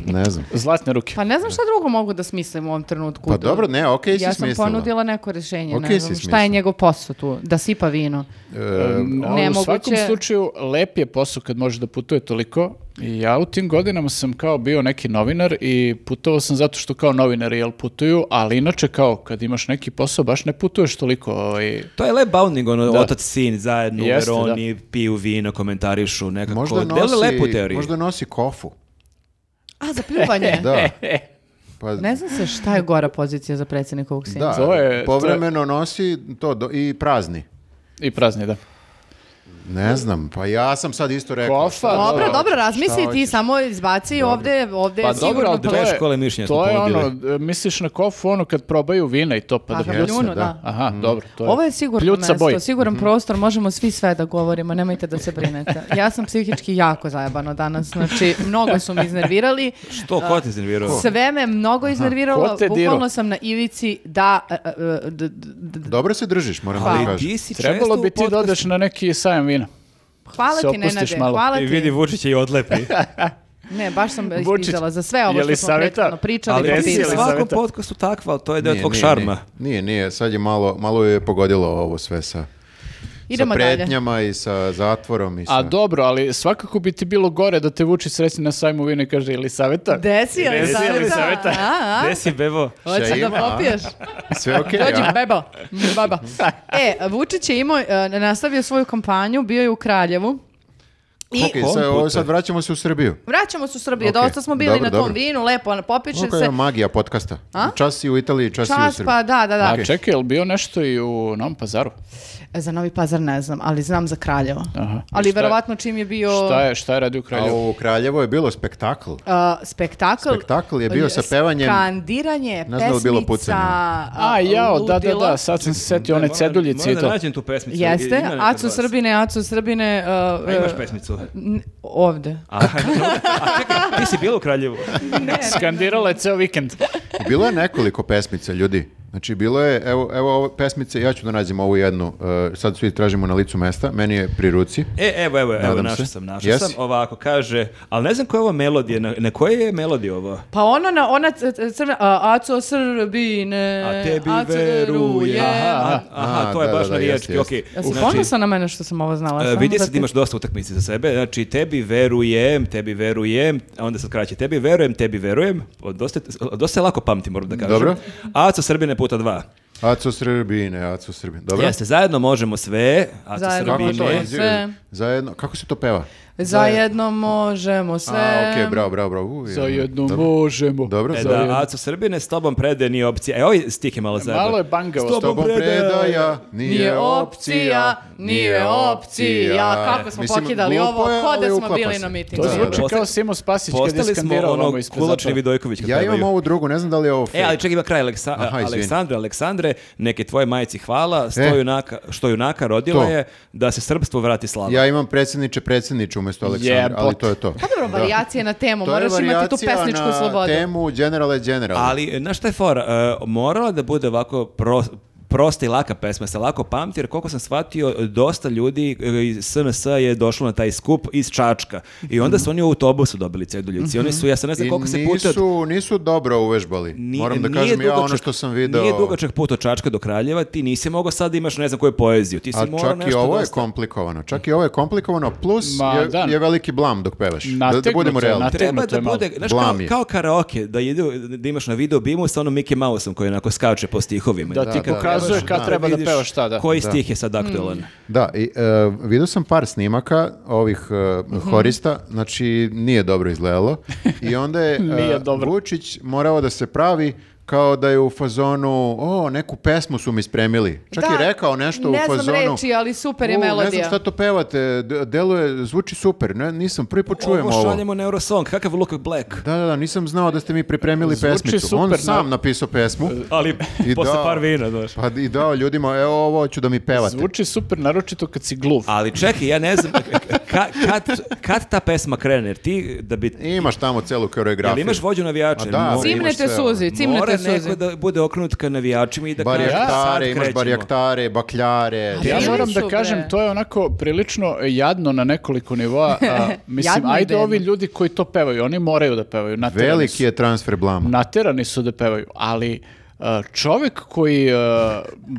B: ne znam.
A: Zlatne ruke.
C: Pa ne znam šta drugo mogu da smislim u ovom trenutku.
B: Pa dobro, ne, okej si
C: ja sam
B: smislila.
C: ponudila neko rješenje.
B: Okej si
C: ne znam, šta
B: smislila.
C: je njegov posao tu? Da sipa vino.
B: E,
A: Um, ali u
C: nemoguće-
A: svakom slučaju, lep je posao kad može da putuje toliko. I ja u tim godinama sam kao bio neki novinar i putovao sam zato što kao novinari jel putuju, ali inače kao kad imaš neki posao baš ne putuješ toliko. Ovaj.
D: To je lep bounding, ono,
A: Da.
D: otac, sin, zajedno
A: Jeste,
D: u Veroni, piju vino, komentarišu, nekako.
B: Možda
D: Dele
B: nosi,
D: lepu teoriju.
B: možda nosi
A: <laughs>
B: kofu.
C: A, za <laughs> pljuvanje.
A: E,
B: Da. Pa,
C: Ne znam se šta je gora pozicija za predsjednika ovog sina.
B: da,
A: To je-
B: povremeno nosi to do- i prazni.
A: I prazni, da.
B: Ne znam, pa ja sam sad isto rekao.
A: Kofa,
B: šta-
A: da.
C: Dobro, dobro, razmisli
B: Šta
C: ti,
B: hoćeš?
C: samo izbaci ovdje, ovdje
A: Pa
C: je
A: dobro,
C: sigurno
A: ali to
D: dve
A: je,
D: škole mišljenja smo
A: to je ono,
D: pobedili.
A: e, misliš na kofu ono kad probaju vina i to pa da
C: Pa,
A: pljuca.
C: Kapljunu,
B: da.
C: da.
A: Aha, dobro, to je.
C: Ovo je sigurno
A: Pljuca
C: mesto,
A: boj.
B: Mhm.
C: siguran prostor, možemo svi sve da govorimo, nemojte da se brinete. Ja sam psihički jako zajebano danas, znači mnogo su me iznervirali,
D: Što, ko te iznervirao?
C: sve me mnogo
A: Ko
C: iznerviralo,
A: te dirao?
C: bukvalno sam na ivici da... e, e, e, d- d- d-
B: Dobro se držiš, moram da ti
D: Ali
B: kažem.
D: ti si
A: Trebalo
D: često u
A: bi ti da
D: podcastu-
A: odeš na neki sajam vina.
C: Hvala
A: Se
C: ti,
A: opustiš
C: Nenade,
A: malo.
C: hvala
D: I E, vidi
C: ti.
D: Vučića i
C: <laughs>
D: odlepi.
C: Ne, baš sam
A: Vučić,
C: izdizala za sve ovo
A: je li
C: što smo
A: saveta?
C: prethodno pričali.
D: Ali
A: Jesi
D: ti si u
A: li
C: popisali.
D: svakom
A: savjeta?
D: podcastu takva, ali to je deo
B: Nije,
D: tvog
B: nije,
D: šarma.
B: Nije, nije, nije, sad je malo, malo je pogodilo ovo sve sa,
C: Idemo
B: sa
C: dalje.
B: pretnjama i sa zatvorom i sa...
A: A dobro, ali svakako bi ti bilo gore da te vuči srećni na sajmu vina i kaže ili saveta?
C: Desi je li
A: Desi je li saveta?
C: saveta? A, a?
D: Gde si, bebo?
C: Hoćeš
B: ima,
C: da
B: a?
C: popiješ?
B: Sve okej,
C: Dođi,
B: a?
C: beba. Baba. E, Vučić je imao, e, nastavio svoju kampanju, bio je u Kraljevu. I
B: Okej,
D: Kom
B: sad, ovo,
D: puta?
B: sad vraćamo se u Srbiju.
C: vraćamo se u Srbiju,
B: Okej,
C: dosta smo bili
B: dobro,
C: na tom
B: dobro.
C: vinu, lepo, ono, popiše
B: Kako je
C: se.
B: magija podcasta?
C: A?
B: Čas si u Italiji, čas, si u
C: Čas,
B: Srbiji.
C: pa da, da, da.
A: A čekaj, je li bio nešto i u Novom pazaru?
C: E, Za Novi Pazar ne znam, ali znam za Kraljevo.
A: Aha. Šta
C: Ali
A: je-
C: verovatno čim je bio
A: Šta je, šta je radio u
B: A
A: Kraljevu?
B: u Kraljevo je bilo spektakl.
C: a, spektakl.
B: Spektakl je bio sa pevanjem-
C: Kandiranje,
B: Ne znam da li je bilo
C: pesmica.
B: pucanja.
A: A, jao, da, da,
C: ludila.
A: da, sad sam se setio one
D: Moram-
A: ceduljice i
D: Moram da
A: to.
D: nađem tu pesmicu. Ima
C: Jeste,
D: neka
C: Acu
D: vas.
C: Srbine, Acu Srbine. a,
D: A <laughs> imaš
C: e, <laughs>
D: pesmicu?
C: n-
D: <laughs>
C: Ovde.
D: Aha, a čekaj, ti si bila u Kraljevu.
A: Skandirala je ceo vikend.
B: Bilo je nekoliko pesmica, ljudi. Znači, bilo je, evo, evo ove pesmice, ja ću da nađem ovu jednu, e, sad svi tražimo na licu mesta, meni je pri ruci.
D: E, evo, evo, evo,
B: Nadam se.
D: našao sam, našao
B: Jesi?
D: sam. Ovako, kaže, ali ne znam koja je ovo melodija, na, na koje je melodija ovo?
C: Pa ona, na, ona c- c- crna, a, Aco Srbine,
D: A tebi
C: Aco
D: veruje.
C: verujem.
D: Aha, aha, aha,
B: A,
D: to je
B: da,
D: baš
B: da,
D: na
B: da,
D: riječ.
B: jeste, jeste.
D: okej.
C: Ja sam
D: Znači,
C: ponosna na mene što sam ovo znala.
D: e,
C: samo
D: vidi
C: da
D: se da
C: ti-
D: imaš dosta utakmice za sebe, znači tebi verujem, tebi verujem, a onda sad kraće, tebi verujem, tebi verujem, O, dosta, dosta lako pamtim, moram da kažem.
B: Dobro.
D: Aco Srbine puta dva.
B: Aco Srbine, Aco Srbine. Dobro?
D: Jeste, zajedno možemo sve, Aco
C: Zajedno
B: Kako je to?
D: Srbine.
C: možemo. Sve.
B: Zajedno, kako se to peva?
C: Zajedno možemo sve.
B: A, okej, bravo, bravo, bravo. U,
A: Za
B: jedno.
A: jedno
B: Dobro.
A: možemo.
B: Dobro,
D: E
B: za
D: da,
B: jedno.
D: Aco Srbine, s tobom prede nije opcija. E, ovaj stih je malo zajedno.
A: Malo je bangavo.
B: S tobom predaja
C: Nije opcija, nije opcija. Kako smo
B: Mislim,
C: pokidali ovo,
B: glupo je,
C: ko da
B: ali
C: smo
B: uklapa
C: bili
B: se.
C: na mitingu.
A: To
B: Da,
A: zvuči
D: da.
A: kao Simo Spasić kad je
D: Postali smo
A: skandirao
D: ono
A: ovamo ispred
D: kulačni
A: zatvora.
D: Vidojković kad
B: Ja
D: pevaju.
B: imam ovu drugu, ne znam da li je ovo fake.
D: E, ali čekaj, ima kraj Aleksa
B: Aha, izvini. E.
D: Aleksandra, Aleksandre, neke tvoje majici hvala, sto junaka, što junaka rodila
B: To.
D: je da se srpstvo vrati slava.
B: Ja imam predsjedniče, predsjedniče umjesto Aleksandra, ali
A: Jebot.
B: to je to.
C: Pa dobro, varijacije na temu,
B: To je
C: moraš imati tu
B: varijacija
C: pesničku
B: na
C: slobodu.
B: temu generale generale.
D: Ali, znaš šta je fora? E, morala da bude ovako pro- prosta i laka pesma, se lako pamti, jer koliko sam shvatio, dosta ljudi e, iz SNS je došlo na taj skup iz Čačka. I onda su oni u autobusu dobili ceduljici. Oni su, ja sam ne znam
B: I
D: koliko se puta... od-
B: nisu, nisu dobro uvežbali.
D: Ni-
B: Moram da
D: nije
B: kažem ja ono
D: dugačak-
B: što sam video.
D: Nije dugačak put od Čačka do Kraljeva, ti nisi mogao sad da imaš ne znam koju poeziju. Ti si
B: A
D: morao
B: čak i
D: nešto
B: ovo je
D: dosta-
B: komplikovano. Čak i ovo je komplikovano, plus
A: Ma,
B: je,
A: da.
B: je veliki blam dok pevaš. Da, da
A: Nategnuto
B: budemo
A: je,
B: realni.
A: nategnuto.
D: Treba
A: Tegnuto
D: da
A: je malo.
D: bude, znaš, kao,
B: Blam je.
D: kao karaoke, da, idu, da imaš na video bimu sa onom Mickey Mouseom koji onako skače po stihovima.
A: Da ti
D: kad
A: pokazuje
D: pevaš,
A: kad treba da
D: vidiš
A: pevaš šta, da.
D: Koji stih je sad aktualan?
B: Da, i, e, vidio sam par snimaka ovih e,
C: Mhm.
B: horista,
C: <laughs>
B: znači nije dobro izgledalo. I onda je e,
A: Nije dobro.
B: Vučić morao da se pravi kao da je u fazonu, o, neku pesmu su mi spremili. Čak
C: Da,
B: je rekao nešto
C: ne
B: u
C: znam
B: fazonu.
C: reči, ali super je
B: "U,
C: melodija."
B: Ne znam šta to pevate, d- deluje, zvuči super, ne, nisam, prvi put čujem ovo.
D: Ovo šaljemo Neurosong, kakav Luke Black.
B: Da, da, da, nisam znao da ste mi pripremili
A: Zvuči
B: pesmicu.
A: super,
B: On
A: da.
B: sam napisao pesmu.
D: <laughs> Ali
B: I
D: posle
B: dao-
D: par vina, znaš.
B: Pa i dao ljudima, evo ovo ću da mi pevate.
A: Zvuči super, naročito kad si gluv.
D: Ali čekaj, ja ne znam, ka- kad, kad ta pesma krene, jer ti da bi...
B: Imaš tamo celu koreografiju.
D: Jel imaš vođu navijača?
B: A Pa da,
D: Mo-
B: ali imaš
C: Cimnete
B: sve,
C: suzi,
D: Mora
C: cimnete
D: neko
C: suzi.
D: da bude okrenut ka navijačima i da kaže sad
B: Barjaktare, imaš
D: krećemo.
B: barjaktare, bakljare.
C: Ali
A: Ja
C: Bili
A: moram
C: su,
A: da
C: bre.
A: kažem, to je onako prilično jadno na nekoliko nivoa.
C: <laughs>
A: A, mislim,
C: Jadno i
A: ajde
C: bedno.
A: ovi ljudi koji to pevaju, oni moraju da pevaju. Naterani su.
B: Veliki je transfer blama.
A: naterani su da pevaju, ali uh, čovek koji uh,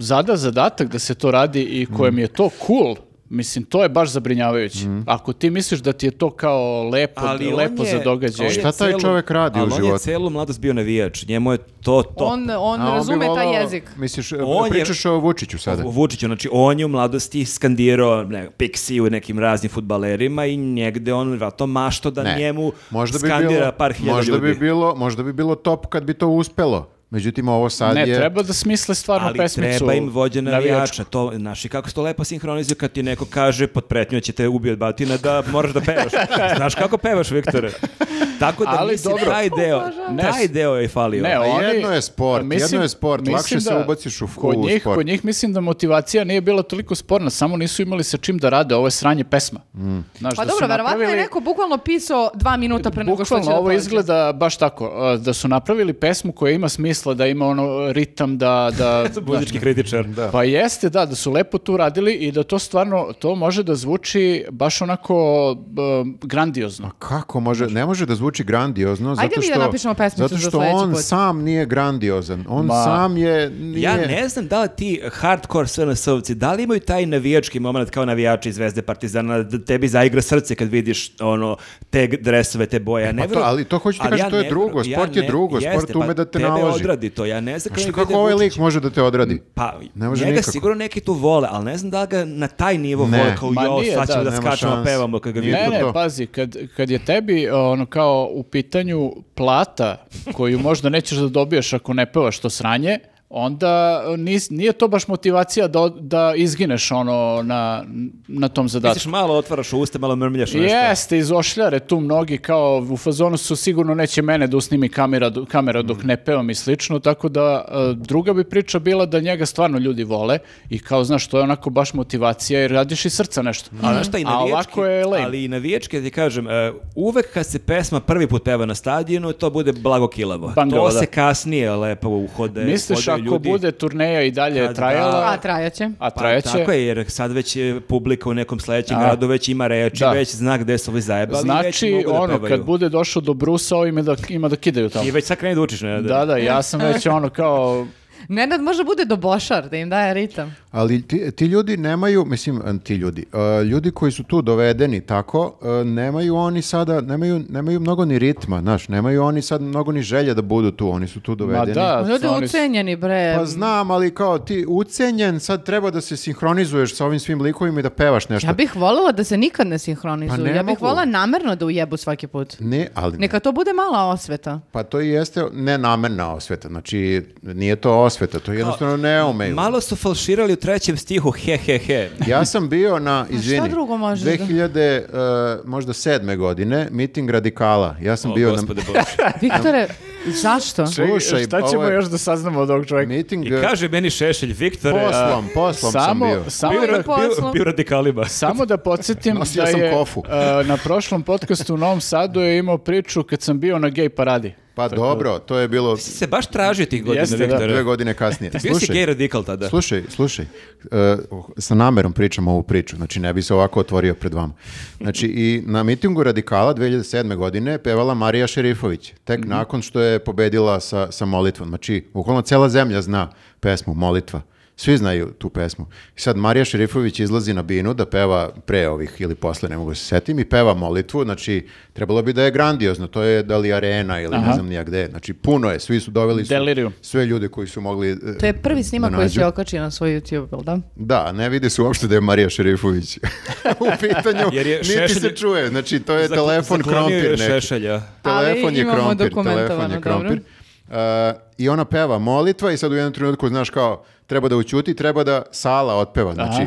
A: zada zadatak da se to radi i
B: Mm.
A: kojem je to cool, mislim, to je baš zabrinjavajuće. Ako ti misliš da ti je to kao lepo,
D: Ali on
A: lepo
D: je-
A: za događaj.
D: on je
B: Šta taj
D: celu-
B: čovek radi u
D: Ali on je
B: životu?
D: celu mladost bio navijač, njemu je to to.
C: On, on
B: A bi
C: razume taj
B: volao-
C: jezik.
B: Misliš,
D: On je-
B: pričaš o Vučiću sada.
D: U Vučiću, znači on je u mladosti skandirao ne, Pixi u nekim raznim futbalerima i njegde on vjerojatno mašto da njemu skandira par hiljada
B: možda
D: ljudi.
B: Bi bilo, možda bi bilo top kad bi to uspelo. Međutim, ovo sad
A: Ne,
B: je...
A: treba da smisle stvarno
D: ali
A: pesmicu.
D: treba im vođa
A: navijačku.
D: navijača. To, znaš, i kako se to lepo sinhronizuju kad ti neko kaže pod pretnju će te ubi od batina da moraš da
A: <laughs>
D: pevaš. znaš kako pevaš, Viktore? Tako da
A: Ali
D: mislim,
A: dobro.
D: taj deo,
A: Ne,
D: taj deo je falio.
A: Ne,
B: A
A: oni-
B: jedno je sport, jedno je sport,
A: mislim
B: lakše se ubaciš u-
A: kod
B: u
A: njih,
B: sport.
A: Kod njih mislim da motivacija nije bila toliko sporna, samo nisu imali sa čim da rade, ovo je sranje pesma.
B: Mm.
A: Znaš,
C: Pa
A: da su
C: dobro, verovatno je
A: napravili-
C: neko bukvalno pisao dva minuta pre nego što će
A: Bukvalno
C: da
A: ovo
C: dođe.
A: izgleda baš tako, e, da su napravili pesmu koja ima smisla, da ima ono ritam, da...
B: <laughs>
A: da
D: Muzički kritičar.
B: Da.
A: pa jeste, da, da su lepo tu radili i da to stvarno, to može da zvuči baš onako e, grandiozno.
B: Kako može, ne može da zvuči grandiozno, zato
C: Ajde
B: što...
C: mi da napišemo pesmicu
B: Zato
C: za
B: što
C: sledeći
B: on
C: put.
B: sam nije grandiozan. On
A: Ma.
B: sam je... Nije...
D: Ja ne znam da li ti hardcore SNS-ovci, da li imaju taj navijački moment kao navijači Zvezde Partizana, da tebi zaigra srce kad vidiš ono, te dresove, te boje. Ja ne
B: Pa to-
D: verujem-
B: ali to hoću ti
D: ali
B: kažem, to je
D: ne
B: drugo,
D: verujem,
B: sport je
D: ne-
B: drugo, sport
D: jeste,
B: ume
D: pa
B: da te
D: tebe
B: naloži.
D: odradi to, ja ne znam
B: Znaš
D: kad
B: Što,
D: vidim
B: kako ovaj lik
D: Vučića.
B: može da te odradi?
D: Pa,
B: Ne može
D: njega
B: nikako.
D: sigurno neki tu vole, ali ne znam da li ga na taj nivo
B: Ne.
D: vole, kao
A: Ma
D: jo,
A: nije,
D: sad ćemo
A: da,
D: da,
B: nema
D: skačemo,
B: šanse.
D: pevamo kad ga
B: Nije
D: vidim.
A: Ne,
B: to
A: ne,
B: to.
A: pazi, kad, kad je tebi ono kao u pitanju plata koju možda nećeš da dobiješ ako ne pevaš to sranje, onda e, nis- nije to baš motivacija da, od- da izgineš ono na, na tom zadatku.
D: Misliš, malo otvaraš usta, malo mrmljaš nešto.
A: Jeste, iz ošljare tu mnogi kao u fazonu su sigurno neće mene da usnimi kamera, do- kamera dok ne pevam i slično, tako da e, druga bi priča bila da njega stvarno ljudi vole i kao znaš to je onako baš motivacija jer radiš iz srca nešto.
D: A znaš šta,
A: A
D: i navijački,
A: ovako je lame.
D: ali i navijački, da ti kažem, e, uvek kad se pesma prvi put peva na stadionu, to bude blago kilavo.
A: Bangavo,
D: to se
A: da.
D: kasnije lepo uhode,
A: Misliš
D: uhodaju
A: ako
D: e, ljudi.
A: bude turneja i dalje
D: Kad
A: trajala,
D: da.
C: A trajaće.
A: a
D: Pa
A: trajaće,
D: tako je, jer sad već je publika u nekom sledećem
A: A.
D: gradu već ima reči,
A: Da.
D: već zna gde su ovi zajebali,
A: znači
D: već mogu da
A: ono
D: pevaju.
A: kad bude došao do Brusa ovime da, ima da kidaju tamo.
D: I već sad kreni da učiš, ne?
A: Da, da, ja sam već ono kao
C: Nenad može bude dobošar, da im daje ritam.
B: Ali ti, ti ljudi nemaju, mislim, ti ljudi, e, ljudi koji su tu dovedeni tako, e, nemaju oni sada, nemaju, nemaju mnogo ni ritma, znaš, nemaju oni sad mnogo ni želje da budu tu, oni su tu
A: ma
B: dovedeni.
A: da,
C: Ljudi
A: oni su-
C: ucenjeni, bre.
B: Pa znam, ali kao ti ucenjen, sad treba da se sinhronizuješ sa ovim svim likovima i da pevaš nešto.
C: Ja bih voljela da se nikad ne
B: Pa
C: sinhronizuju.
B: ne
C: ja bih
B: mogu.
C: voljela namerno da ujebu svaki put.
B: Ne, ali
C: Neka to bude mala osveta.
B: pa to i jeste nenamerna osveta. Znači, nije to osveta, to jednostavno ne umeju.
D: Malo su falširali u trećem stihu, he, he, he.
B: Ja sam bio
D: <laughs>
B: na, izvini,
C: drugo možeš da-
B: 2000, e, možda sedme godine, miting radikala. Ja sam
D: O,
B: <laughs> bio
D: gospode
B: <laughs> na...
D: Bože.
C: Viktore,
B: <laughs>
C: zašto?
A: Čekaj,
B: Slušaj,
A: šta ćemo
B: ovo je-
A: još da saznamo od ovog čovjeka?
B: Miting...
D: I
B: e,
D: kaže eh, meni Šešelj, Viktore, a,
B: Poslom, poslom
A: samo,
B: sam bio.
A: Samo,
D: bio,
A: da,
D: ra- bio-
C: poslom.
D: bio radikalima.
A: samo da podsjetim
B: <laughs> Nosio
A: da
B: sam
A: je
B: kofu.
A: e, na prošlom podcastu u Novom Sadu je imao priču kad sam bio na gej paradi.
B: Pa dobro, to je bilo
D: Ti si se baš tražio tih godina,
A: Jeste, da.
D: Viktore.
B: dve godine kasnije.
D: Bio si gej
B: Slušaj,
D: radikal tada.
B: slušaj, slušaj. e, sa namerom pričam ovu priču, znači ne bi se ovako otvorio pred vama. Znači i na mitingu Radikala 2007. godine je pevala Marija Šerifović, tek nakon što je pobedila sa, sa molitvom. Znači, ukolno cela zemlja zna pesmu Molitva. Svi znaju tu pesmu. I sad Marija Šerifović izlazi na binu da peva pre ovih ili posle, ne mogu da se setim, i peva molitvu, znači trebalo bi da je grandiozno, to je da li arena ili ne znam nija gde, znači puno je, svi su doveli su
A: Delirium.
B: sve ljude koji su mogli... e,
C: To je prvi snimak
B: da
C: koji
B: nađu.
C: se okačio na svoj YouTube, jel da?
B: Da, ne vidi se uopšte da je Marija Šerifović u pitanju,
D: Jer je
B: niti se
D: Šešelj-
B: čuje, znači to je
D: Zakl-
B: telefon
D: zaklonio je
B: krompir neki.
D: Šešelja.
B: Telefon
C: Ali
B: je
C: imamo
B: krompir, telefon
C: dokumentovano,
B: je krompir.
C: dobro.
B: E, I ona peva molitva i sad u jednom trenutku, znaš kao, treba da ućuti, treba da sala otpeva, znači,
A: Aha.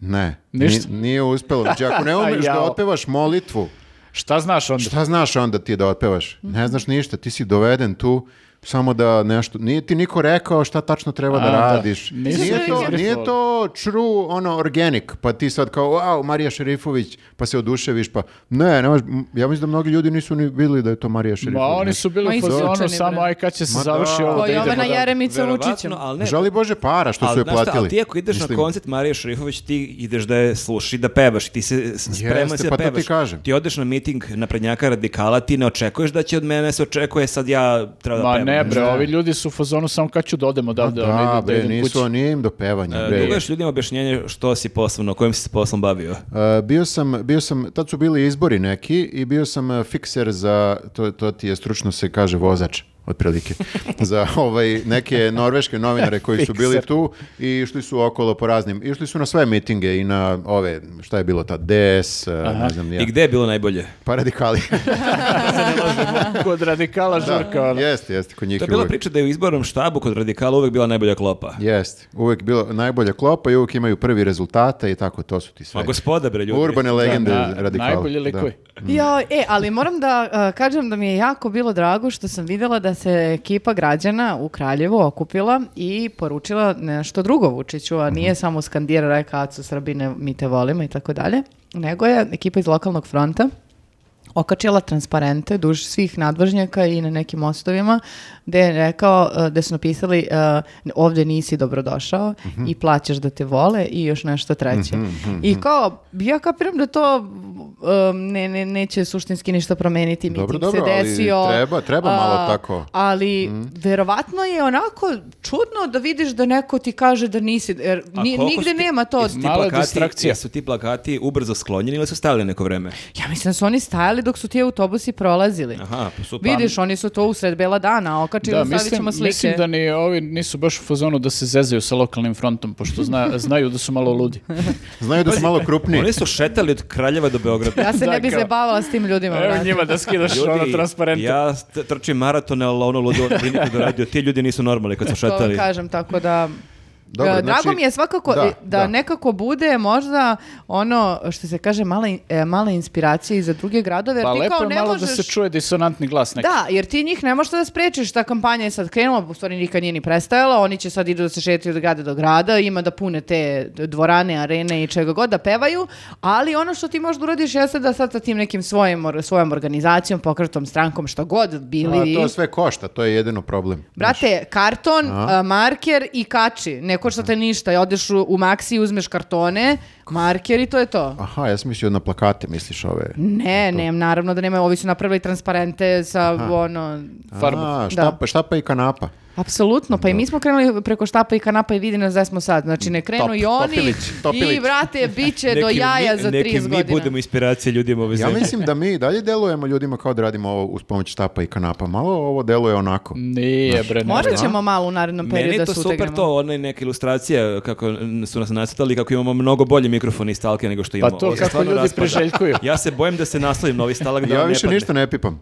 B: ne,
A: Ništa.
B: ni- nije uspelo. Znači, ako ne umeš da
A: Jao.
B: otpevaš molitvu,
A: Šta znaš onda?
B: šta znaš onda ti da otpevaš?
D: Mhm.
B: Ne znaš ništa, ti si doveden tu samo da nešto, nije ti niko rekao šta tačno treba
A: A,
B: da
A: da.
B: radiš.
A: Nisu
B: Nije
C: ti
B: to,
A: rekli.
B: nije to true, ono, organic, pa ti sad kao, wow, Marija Šerifović, pa se oduševiš, pa ne, ne možeš- m, ja mislim da mnogi ljudi nisu ni bili da je to Marija
A: Ma
B: Šerifović.
A: oni su
C: Ma,
A: bili u
C: isključeni,
A: fazonu
C: bre. ovaj
A: samo aj kad će se
B: Ma
A: završi
B: da.
A: ovo
C: Ko
A: da
C: je
A: idemo
C: Jovana
A: dalje."
C: Jeremica
D: Verovatno,
C: Lučićem.
D: ali ne.
B: Žali Bože para što
D: Ali,
B: su je
D: znaš šta,
B: platili.
D: ali ti ako ideš
B: Mislim,
D: na koncert Marije Šerifović, ti ideš da je sluši, da pevaš, ti se s- spreman
B: Jeste,
D: si da
B: pa to ti
D: pevaš.
B: kažem.
D: Ti odeš na miting naprednjaka radikala, ti ne očekuješ da će od mene se očekuje sad ja treba da
A: Ma
D: pevam.
A: ne bre,
B: Ne.
A: ovi ljudi su u fazonu samo kad ću da odem odavde, ono,
B: Da,
A: idem- da
B: bre,
A: idem kući.
B: nisu, nije im do pevanja.
D: E,
B: bre.
D: Dugaš ljudima objašnjenje što si poslovno, kojim si se poslom bavio.
B: E, bio sam, bio sam, tad su bili izbori neki i bio sam e, fikser za, to, to ti je stručno se kaže vozač
D: <laughs>
B: otprilike, za ovaj, neke norveške novinare koji su bili
A: Fikser.
B: tu i išli su okolo po raznim, išli su na sve mitinge i na ove, šta je bilo tad, DS, e, ne znam ni ja,
D: I gde je bilo najbolje?
B: pa
D: <laughs>
B: radikali.
A: <laughs> Kod radikala žurka, ono.
B: jeste, jeste, kod njih
D: To je
B: je
D: bila
B: uvek-
D: priča da je u izbornom štabu kod radikala uvek bila najbolja klopa.
B: Jeste, uvek bilo najbolja klopa i uvek imaju prvi rezultata i tako, to su ti sve.
D: Ma gospoda bre Pa, ljudi.
B: Urbane legende
A: Da, na-
B: radikala.
A: najbolji
B: da.
A: likovi.
C: <laughs> Jo, e, ali moram da uh, kažem da mi je jako bilo drago što sam vidjela da se ekipa građana u Kraljevu okupila i poručila nešto drugo Vučiću, a nije samo skandira reka Acu Srbine, mi te volimo i tako dalje, nego je ekipa iz lokalnog fronta okačila transparente duž svih nadvožnjaka i na nekim mostovima gde je rekao, uh, gde su napisali uh, ovdje nisi dobrodošao
B: Mhm.
C: i plaćaš da te vole i još nešto treće. I kao, ja kapiram da to um, ne, ne, neće suštinski ništa promeniti.
B: Dobro,
C: Miting
B: dobro,
C: se
B: ali
C: desio.
B: treba- treba malo tako. Mhm.
C: Ali verovatno je onako čudno da vidiš da neko ti kaže da nisi, jer
D: A
C: ni,
D: koliko
C: nigde
D: su ti-
C: nema to.
D: jesu ti
A: Mala
D: plakati-
A: distrakcija.
D: Jesu ti plakati ubrzo sklonjeni ili su stavili neko vreme?
C: Ja mislim da su oni stajali dok su ti autobusi prolazili.
D: Aha, pa su pa-
C: Vidiš, oni su to usred bela dana, okačili,
A: Da,
C: da, stavit
A: mislim,
C: ćemo slike.
A: mislim da ni ovi nisu baš u fazonu da se zezaju sa lokalnim frontom, pošto
C: <laughs>
A: zna- znaju da su malo ludi.
B: Znaju da su malo krupniji.
D: Oni su šetali od Kraljeva do Beograda.
C: <laughs> Ja se
A: Da,
C: ne bi
A: kao-
C: zabavala s tim ljudima.
A: Dakle, Evo
C: brate.
A: njima da skidaš ono
D: Ljudi,
A: transparente.
D: ja t- trčim maratone, ali ono ludo kliniku do radio. Ti ljudi nisu normalni kad su
C: To vam
D: šetali.
C: kažem, tako da...
B: Dobro,
C: E,
B: znači-
C: Drago mi je svakako
B: Da,
C: da,
B: da.
C: nekako bude možda ono što se kaže mala, in- e, mala inspiracija i za druge gradove. Jer
A: Pa
C: ti
A: lepo
C: kao
A: je
C: ne
A: malo
C: možeš...
A: da se čuje disonantni glas neki.
C: Da, jer ti njih ne možeš da sprečiš, ta kampanja je sad krenula, u stvari nikad nije ni prestajala, oni će sad idu da se šetaju od grada do grada, ima da pune te dvorane, arene i čega god da pevaju, ali ono što ti možeš da uradiš jeste da sad sa tim nekim svojim, or- svojom organizacijom, pokretom, strankom, što god bili
B: A
C: vi,
B: to sve košta, to je jedino problem.
C: Brate, karton, a, marker i kači. Ne košta te ništa. Odeš u, u Maxi, uzmeš kartone, marker i to je to.
B: Aha, ja sam mislio na plakate, misliš ove...
C: Ne, ne, naravno da nema. Ovi su napravili transparente sa ono...
A: Farbu.
B: A, štapa,
C: Da.
B: štapa i kanapa.
C: Apsolutno, pa i mi smo krenuli preko štapa i kanapa i vidi nas gde smo sad. Znači, ne krenu
B: Top,
C: i oni
B: topilić, topilić.
C: i vrate, bit će do
D: Neki
C: jaja
D: mi-
C: za 30
D: neki
C: godina.
D: mi budemo inspiracija ljudima u ovoj
B: Ja
D: zemlji.
B: mislim da mi i dalje delujemo ljudima kao da radimo ovo uz pomoć štapa i kanapa. Malo ovo deluje onako.
A: Nije bre, ne.
C: Morat ćemo malo u narednom
D: Meni
C: periodu
D: je
C: da
D: to
C: se
D: super
C: utegnemo.
D: to, ona neka ilustracija kako n- su nas nacrtali, kako imamo mnogo bolji mikrofon i stalke nego što imamo.
A: Pa to
D: Ovo se
A: kako
D: stvarno
A: ljudi
D: raspada.
A: priželjkuju.
D: Ja se bojim da se naslovim novi stalak da
B: ja
D: on ne
B: više
D: padne.
B: ništa ne pipam.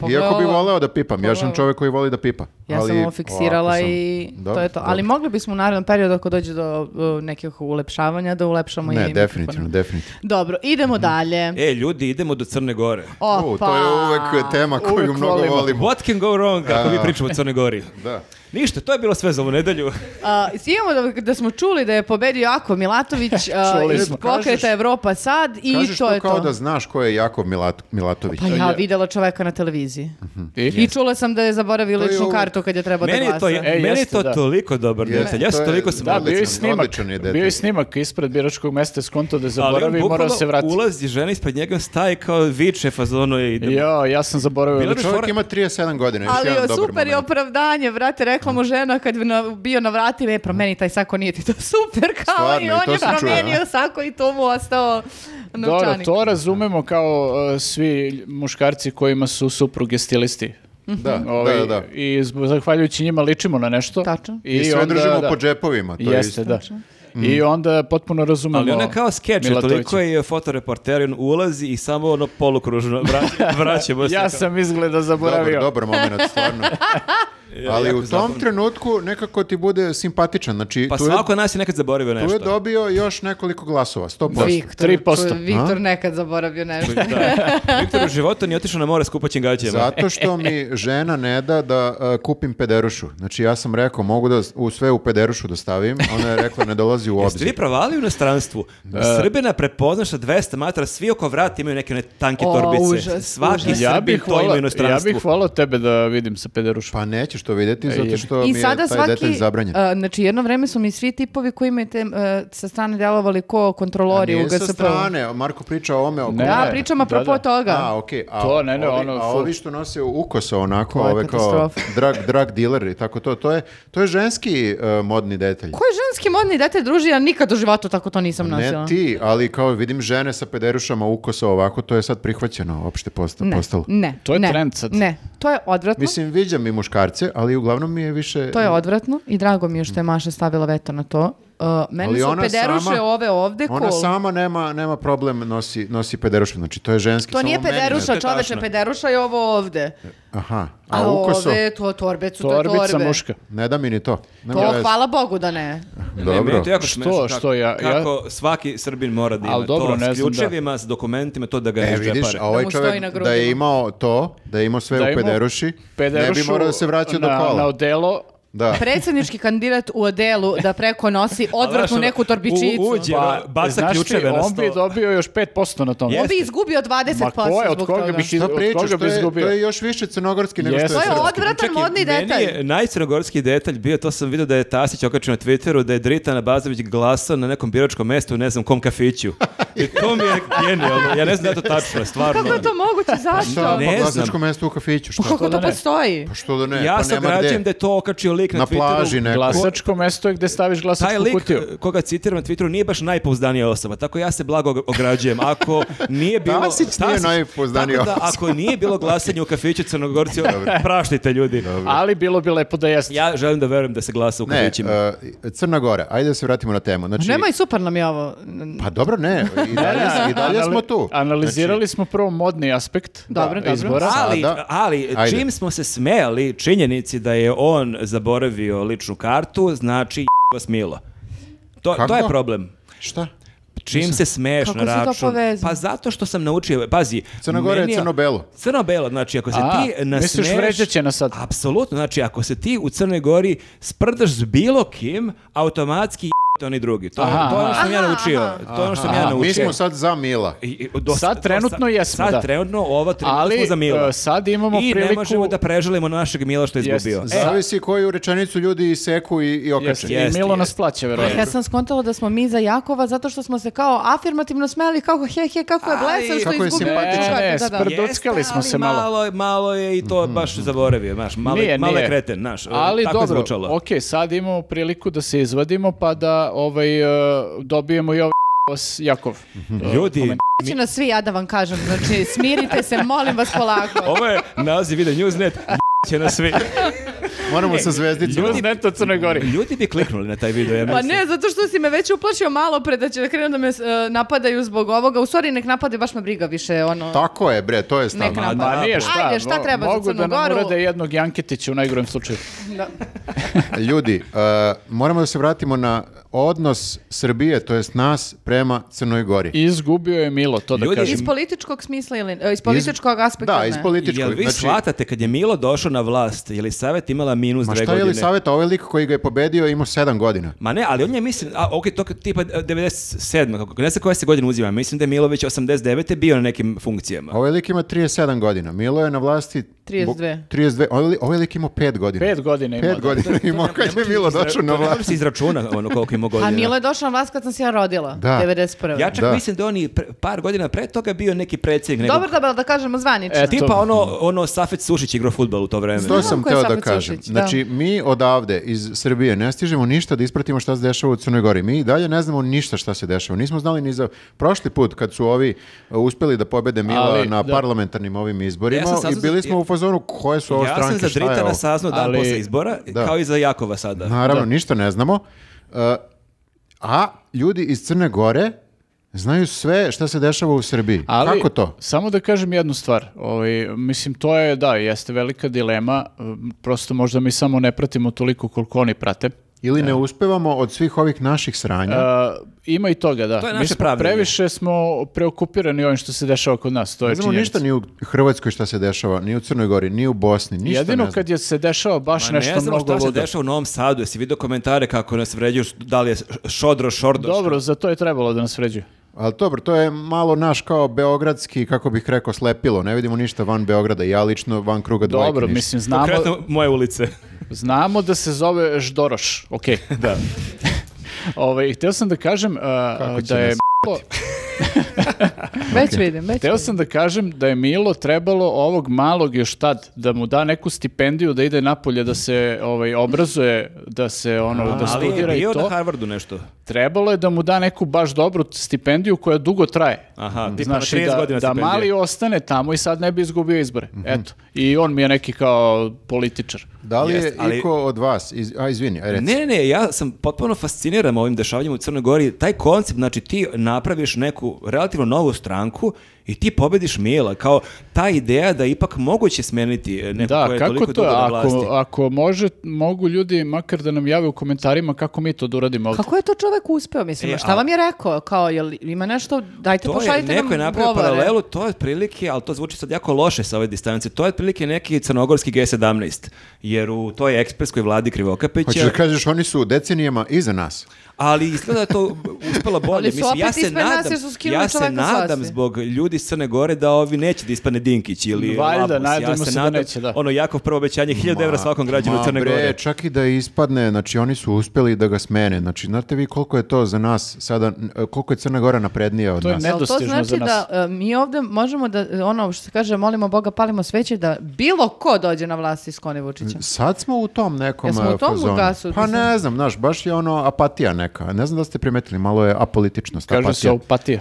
C: pogledaj
B: Iako bi
C: ovo.
B: voleo da pipam, ja sam
C: Pogledaj.
B: čovjek koji voli da pipa.
C: Pa Ja sam
B: ali
C: ovo fiksirala
B: ovako sam.
C: i
B: Dobro,
C: to je to. Ali
B: dobro.
C: mogli bismo u narednom periodu ako dođe do uh, nekih ulepšavanja da ulepšamo i
B: Ne,
C: mikrofone.
B: definitivno, definitivno.
C: Dobro, idemo dalje.
D: E, ljudi, idemo do Crne Gore.
C: Opa.
B: U, to je uvek tema koju
A: Uvek
B: mnogo
A: volimo.
B: volimo.
D: What can go wrong kako mi pričamo o Crnoj Gori?
B: Da.
D: Ništa, to je bilo sve za ovu nedelju.
C: A, imamo da, da smo čuli da je pobedio Ako Milatović
B: <laughs>
C: a,
A: Čuli
C: iz
A: smo.
C: pokreta Evropa sad i
B: Kažeš
C: to
B: to
C: je
B: kao
C: to.
B: da znaš ko je Jakov Milat- Milatović.
C: Pa ja videla čoveka na televiziji.
B: Mhm.
C: I čula sam da je zaboravio
B: To je
C: ličnu
B: uvek-
C: kartu kad je trebao da
D: Meni je
C: glasa.
D: to,
A: E,
D: meni je
A: jeste,
D: to
A: da.
D: toliko dobar
B: Jeste,
D: detalj. Ja
B: to
D: sam
B: je-
D: toliko sam
B: da,
A: Da, bio je
B: Odličan,
A: snimak.
B: odličan je detalj.
A: Bio je snimak ispred biračkog mesta je skonto da je
D: Ali on
A: zaboravi i morao
D: bukvalno
A: se vratiti.
D: ulazi žena ispred njega, on staje kao viče fazono i ide.
A: Jo, ja sam zaboravio.
D: Bilo bi
A: lično.
B: Čovjek
D: fora-
B: ima 37 godina, još
C: Ali
B: jedan
C: je
B: dobar
C: super je
B: moment.
C: opravdanje, vrate, rekla mu žena kad bi na- bio na vratima, e, promeni taj sako, nije ti to <laughs> super, kao
B: Stvarno, i
C: i
B: to
C: on je
B: se čuje,
C: promenio
B: a?
C: sako i to mu ostao
A: Dobro,
C: novčanik.
A: to razumemo kao uh, svi muškarci kojima su supruge stilisti.
B: Da,
A: Ovi-
B: da, da.
A: I zb- zahvaljujući njima ličimo na nešto.
C: Tačno.
B: I, sve
A: onda,
B: držimo
A: da.
B: po džepovima. To je Mm.
A: Jeste, da. I onda potpuno razumemo
D: Ali ona kao skeč, jer
A: Milatovića.
D: toliko je fotoreporter, on ulazi i samo ono
B: <laughs>
D: polukružno <laughs> vra- vraćamo se.
A: Ja
D: kao-
A: sam izgleda
B: Dobar,
A: zaboravio. <laughs>
B: dobar moment, stvarno. Ali
D: jako
B: u tom
D: zabavno.
B: trenutku nekako ti bude simpatičan. Znači,
D: Pa
B: tu, je,
D: svako od nas je nekad zaboravio
B: tu
D: nešto.
B: je dobio još nekoliko glasova, 100%.
C: Viktor,
A: 3%.
C: to je Viktor nekad zaboravio
B: <laughs>
C: nešto.
D: Da. Viktor u životu nije otišao na more s kupaćim gaćama.
B: Zato što mi žena ne da da e, kupim pederušu. Znači ja sam rekao mogu da s- u sve u pederušu da stavim. Ona je rekla ne dolazi u
D: Jeste vi
B: obzir.
D: provali u inostranstvu? Srbina prepozna sa 200 metara, svi oko vrata imaju neke one tanke
C: O,
D: torbice.
C: užas,
D: Svaki
C: užas.
D: Srbin to ima u
A: ja
D: inostranstvu.
A: bih volao tebe da vidim sa pederušom.
B: Pa nećeš to vidjeti zato
A: jebi.
B: što
C: I
B: mi je
C: sada
B: taj detalj
C: svaki,
B: zabranjen.
C: a, znači jedno vreme su mi svi tipovi koji imaju te, e, sa strane delovali ko
B: A
C: kontrolori u
B: nije sa
C: GSP.
B: strane, Marko priča o ome. Oko...
A: Ne,
C: Da,
A: ne,
C: pričam
A: da,
C: apropo
A: da.
C: toga.
B: A, okej. A,
A: To, ne, ne,
B: ovi,
A: ono,
B: a
A: full.
B: ovi što nose u ukosa onako,
C: To je
B: ove kao
C: katastrofa.
B: <laughs> drug, drug dealer i tako to, to je, to je ženski e, modni detalj.
C: Koji ženski modni dete druži, ja nikad u životu tako to nisam nosila.
B: Ne ti, ali kao vidim žene sa pederušama ukosa ovako, to je sad prihvaćeno, opšte posta,
C: ne,
B: postalo.
C: ne,
A: To je
C: ne,
A: trend sad.
C: Ne, to je odvratno.
B: Mislim, viđam i muškarce, ali uglavnom mi je više...
C: To je odvratno i drago mi je što je Maša stavila veto na to. Uh, meni
B: Ali
C: su
B: ona
C: pederuše
B: sama-
C: ove ovde cool.
B: Ona sama nema, nema problem, nosi, nosi pederuše, znači to je ženski.
C: To
B: samo
C: nije
B: meni ne-
D: To je
C: pederuša,
D: tačno.
C: čoveče, pederuša je ovo ovde.
B: Aha, a,
C: A,
B: ukoso,
C: ove, to torbe su to
A: Torbica
C: torbe.
A: muška.
B: ne da mi ni to. Nema
C: To
B: veze.
C: hvala Bogu da ne.
D: Ne, meni
B: Dobro.
D: je to jako
A: Što,
D: smešno
A: što ja- ja-
D: kako svaki Srbin mora da ima
A: Ali dobro,
D: to
A: ne
D: s
A: znam da.
D: ključevima, s dokumentima, to da ga ne
B: E, vidiš,
D: iščepare.
B: a ovaj
C: Da mu stoji na
B: čovjek da
C: grudima.
B: je imao to, da je imao sve
A: Da
B: u
A: je imao
B: pederuši, ne bi
A: Pederušu
B: morao da se vraća do
A: na-
B: kola.
A: Na odelo,
B: Da.
C: Predsjednički kandidat u odelu da preko
A: <laughs>
C: nosi odvratnu
D: ono,
C: neku torbičicu.
D: u- uđe.
A: pa,
D: baca
A: znaš ti,
D: ključeve na
A: on bi
D: sto.
A: dobio još 5% na tom.
C: On bi izgubio 20%
A: Ma ko je, od
C: zbog
A: koga
C: toga.
A: bi
B: Šta
A: od
B: pričaš,
A: koga
B: to
A: bi
B: je,
A: Znači, izgubio?
B: to je još više crnogorski nego
A: Jeste.
B: što je
C: To je
B: srpski.
C: odvratan
D: Čekaj,
C: modni detalj.
D: Meni je najcrnogorski detalj bio, to sam vidio da je Tasić okačio na Twitteru, da je Dritan Abazović glasao na nekom biračkom mestu, ne znam kom kafiću. I to mi je genijalno, ja ne znam da je to tačno, stvarno.
C: Kako je to moguće? Zašto? Pa
B: Šta,
D: Ne
B: pa
D: znam.
B: glasačko mesto u kafiću,
C: <laughs>
B: šta?
C: Kako
A: da
C: to
A: ne?
C: postoji?
B: Pa što da ne,
D: ja
B: pa
D: sam
B: nema
D: građujem da
B: gde.
D: je to okačio lik na,
B: Na
D: Twitteru.
B: plaži neko.
A: Glasačko mesto je gde staviš
D: Taj
A: glasačku
D: lik
A: kutiju.
D: eh, koga citiram na Twitteru nije baš najpouzdanija osoba, tako ja se blago ograđujem. Ako nije bilo...
B: Tasić nije najpouzdanija
D: tako da,
B: osoba.
D: Ako nije bilo glasanje u kafiću Crnogorci, praštite ljudi.
A: Ali bilo bi lepo da jeste.
D: Ja želim da verujem da se glasa u
B: Ne,
D: kafićima.
B: e, Crna Gora, ajde da se vratimo na temu. Znači,
C: Nemoj, super nam je ovo.
B: Pa dobro, ne,
C: <laughs>
B: i dalje, i dalje
A: Anali-
B: smo tu. Znači-
A: Analizirali smo prvo modni aspekt
C: Dobro, dobro.
A: izbora.
B: A-
D: Ali,
B: Sada-
D: ali
B: Ajde.
D: čim smo se smejali činjenici da je on zaboravio ličnu kartu, znači j*** vas milo. To, to
B: Kako?
D: je problem.
B: Šta?
D: Čim se smeješ
C: Kako
D: na
C: si to
D: račun.
C: povezao?
D: Pa zato što sam naučio, pazi.
B: Crna Gora je
D: meni
B: crno-belo.
D: Crno-belo, znači ako se
A: A,
D: ti nasmeješ...
A: misliš vređat će nas sad?
D: Apsolutno, znači ako se ti u Crnoj Gori sprdaš s bilo kim, automatski j***te oni drugi. To,
A: Aha,
D: to je ono što sam ja
C: aha.
D: naučio. To je ono što sam ja
B: A,
D: naučio.
B: mi smo sad za Mila.
A: E,
D: I- i- do-
A: Sad
D: do-
A: trenutno jesmo,
D: sad
A: da.
D: trenutno ova trenutka smo
A: Ali
D: za Mila.
A: e, sad imamo
D: I ne
A: priliku...
D: možemo da preželimo na našeg Mila što je
A: Jest.
D: izgubio.
A: Za-
D: E,
B: Zavisi koju rečenicu ljudi iseku i, i
A: Jeste,
B: okače.
A: i
D: Jeste,
A: Milo nas
D: jeste.
A: plaća,
C: Ja
A: verovatno.
C: sam skontala da smo mi za Jakova zato što smo se kao afirmativno smeli kako he he kako je blesav što
B: Kako je
C: izgubio
B: simpatičan.
C: ličnu
A: Ne, ne,
C: kartu, da, da.
A: spr- Dockali smo
D: E, ali
A: se malo.
D: malo. malo je i
B: Mhm.
D: to baš zaboravio, znaš, malo, je-
A: Nije,
D: malo je
A: nije.
D: kreten, znaš, e,
A: Ali
D: tako je
A: dobro,
D: zvučalo.
A: ok, sad imamo priliku da se izvadimo pa da ovaj, e, dobijemo i ovaj os Jakov.
B: Mhm.
A: E,
D: Ljudi,
A: komentar.
C: Će nas svi, ja da vam kažem, znači smirite se, molim vas polako.
D: ovo je naziv ide Newsnet, <laughs> će nas svi.
B: Moramo sa zvezdicom.
A: Ljudi neto Crne <laughs> Gori.
D: Ljudi bi kliknuli na taj video, ja
C: Pa
D: mislim.
C: ne, zato što si me već uplašio malo pre da će da krenu da me e, napadaju zbog ovoga. U stvari nek napade, baš me briga više, ono.
B: Tako je, bre, to je
C: Nek
B: stavno.
C: napada.
A: Ma pa nije
D: pa,
A: šta,
C: Ajde, šta
A: mo-
C: treba za
A: mogu da
C: Crnu
A: nam
C: Goru?
A: urade jednog Janketića u najgorem slučaju.
C: Da.
B: Ljudi, e, moramo da se vratimo na odnos Srbije, to jest nas, prema Crnoj Gori.
A: Izgubio je Milo, to da
D: Ljudi,
A: kažem.
C: Iz političkog smisla ili e, iz političkog aspekta
B: Da, iz
C: ne.
B: političkog. Znači,
D: Jel vi
A: znači-
D: shvatate kad je Milo došao na vlast, je li savjet imala minus
B: ma
D: dve
B: šta je
D: godine?
B: li savjeta, ovaj lik koji ga je pobedio imao sedam godina.
D: Ma ne, ali on je, mislim, a, ok, to kad tipa 97. Kako, ne znam koja se godina uzima, mislim da je Milović 89. bio na nekim funkcijama.
B: Ovaj lik ima 37 godina. Milo je na vlasti...
C: 32.
B: bo- 32. Ovaj, li- ovaj lik imao 5 godina.
A: Pet godina ima.
B: 5 godina imao kad je Milo došao na
D: Ne može
B: vlast.
D: se izračuna ono koliko ima godina.
C: A Milo je došao na vlast kad sam se ja rodila,
B: Da.
C: 91.
D: Ja čak
B: Da.
D: mislim da on i pre- par godina pre toga bio neki predsjednik.
C: Dobro
D: Nekog,
C: da, bel- da kažemo zvanično.
A: E, ti-
D: tipa ono, ono Safet Sušić igrao futbol u to vreme.
B: To sam
C: ko je
B: teo da
C: Safet
B: kažem.
C: Sušić, da.
B: Znači, mi odavde iz Srbije ne stižemo ništa da ispratimo šta se dešava u Crnoj Gori. Mi i dalje ne znamo ništa šta se dešava. Nismo znali ni za prošli put kad su ovi uh, uspeli da pobede Mila
A: Ali,
B: na
A: da.
B: parlamentarnim ovim izborima
D: Ja sam
B: i
D: saznao
B: bili
D: za-
B: smo u fazonu koje su ovo
D: ja
B: stranke,
D: sam za
B: šta je ovo?
D: Dritana saznao dan
A: Ali-
D: posle izbora,
B: Da.
D: kao i za Jakova sada.
B: Naravno, ništa ne znamo. Uh, a ljudi iz Crne Gore Znaju sve šta se dešava u Srbiji.
A: Ali,
B: Kako to?
A: Samo da kažem jednu stvar. Ovaj, mislim, to je, da, jeste velika dilema. Um, Prosto možda mi samo ne pratimo toliko koliko oni prate.
B: Ili ne uspevamo od svih ovih naših sranja?
A: Uh, ima i toga, da.
D: To je
A: Mi
D: naše
A: smo
D: pravljenje.
A: previše smo preokupirani ovim što se dešava kod nas. To je
B: ne znamo
A: Pa činjenica.
B: ništa ni u Hrvatskoj šta se dešava, ni u Crnoj Gori, ni u Bosni, ništa
A: Jedino
B: ne znamo.
A: kad je se dešava baš
D: Ma
A: nešto
D: ne znamo
A: mnogo
D: šta se
A: ludo.
D: dešava u Novom Sadu, jesi vidio komentare kako nas vređuju, da li je šodro, šordo.
A: Dobro, za to je trebalo da nas vređuju.
B: Ali dobro, to je malo naš kao beogradski, kako bih rekao, slepilo. Ne vidimo ništa van Beograda. Ja lično van kruga dvojke
A: Dobro,
B: ništa.
A: mislim, znamo,
D: Konkretno moje ulice.
A: znamo da se zove Ždoroš.
D: <laughs>
A: Ok, <laughs> da. Ove, htio sam da kažem uh,
B: će
A: da je...
B: nas
C: Već vidim,
A: <laughs>
C: već
A: Hteo
C: vidim.
A: sam da kažem da je Milo trebalo ovog malog još tad da mu da neku stipendiju da ide napolje da se ovaj obrazuje, da se ono da
D: Ali je
A: studira i
D: bio
A: to.
D: na Harvardu nešto.
A: Trebalo je da mu da neku baš dobru stipendiju koja dugo traje.
D: Aha, tipa na
A: Mm. Znaš, i
D: 30
A: da,
D: godina
A: da
D: stipendije. Mhm.
A: mali ostane tamo i sad ne bi izgubio izbore. Eto. I on mi je neki kao političar.
B: Da li je
D: Jest, ali-
B: iko od vas, iz, a izvini, aj reci.
D: Ne, ne, ne, ja sam potpuno fasciniran ovim dešavanjem u Crnoj Gori. Taj koncept, znači ti napraviš neku relativno novu stranku i ti pobediš Mila. Kao ta ideja da je ipak moguće smeniti e, neko
A: Da,
D: ko je
A: kako
D: toliko
A: to?
D: dugo na vlasti.
A: Ako, ako može, mogu ljudi makar da nam jave u komentarima kako mi to da uradimo ovdje.
C: Kako je to čovek uspeo, mislim,
D: E,
C: šta
D: a-
C: vam je rekao? Kao, jel ima nešto, dajte
D: To je,
C: pošaljite nam
D: neko je napravio
C: govore.
D: paralelu, to je otprilike, ali to zvuči sad jako loše sa ove distance, to je otprilike neki crnogorski G17, jer u toj eksperskoj vladi
B: Hoćeš
D: Krivokapića,
B: da kažeš, oni su decenijama iza nas.
D: ali izgleda da je to uspelo bolje.
C: Ali su
D: Mislim, ja
C: opet
D: se
C: ispred nas
D: nadam,
C: jer su skinuli
D: ja se
C: čoveka s
D: nadam
C: vlasti.
D: zbog ljudi iz Crne Gore da ovi neće da ispadne Dinkić ili
A: Valjda,
D: Labus. ja
A: nadajmo
D: se
A: se da
D: nadam,
A: neće, da.
D: ono jako prvo obećanje, 1000
A: Pa,
D: evra svakom građanu
B: Ma
D: Crne
B: bre,
D: Gore.
B: čak i da ispadne, znači oni su uspeli da ga smene. Znači, znate vi koliko je to za nas sada, n- koliko je Crna Gora naprednija od
A: To je
B: nas?
A: ne-
C: Jel to
A: Nedostižno
C: znači
A: za nas.
C: da e, mi ovdje možemo da, ono što se kaže, molimo Boga, palimo sveće, da bilo ko dođe na vlast i skloni Vučića.
B: Sad smo u tom nekom
C: Jesmo u
B: e,
C: tom
B: fazonu.
C: gasu,
B: pa
C: mislim.
B: ne znam, znaš, baš je ono apatija neka. Ne znam da ste primetili, malo je apolitičnost,
A: Kaže se
B: apatija.
A: opatija.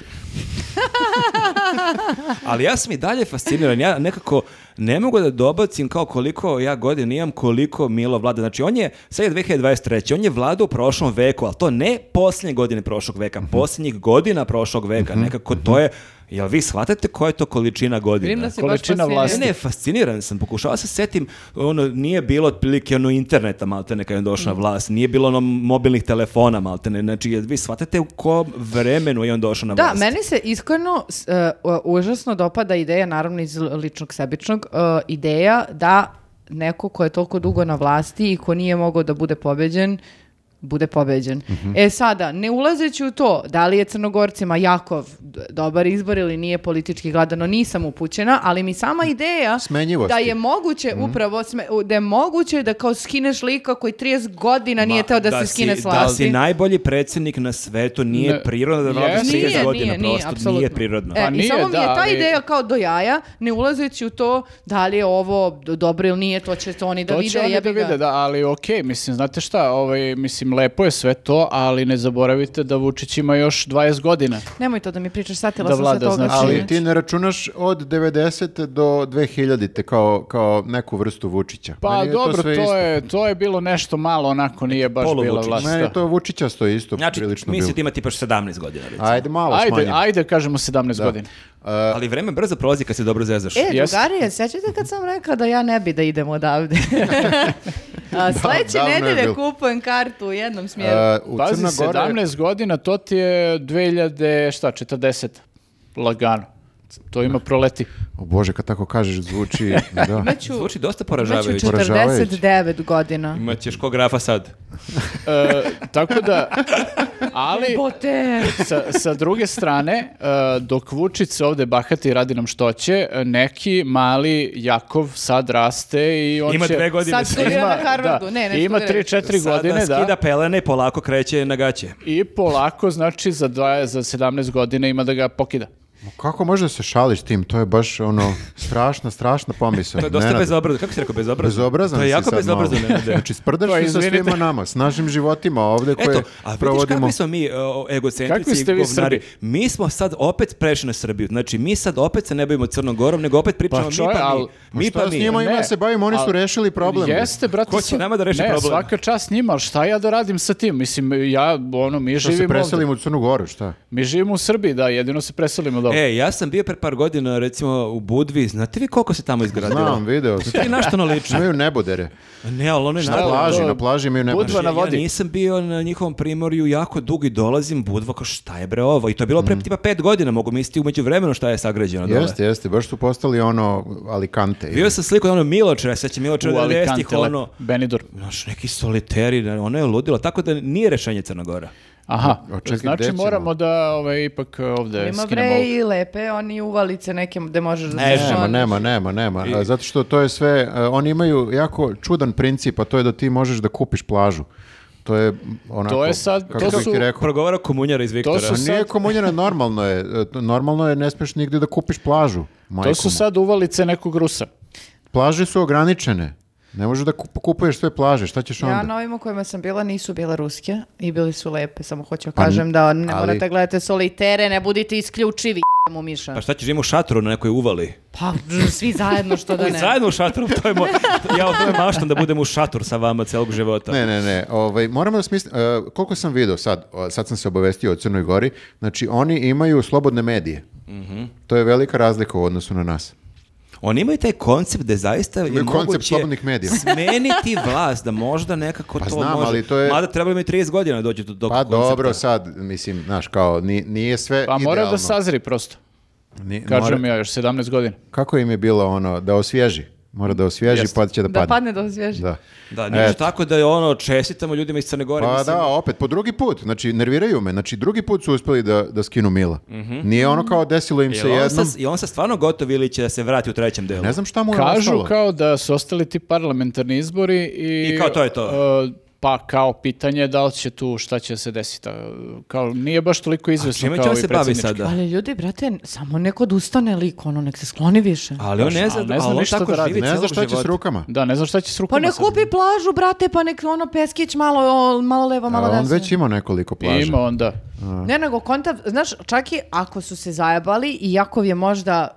D: Ali ja sam i dalje fasciniran, ja nekako ne mogu da dobacim kao koliko ja godina imam, koliko Milo vlada. Znači on je, sad je 2023. On je vladao u prošlom veku, ali to ne posljednje godine prošlog
A: Mhm.
D: veka, posljednjih godina prošlog veka. Nekako to je, jel vi shvatate koja je to količina
C: Vidim da
D: godina?
C: si
A: Količina
C: baš
A: vlasti.
C: fasciniran.
D: Ne, ne, fasciniran sam, pokušao se setim, ono, nije bilo otprilike ono interneta, malte ne, kad je
C: Mm.
D: došao na vlast, nije bilo ono mobilnih telefona, malte ne, znači, jel vi shvatate u kom vremenu je on došao na
C: Da,
D: vlast?
C: meni se iskreno s- e, u- užasno dopada ideja, naravno iz ličnog sebičnog, e, ideja da neko ko je toliko dugo na vlasti i ko nije mogao da bude pobeđen, bude pobeđen.
D: Mhm.
C: E sada, ne ulazeći u to da li je Crnogorcima Jakov d- dobar izbor ili nije politički gledano, nisam upućena, ali mi sama ideja
B: Smenjivosti.
C: da je moguće
D: Mhm.
C: upravo, sme- u- da je moguće da kao skineš lika koji 30 godina nije
D: Ma,
C: teo da, se
D: si-
C: skine s
D: Da
C: vlasti.
D: si najbolji predsjednik na svetu, nije
A: Ne,
D: prirodno da
A: jeste.
D: vladaš 30
A: Nije,
D: godina,
C: nije, nije,
D: prosto
C: apsolutno.
D: nije prirodno.
C: E,
A: Pa
C: I
A: nije,
C: samo mi je
A: da,
C: ta
A: ali-
C: ideja kao do jaja, ne ulazeći u to da li je ovo do- dobro ili nije, to će to oni da
A: to
C: vide.
A: će oni da
C: jebi ga.
A: vide, da, ali okej, mislim, znate šta, ovaj, mislim, lepo je sve to, ali ne zaboravite da Vučić ima još 20 godina.
C: Nemoj to da mi pričaš, satila
A: Da
C: sam
A: vlada,
C: se toga.
A: znači-
B: Ali
C: čini.
B: ti ne računaš od 90. do 2000. kao, kao neku vrstu Vučića.
A: Pa
B: Meni je
A: dobro,
B: sve
A: to,
B: isto.
A: je, to je bilo nešto malo, onako nije baš
D: polu
A: bila
D: Vučić.
A: vlast.
B: Meni je
A: da.
B: to Vučića sto isto
D: Znači,
B: prilično bilo.
D: mislite imati baš 17 godina. recimo.
B: Ajde, malo
A: Ajde,
B: smanjim.
A: ajde, kažemo 17 godina.
B: e,
D: Ali vreme brzo prolazi kad se dobro zezaš.
C: E,
A: Jeste.
C: drugari, sjećate kad sam rekla da ja ne bi da idem
A: <laughs>
C: odavde? A, Sledeće
B: davno je
C: nedelje
B: bilo.
C: kupujem kartu u jednom smjeru.
B: Uh, u
A: Pazi,
B: Crna Gora je-
A: 17 godina, to ti je 2000, šta, 40, lagano. To ima proleti.
B: O Bože, kad tako kažeš, zvuči...
A: <laughs>
B: da.
C: Imaću,
D: Zvuči dosta
C: imaću
D: poražavajuće.
B: čet- Poražavajuće.
C: 49 godina.
D: Imaćeš ko grafa sad.
A: E, tako da, ali
C: Bote!
A: sa, sa druge strane, e, dok Vučić se ovde bahati i radi nam što će, e, neki mali Jakov sad raste i on
D: Ima
A: će...
D: dve godine.
C: Sad
D: se-
C: studira na Harvardu. Ne, ne
A: ima
C: studira.
A: 3-4 godine,
D: Sada skida
A: da.
D: pelene i polako kreće na gaće.
A: I polako, znači, za, dva, za 17 godina ima da ga pokida.
B: Ma Kako može da se šališ tim? To je baš ono strašna, strašna pomisao.
D: To je dosta
B: Nenade.
D: bezobrazno. Kako si rekao bezobrazno?
B: Bezobrazan
D: To je
B: si
D: jako
B: sad
D: bezobrazno,
B: malo. <laughs>
D: Nenade.
B: Znači, sprdaš
A: To je,
B: se sa
A: Pa izvinite.
B: svima nama, s našim životima ovde koje
D: Eto, a vidiš
B: provodimo.
D: kakvi smo mi e, o,
A: Kakvi
D: egocentrici i
A: ste vi
D: govnari.
A: Srbi?
D: Mi smo sad opet prešli na Srbiju. Znači, mi sad opet se ne bavimo Crnom Gorom, nego opet pričamo mi
A: čoj,
D: pa mi.
A: al-
D: Mi
B: Šta
D: pa
B: s
D: mi.
B: njima ima
A: Ne,
B: se bavimo, oni su
A: ali-
B: rešili problem.
A: Jeste, brate.
D: Ko će
A: sva-
D: nama da reši
A: ne,
D: problem?
A: svaka čast njima, ali šta ja da radim sa tim? Mislim, ja, ono, mi
B: Šta se
A: živimo ovde.
B: preselimo u Crnu Goru, šta?
A: Mi živimo u Srbiji, da, jedino se preselimo dobro.
D: E, ja sam bio pre par godina, recimo, u Budvi. Znate vi koliko se tamo izgradilo?
B: Znam, video
D: Znate vi na što ono liči?
B: Imaju nebodere.
D: Ne, ali ono je
A: Šta
B: Na
A: Evo,
D: naravno- Znači,
B: plaži,
A: to-
B: na plaži imaju nebodere.
A: Budva na
D: Ja
A: vodi.
D: nisam bio na njihovom primorju jako dugo i dolazim budva kao šta je bre ovo i to je bilo pre tipa pet godina mogu misliti umeđu vremenu šta je sagrađeno dole.
B: Mhm. Jeste, jeste, baš su postali ono Alicante.
D: Bio sam sliku ono Miločara, sad će Miločara
A: u
D: da
A: Alicante,
D: ih ono
A: lepo. Benidorm.
D: Znaš, neki soliteri, da, ono je ludilo, tako da nije rešenje Crna Gora.
A: Aha,
B: A čekaj, gde
A: znači
B: ćemo?
A: moramo da ove, ipak ovde
C: Ima
A: skinemo
C: bre
A: ovo.
C: i lepe, oni uvalice neke gde možeš da
D: Ne,
C: se
B: Nema,
C: šalaš.
B: nema, nema, nema. A, Zato što to je sve, e, oni imaju jako čudan princip, a to je da ti možeš da kupiš plažu. To je m, onako,
A: To je sad-
B: kako
A: to
B: bih
A: su-
B: ti rekao.
D: Progovara komunjara iz Viktora.
A: su-
B: Nije
A: sad-
B: komunjena, normalno je. E, to- Normalno je, ne smiješ nigdje da kupiš plažu.
A: To
B: majku
A: su
B: mu.
A: sad uvalice nekog Rusa.
B: Plaže su ograničene. Ne možeš da kup- kupuješ sve plaže, šta ćeš onda?
C: Ja na ovima kojima sam bila nisu bile ruske i bili su lepe, samo hoću kažem da ne
B: Pa, ali-
C: morate gledate solitere, ne budite isključivi <laughs> j***a mu miša.
D: Pa šta ćeš ima u šatoru na nekoj uvali?
C: Pa dž, svi zajedno što da
D: Oj,
C: ne.
D: Zajedno u šatoru, to je moj, ja o tome maštam da budem u šator sa vama celog života.
B: Ne, ne, ne. Ovaj, moramo da smislim, e, koliko sam video sad, o, sad sam se obavestio o Crnoj Gori, znači oni imaju slobodne medije.
A: Mhm.
B: To je velika razlika u odnosu na nas.
D: Oni imaju taj koncept da zaista je
B: Imaju koncept
D: moguće
B: slobodnih medija.
D: smeniti vlast, da možda nekako
B: Pa
D: to
B: znam,
D: može.
B: ali to je-
D: Mada trebalo mi 30 godina da dođe do do
B: Pa
D: koncepta.
B: dobro, sad, mislim, znaš, kao, ni- nije sve
A: Pa mora
B: idealno.
A: da sazri prosto.
B: Ni-
A: Kažem
B: mora-
A: ja, još 17 godina.
B: Kako im je bilo ono, da osvježi? Mora da osvježi,
D: Jeste.
B: pa će da
C: Da
B: padne.
C: padne do svježe.
B: Da.
D: Da, nije
B: Eto.
D: tako da je ono, čestitamo ljudima iz Crne Gore.
B: Pa
D: mislim.
B: da, opet, po drugi put, znači, nerviraju me, znači, drugi put su uspeli da, da skinu Mila. Nije ono kao desilo im se
D: Jel on sa-
B: jednom,
D: I on se stvarno gotov ili će da se vrati u trećem delu?
B: ne znam šta mu je
A: Kažu
B: ostalo.
A: kao da su ostali ti parlamentarni izbori i...
D: I kao to je to.
A: e, pa kao pitanje je da li će tu, šta će se desiti. e, Kao, nije baš toliko izvesno
D: Čime
A: kao i
D: će on se bavi
A: predsjednički.
D: sada?
C: Ali ljudi, brate, samo neko odustane lik, ono, nek se skloni više.
D: Ali on ne
A: Baš,
D: zna,
A: ali ne
D: ali
A: zna
D: on
A: ništa
D: tako
A: da radi.
D: živi
B: Ne
D: celog
B: znam šta će s
D: života.
B: rukama.
A: Da, ne znam šta će s
C: Pa
A: rukama
C: ne
A: sad.
C: kupi plažu, brate, pa nek ono peskić malo, o, malo levo, malo
B: A
C: desno.
B: on već ima nekoliko plaža.
A: Ima onda.
C: Ne, nego konta, znaš, čak i ako su se zajabali i Jakov je možda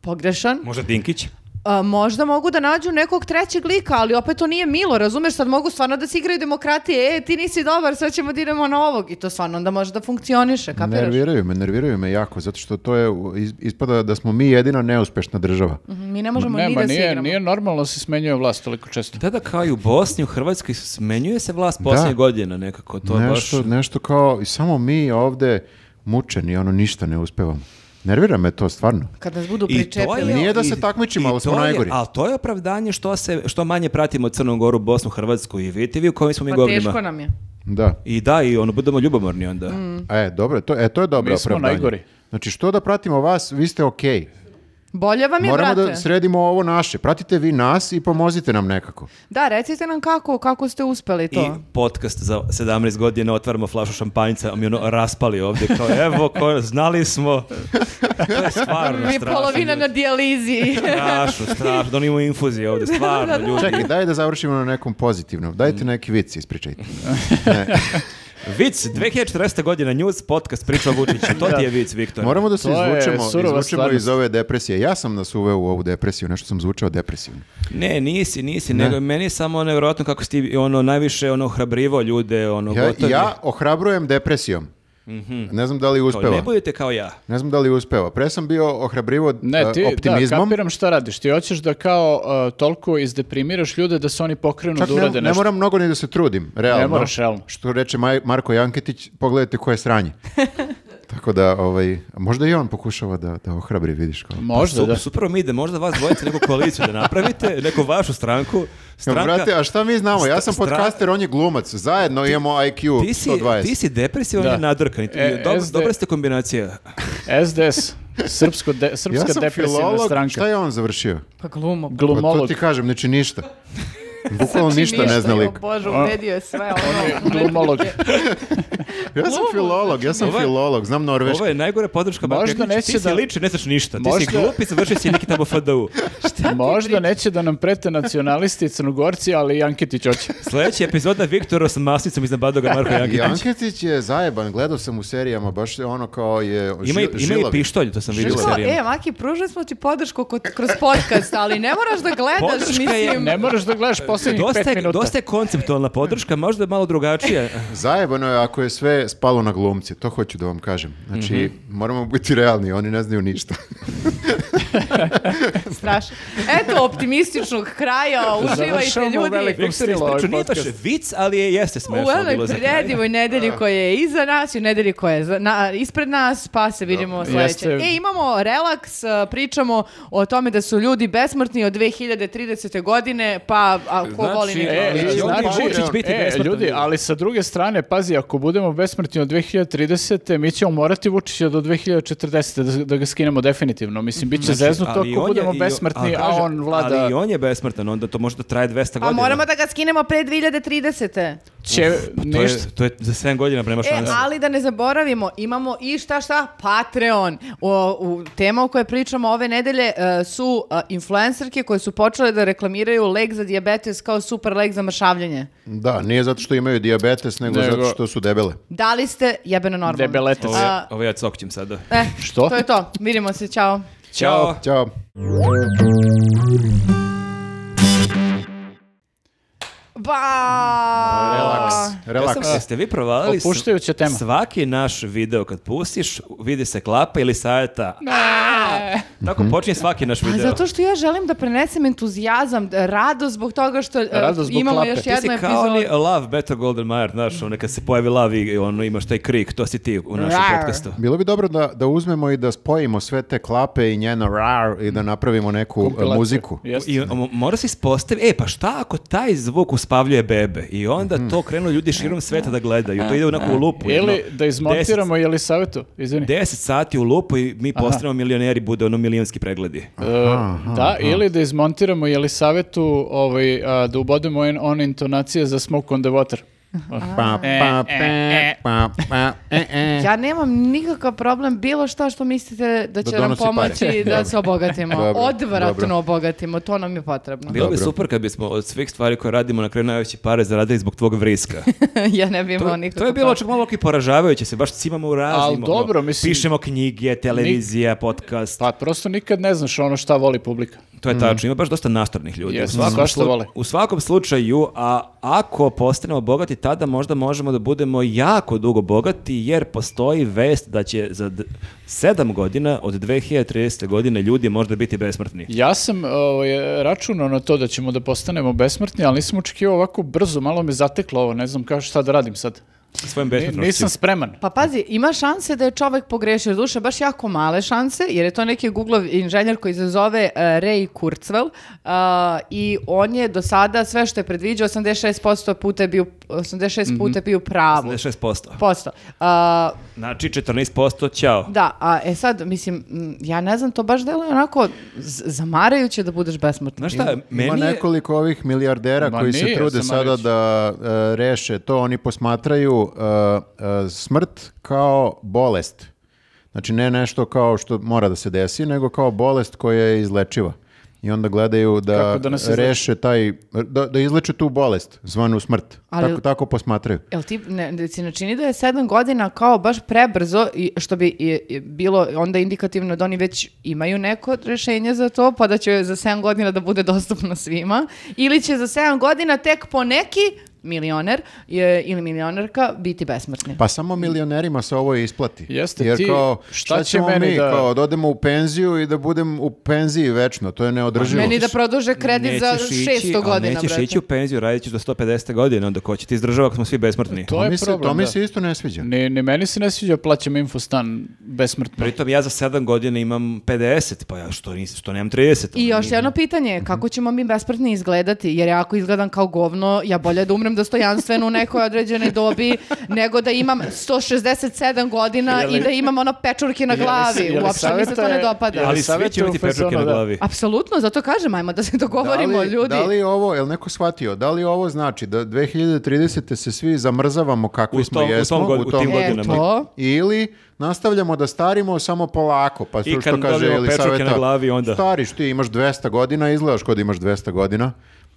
C: pogrešan,
D: Možda Dinkić?
C: a, možda mogu da nađu nekog trećeg lika, ali opet to nije milo, razumeš, sad mogu stvarno da se igraju demokratije, e, ti nisi dobar, sve ćemo da idemo na ovog i to stvarno onda može da funkcioniše, kapiraš?
B: Nerviraju me, nerviraju me jako, zato što to je, iz- ispada da smo mi jedina neuspešna država.
C: Mhm, Mi ne možemo ni
A: Nema,
C: da se
A: nije,
C: igramo.
A: nije normalno da se smenjuje vlast toliko često.
D: Da, da, kao i u Bosni, u Hrvatskoj smenjuje se vlast posljednje godina nekako. To je baš...
B: nešto, nešto kao, i samo mi ovde mučeni, ono, ništa ne uspevamo. Nervira me to, stvarno.
C: Kad nas budu
D: I to je-
C: pričepili.
B: Nije da se
D: i-
B: takmičimo,
D: i
B: ali smo
D: to je-
B: najgori.
D: Ali to je opravdanje što, se, što manje pratimo Crnu Goru, Bosnu, Hrvatsku i vidite vi u kojim smo mi
C: Pa
D: govnima.
C: teško Mm. nam je.
B: Da.
D: I da, i ono, budemo ljubomorni onda.
B: E, dobro, to, e, to je dobro
A: Mi smo
B: opravdanje.
A: najgori.
B: Znači, što da pratimo vas, vi ste okej.
C: Bolje vam je,
B: Moramo
C: brate.
B: da sredimo ovo naše. Pratite vi nas i pomozite nam nekako.
C: Da, recite nam kako, kako ste uspeli
D: I
C: to.
D: podcast za 17 godina otvaramo flašu šampanjca, a mi ono raspali ovdje kao evo, ko, znali smo. To je stvarno
C: Mi je
D: strašno.
C: polovina na dijalizi.
D: Strašno, strašno, da oni imaju infuzije ovdje, stvarno ljudi.
B: Čekaj, daj da završimo na nekom pozitivnom. Dajte neki vic, ispričajte.
D: Vic, 2040. godina, news podcast, priča o Vučiću, to ti je vic, Viktor.
B: Moramo da
A: To
B: se
A: je
B: izvučemo,
A: surova
B: izvučemo iz
A: stvarnost.
B: ove depresije. Ja sam nas uveo u ovu depresiju, nešto sam zvučao depresivno.
D: Ne, nisi, nisi, nego je meni samo nevjerojatno kako si ti ono, najviše ono, hrabrivo ljude,
A: Pa
D: ono,
B: Ja,
D: gotovi.
B: ja ohrabrujem depresijom.
A: Mhm.
B: Ne znam da li
D: Kao,
B: uspeva.
D: Ne budete kao ja.
B: Ne znam da li uspeva. Pre sam bio ohrabrivo
A: Ne,
B: e,
A: ti, da,
B: optimizmom.
A: kapiram šta radiš. Ti hoćeš da kao e, toliko izdeprimiraš ljude da se oni pokrenu
B: Čak
A: da
B: ne,
A: urade
B: ne
A: nešto.
B: moram mnogo ni da se trudim, realno.
A: Ne moraš, realno.
B: Što reče Maj- Marko Janketić, pogledajte koje
D: <laughs>
B: sranje. Tako da, ovaj, možda i on pokušava da, da ohrabri, vidiš kao.
A: Možda,
D: Sup-
A: da.
D: Super vam ide, možda vas dvojice neku koaliciju da napravite, neku vašu stranku.
B: Ja,
D: Stranka,
B: brate, a šta mi znamo? Ja sam
D: Stra- stra-
B: podcaster, on je glumac. Zajedno imamo IQ
D: ti si,
B: 120.
D: ti si depresivan
A: Da.
D: i nadrkan. I to-
A: E,
D: dob-
A: SD.
D: Dobra ste kombinacija.
A: SDS, Srpsko de- Srpska
B: ja sam
A: depresivna
B: filolog,
A: stranka.
B: šta je on završio?
C: pa glumo.
B: Pa to
A: Glumolog.
D: <laughs>
B: ti kažem, znači ništa. Bukvalno
C: Znači,
B: ništa ne zna lik.
C: joj, Bože, uvredio je sve ono.
A: On je
B: <laughs>
A: glumolog.
B: Ja sam filolog, ja sam
D: Ovo je-
B: filolog, znam norveški.
D: Ovo je najgore podrška Marka
A: Možda
D: Jaklića.
A: neće
D: Ti si
A: da-
D: liči, ne znaš ništa. Ti si
A: Možda-
D: glup i završio si neki tamo FDU.
A: <laughs> Možda neće da nam prete nacionalisti i crnogorci, ali i Anketić hoće.
D: Sljedeća epizoda Viktora s masnicom iznad Badoga Marko
B: I
D: Jankitić.
B: Anketić je zajeban, gledao sam u serijama, baš je ono kao je
D: Ima, i-
B: žil-
D: ima i
B: žilavi.
D: pištolj, to sam vidio u
B: Žilavi.
C: Kao,
D: serijama.
C: e, Maki, pružili smo ti podršku kod, kroz podcast, ali ne moraš da gledaš,
D: Podrška je-
C: mislim.
A: Ne moraš da
D: <laughs>
A: gledaš posljednjih pet
D: Dosta je,
A: minuta.
D: dosta je konceptualna podrška, možda je malo
A: <laughs>
D: drugačija.
B: Zajebano je ako je sve spalo na glumci, to hoću da vam kažem. Znači, moramo biti realni, oni ne znaju ništa.
C: Strašno. Eto, optimističnog kraja, uživajte
A: Završavamo u
C: ljudi.
A: velikom
D: Viktor je
A: stilu ovaj
D: ispričao, nije baš
A: podcast.
D: vic, ali je, jeste
C: U
D: smešno bilo
C: ovoj
D: za kraj.
C: predivoj nedelji koja je iza nas i u nedelji koja je za- na, ispred nas, pa se vidimo
A: Jeste.
C: sledeće. E, imamo relaks, a, pričamo o tome da su ljudi besmrtni od 2030. godine, pa a, ko
D: Znači,
C: voli nek-
A: E,
B: Ali će
A: znači,
B: opet Vučić
D: biti
A: e,
D: besmrtan,
A: ljudi,
D: ljudi.
A: ali sa druge strane, pazi, ako budemo besmrtni od 2030. mi ćemo morati Vučića do 2040. da, da ga skinemo definitivno. Mislim, bit će zeznuto
D: Znači, Ali
A: ako
D: on je-
A: budemo
D: i-
A: besmrtni, a
D: kaže,
A: on vlada...
D: Ali i on je besmrtan, onda to možda traje 200
C: Pa
D: godina.
C: moramo da ga skinemo pre 2030.
A: će
D: To
A: ništa.
D: je, to je za 7 godina prema
C: E,
D: šansa.
C: ali da ne zaboravimo, imamo i šta šta, Patreon. O, u, tema o kojoj pričamo ove nedelje e, su e, influencerke koje su počele da reklamiraju lek za dijabetes kao super lek za mršavljenje.
B: <laughs> Da, nije zato što imaju dijabetes, nego,
A: Nego-
B: zato što su debele.
C: Da li ste jebeno normalni?
A: Debeletac.
D: Ovo, ja,
C: a-
D: ovo ja cokćem sada.
C: E,
A: Što?
C: To je to. Vidimo se, čao.
D: Ćao!
B: Ćao.
C: Ba!
B: Relaks. Relaks.
D: Ja sam, jeste vi provalili? s-
A: Opuštajuća tema.
D: Svaki naš video kad pustiš, vidi se klapa ili sajeta. Tako počinje svaki naš
C: Pa
D: video.
C: zato što ja želim da prenesem entuzijazam, e, radost zbog toga što e,
A: Radost zbog
C: imamo
A: klape.
C: još
D: Ti si
C: jednu
D: kao
C: epizodu.
D: oni Love, Better Golden Mayer, znaš, ono kad se pojavi Love i ono imaš taj krik, to si ti u našem
C: Rar.
D: podcastu.
B: Bilo bi dobro da, da uzmemo i da spojimo sve te klape i njeno rar i da napravimo neku
A: Kompilaciju.
B: e, muziku.
A: Jeste.
D: I mo- mora se ispostaviti, e pa šta ako taj zvuk uspavljuje bebe i onda to krenu ljudi
C: E,
D: širom sveta da gledaju, to ide onako u lupu.
A: Mhm. E, Ili
D: jedno
A: da izmontiramo ili savjetu, izvini.
D: 10, 10 sati u lupu i mi postanemo milioneri, bude ono milijonski pregledi.
A: E, da, ili da izmontiramo Jelisavetu ovaj, a, da ubodemo on, one intonacije za Smoke on the Water.
B: Pa, pa, pe, pa, pa, e, e.
C: Ja nemam nikakav problem bilo šta što mislite da će nam
B: donosi
C: pomoći
B: pare.
C: da
B: Dobro.
C: se obogatimo.
B: Dobro,
C: Odvratno
B: dobro.
C: obogatimo, to nam je potrebno.
D: Bilo bi
B: Dobro.
D: super kad bismo od svih stvari koje radimo na kraju najveće pare zaradili zbog tvog <laughs> vriska.
C: <laughs> ja ne bi imao
D: To,
C: nikakav
D: to je bilo
C: problem.
D: čak malo i poražavajuće se, baš cimamo u raznim.
A: Al
D: ono,
A: dobro, mislim-
D: Pišemo knjige, televizija, podcast.
A: Pa prosto nikad ne znaš ono šta voli publika.
D: To je tačno, ima baš dosta nastornih ljudi.
A: Jeste,
D: u, svakom
A: svašta vole.
D: u svakom slučaju, a ako postanemo bogati, tada možda možemo da budemo jako dugo bogati, jer postoji vest da će za d- sedam godina, od 2030. godine, ljudi možda biti besmrtni.
A: Ja sam ovaj, računao na to da ćemo da postanemo besmrtni, ali nisam očekivao ovako brzo, malo me zateklo ovo, ne znam kao šta da radim sad.
D: Sa svojom
A: Ni-
D: besmrtnošću.
A: Nisam spreman.
C: Pa pazi, ima šanse da je čovek pogrešio duše, baš jako male šanse, jer je to neki Google inženjer koji se zove uh, Ray Kurzweil uh, i on je do sada sve što je predviđao 86% puta je bio 86 puta je bio u pravu.
D: 56%.
C: Posto. Uh,
D: Znači 14%, ćao.
C: da, a e sad, mislim, m, ja ne znam, to baš deluje onako z- zamarajuće da budeš besmrtna.
D: Znaš šta,
B: Ima
D: meni je...
B: nekoliko ovih milijardera
A: Ma
B: koji se
A: nije,
B: trude
A: Samarić.
B: sada da e, reše to. Oni posmatraju e, e, smrt kao bolest. Znači ne nešto kao što mora da se desi, nego kao bolest koja je izlečiva. I onda gledaju da,
A: Kako da nas izleče?
B: reše taj, da, da izleče tu bolest, zvanu smrt.
C: Ali-
B: Tako, tako posmatraju.
C: Jel ti ne, ne, si ne čini da je sedam godina kao baš prebrzo i što bi i- i bilo onda indikativno da oni već imaju neko rješenje za to pa da će za sedam godina da bude dostupno svima ili će za sedam godina tek po neki milioner je, ili milionerka biti besmrtni.
B: Pa samo milionerima se ovo isplati.
A: Jeste,
B: Jer
A: ti-
B: kao, šta,
A: šta će
B: ćemo
A: meni
B: mi?
A: da-
B: Kao, da odemo u penziju i da budem u penziji večno. To je neodrživo.
C: Meni da produže kredit za
D: Nećeš ići,
C: 600
D: ali
C: godina,
D: Nećeš
C: brate.
D: ići u penziju, radit ćeš do 150 godina, onda ko će ti izdržava ako smo svi besmrtni.
A: To je
B: mi se,
A: problem,
B: to mi
A: da.
B: se isto ne sviđa.
A: Ni, ni meni se ne sviđa, plaćam infostan besmrtno.
D: Pritom ja za 7 godina imam 50, pa ja što, nis, što nemam 30.
C: I
D: ono,
B: Mhm.
C: još jedno pitanje, kako ćemo mi besmrtni izgledati? Jer ja ako izgledam kao govno, ja bolje da umrem budem dostojanstvena u nekoj određenoj dobi, nego da imam 167 godina i da imam ono pečurke na glavi. Uopšte mi se to ne dopada.
D: Ali svi će
A: savjetuje
D: imati
A: u fazonu,
D: pečurke na
A: da.
D: glavi.
C: Apsolutno, zato kažem, ajmo da se dogovorimo,
B: da li,
C: ljudi.
B: Da li ovo, jel neko shvatio, da li ovo znači da 2030. se svi zamrzavamo kakvi
D: U
B: smo
D: tom- u tom
B: jesmo
D: god- u tim
C: E,
D: godinama.
C: to.
B: Ili nastavljamo da starimo samo polako, pa
D: I
B: što,
D: kad
B: što kaže
D: dobijemo
B: Elisaveta,
D: pečurke na glavi, onda.
B: Stariš ti, imaš 200 godina, izgledaš kod imaš 200 godina.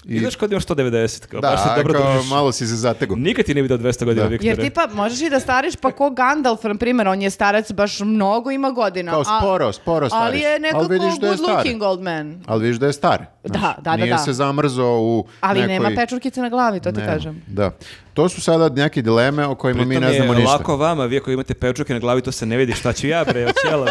B: I,
D: Ideš kod imaš 190, kao,
B: da,
D: baš se
B: a
D: dobro
B: kao
D: držiš.
B: malo si se zategu.
D: Nikad ti ne bi dao 200 godina,
B: Da.
D: Viktore.
C: Jer tipa, možeš i da stariš, pa ko Gandalf, na primjer, on je starac baš mnogo ima godina.
B: Kao
C: a-
B: sporo, sporo stariš.
C: Ali je nekako
B: vidiš da je
C: good
B: star.
C: looking old man.
B: Ali vidiš da je star.
C: Da,
B: znaš,
C: da, da,
B: Nije
C: da.
B: se zamrzao u
C: Ali
B: nekoj...
C: nema pečurkice na glavi, to ti
B: Nema,
C: kažem.
B: Da. To su sada neke dileme o kojima mi
D: Pritom
B: ne
D: je
B: znamo ništa.
D: lako vama, vi ako imate pečuke na glavi, to se ne vidi šta ću ja bre, od
B: <laughs>
D: ćela.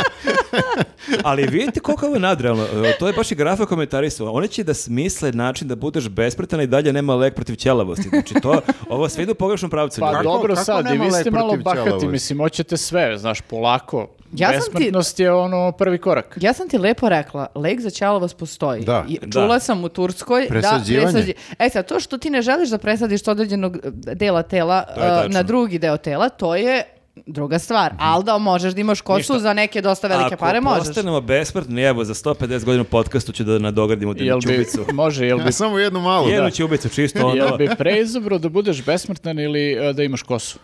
D: Ali vidite koliko je ovo nadrealno. E, To je baš i grafa komentarisao. Oni će da smisle način da budeš bespretan i dalje nema lek protiv ćelavosti. Znači to, ovo sve ide u pogrešnom pravcu.
A: Pa
D: ljudi.
A: dobro
B: kako
A: sad, i
B: nema
A: vi ste
B: lek
A: malo
B: protiv
A: bahati,
B: ćelavosti?
A: mislim, hoćete sve, znaš, polako.
C: Ja sam ti-
A: Besmrtnost je ono prvi korak.
C: Ja sam ti lepo rekla, lek za ćelavost postoji.
B: Da.
C: I
D: Da.
C: čula sam u Turskoj
B: Presađivanje.
C: da presađi- E sad, to što ti ne želiš da presadiš određenog eh, dela tela
D: To je
C: eh,
D: tačno. Mhm.
C: na drugi deo tela, to je druga stvar. Al da možeš da imaš kosu
D: Ništa.
C: za neke dosta velike pare,
D: Ako
C: možeš.
D: postanemo besmrtni, evo, za 150 godina u podcastu ću da nadogradimo jednu
A: Jel bi, <laughs>
D: čubicu.
A: može, jel bi,
B: Ja, samo jednu malu.
D: Jednu čubicu, čisto ono.
A: jel bi preizabro da budeš besmrtan ili e, da imaš kosu?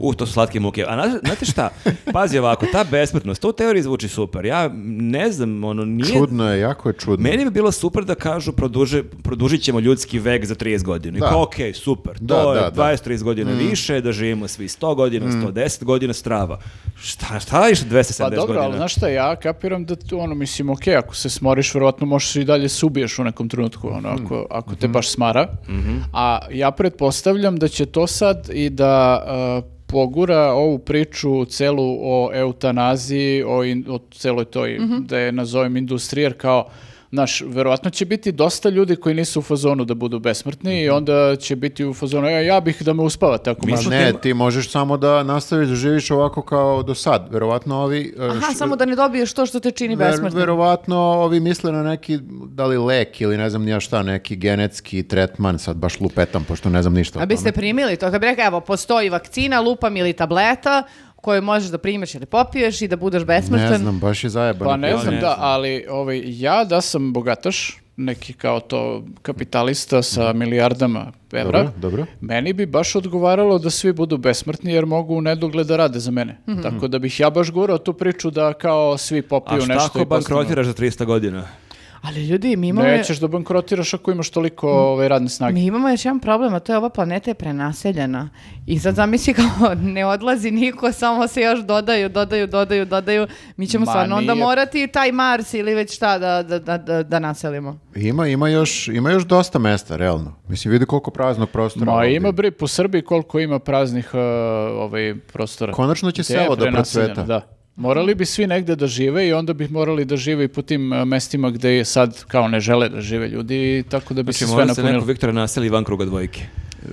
D: U, to su slatke muke. A na- znate šta? Pazi ovako, ta besmrtnost, to u teoriji zvuči super. Ja ne znam, ono, nije...
B: Čudno je, jako je čudno.
D: Meni bi bilo super da kažu produže, produžit ćemo ljudski vek za 30 godina.
B: Da.
D: Da. Ok, super, to
B: Da,
D: je
B: da, da.
D: 20-30 godina
A: Mm.
D: više, da živimo svi 100 godina, 110 godina, strava. Šta, šta je 270
A: Pa dobro,
D: godina?
A: ali znaš šta, ja kapiram da tu, ono, mislim, okej, ako se smoriš, vjerojatno možeš i dalje se ubiješ u nekom trenutku, ono, ako, ako te baš smara. A ja pretpostavljam da će to sad i da e, pogura ovu priču celu o eutanaziji, o, in, o celoj toj, da je nazovem industriji, jer kao, Znaš, verovatno će biti dosta ljudi koji nisu u fazonu da budu besmrtni i onda će biti u fazonu, "E, ja bih da me uspavate ako
B: Ma
A: možete."
B: ne, ti možeš samo da nastaviš da živiš ovako kao do sad. Verovatno ovi... e,
C: Aha,
B: š-
C: samo da ne dobiješ to što te čini
B: ver-
C: besmrtnim.
B: verovatno ovi misle na neki, da li lek ili ne znam ni ja šta, neki genetski tretman, sad baš lupetam, pošto ne znam ništa. o
C: A biste
B: tome.
C: primili to? Kad bi rekao, evo, postoji vakcina, lupam ili tableta koju možeš da primiš ili popiješ i da budeš besmrtan.
B: Ne znam, baš je zajebano.
A: Pa ne
D: Ja
A: znam,
D: ne
A: da,
D: znam.
A: ali ovaj, ja da sam bogataš, neki kao to kapitalista sa
D: Mhm.
A: milijardama evra,
B: Dobro, dobro.
A: meni bi baš odgovaralo da svi budu besmrtni jer mogu u nedogled da rade za mene. Tako da bih ja baš gurao tu priču da kao svi
D: A
A: popiju
D: šta
A: nešto
D: ako
A: i postanu.
D: bankrotiraš za 300 godina?
C: Ali ljudi, mi imamo...
A: Nećeš da bankrotiraš ako imaš toliko ovaj, radne snage.
C: Mi imamo još jedan problem, a to je ova planeta je prenaseljena. I sad zamisli kao <laughs> ne odlazi niko, samo se još dodaju, dodaju, dodaju, dodaju. Mi ćemo
A: Ma,
C: stvarno onda
A: nije-
C: morati i taj Mars ili već šta da, da, da, da, da naselimo.
B: Ima, ima, još, ima još dosta mesta, realno. Mislim, vidi koliko praznog prostora.
A: Ma
B: ovdje.
A: ima bre po Srbiji koliko ima praznih e, ovaj, prostora.
B: Konačno će
A: Gde je
B: selo da
A: prenaseljeno,
B: procveta.
A: Da. Morali bi svi negde da žive i onda bi morali da žive i po tim e, mestima gde je sad kao ne žele da žive ljudi i tako da bi
D: Znači,
A: se sve
D: možda se neko
A: napunilo.
D: Viktora naseli van kruga dvojke.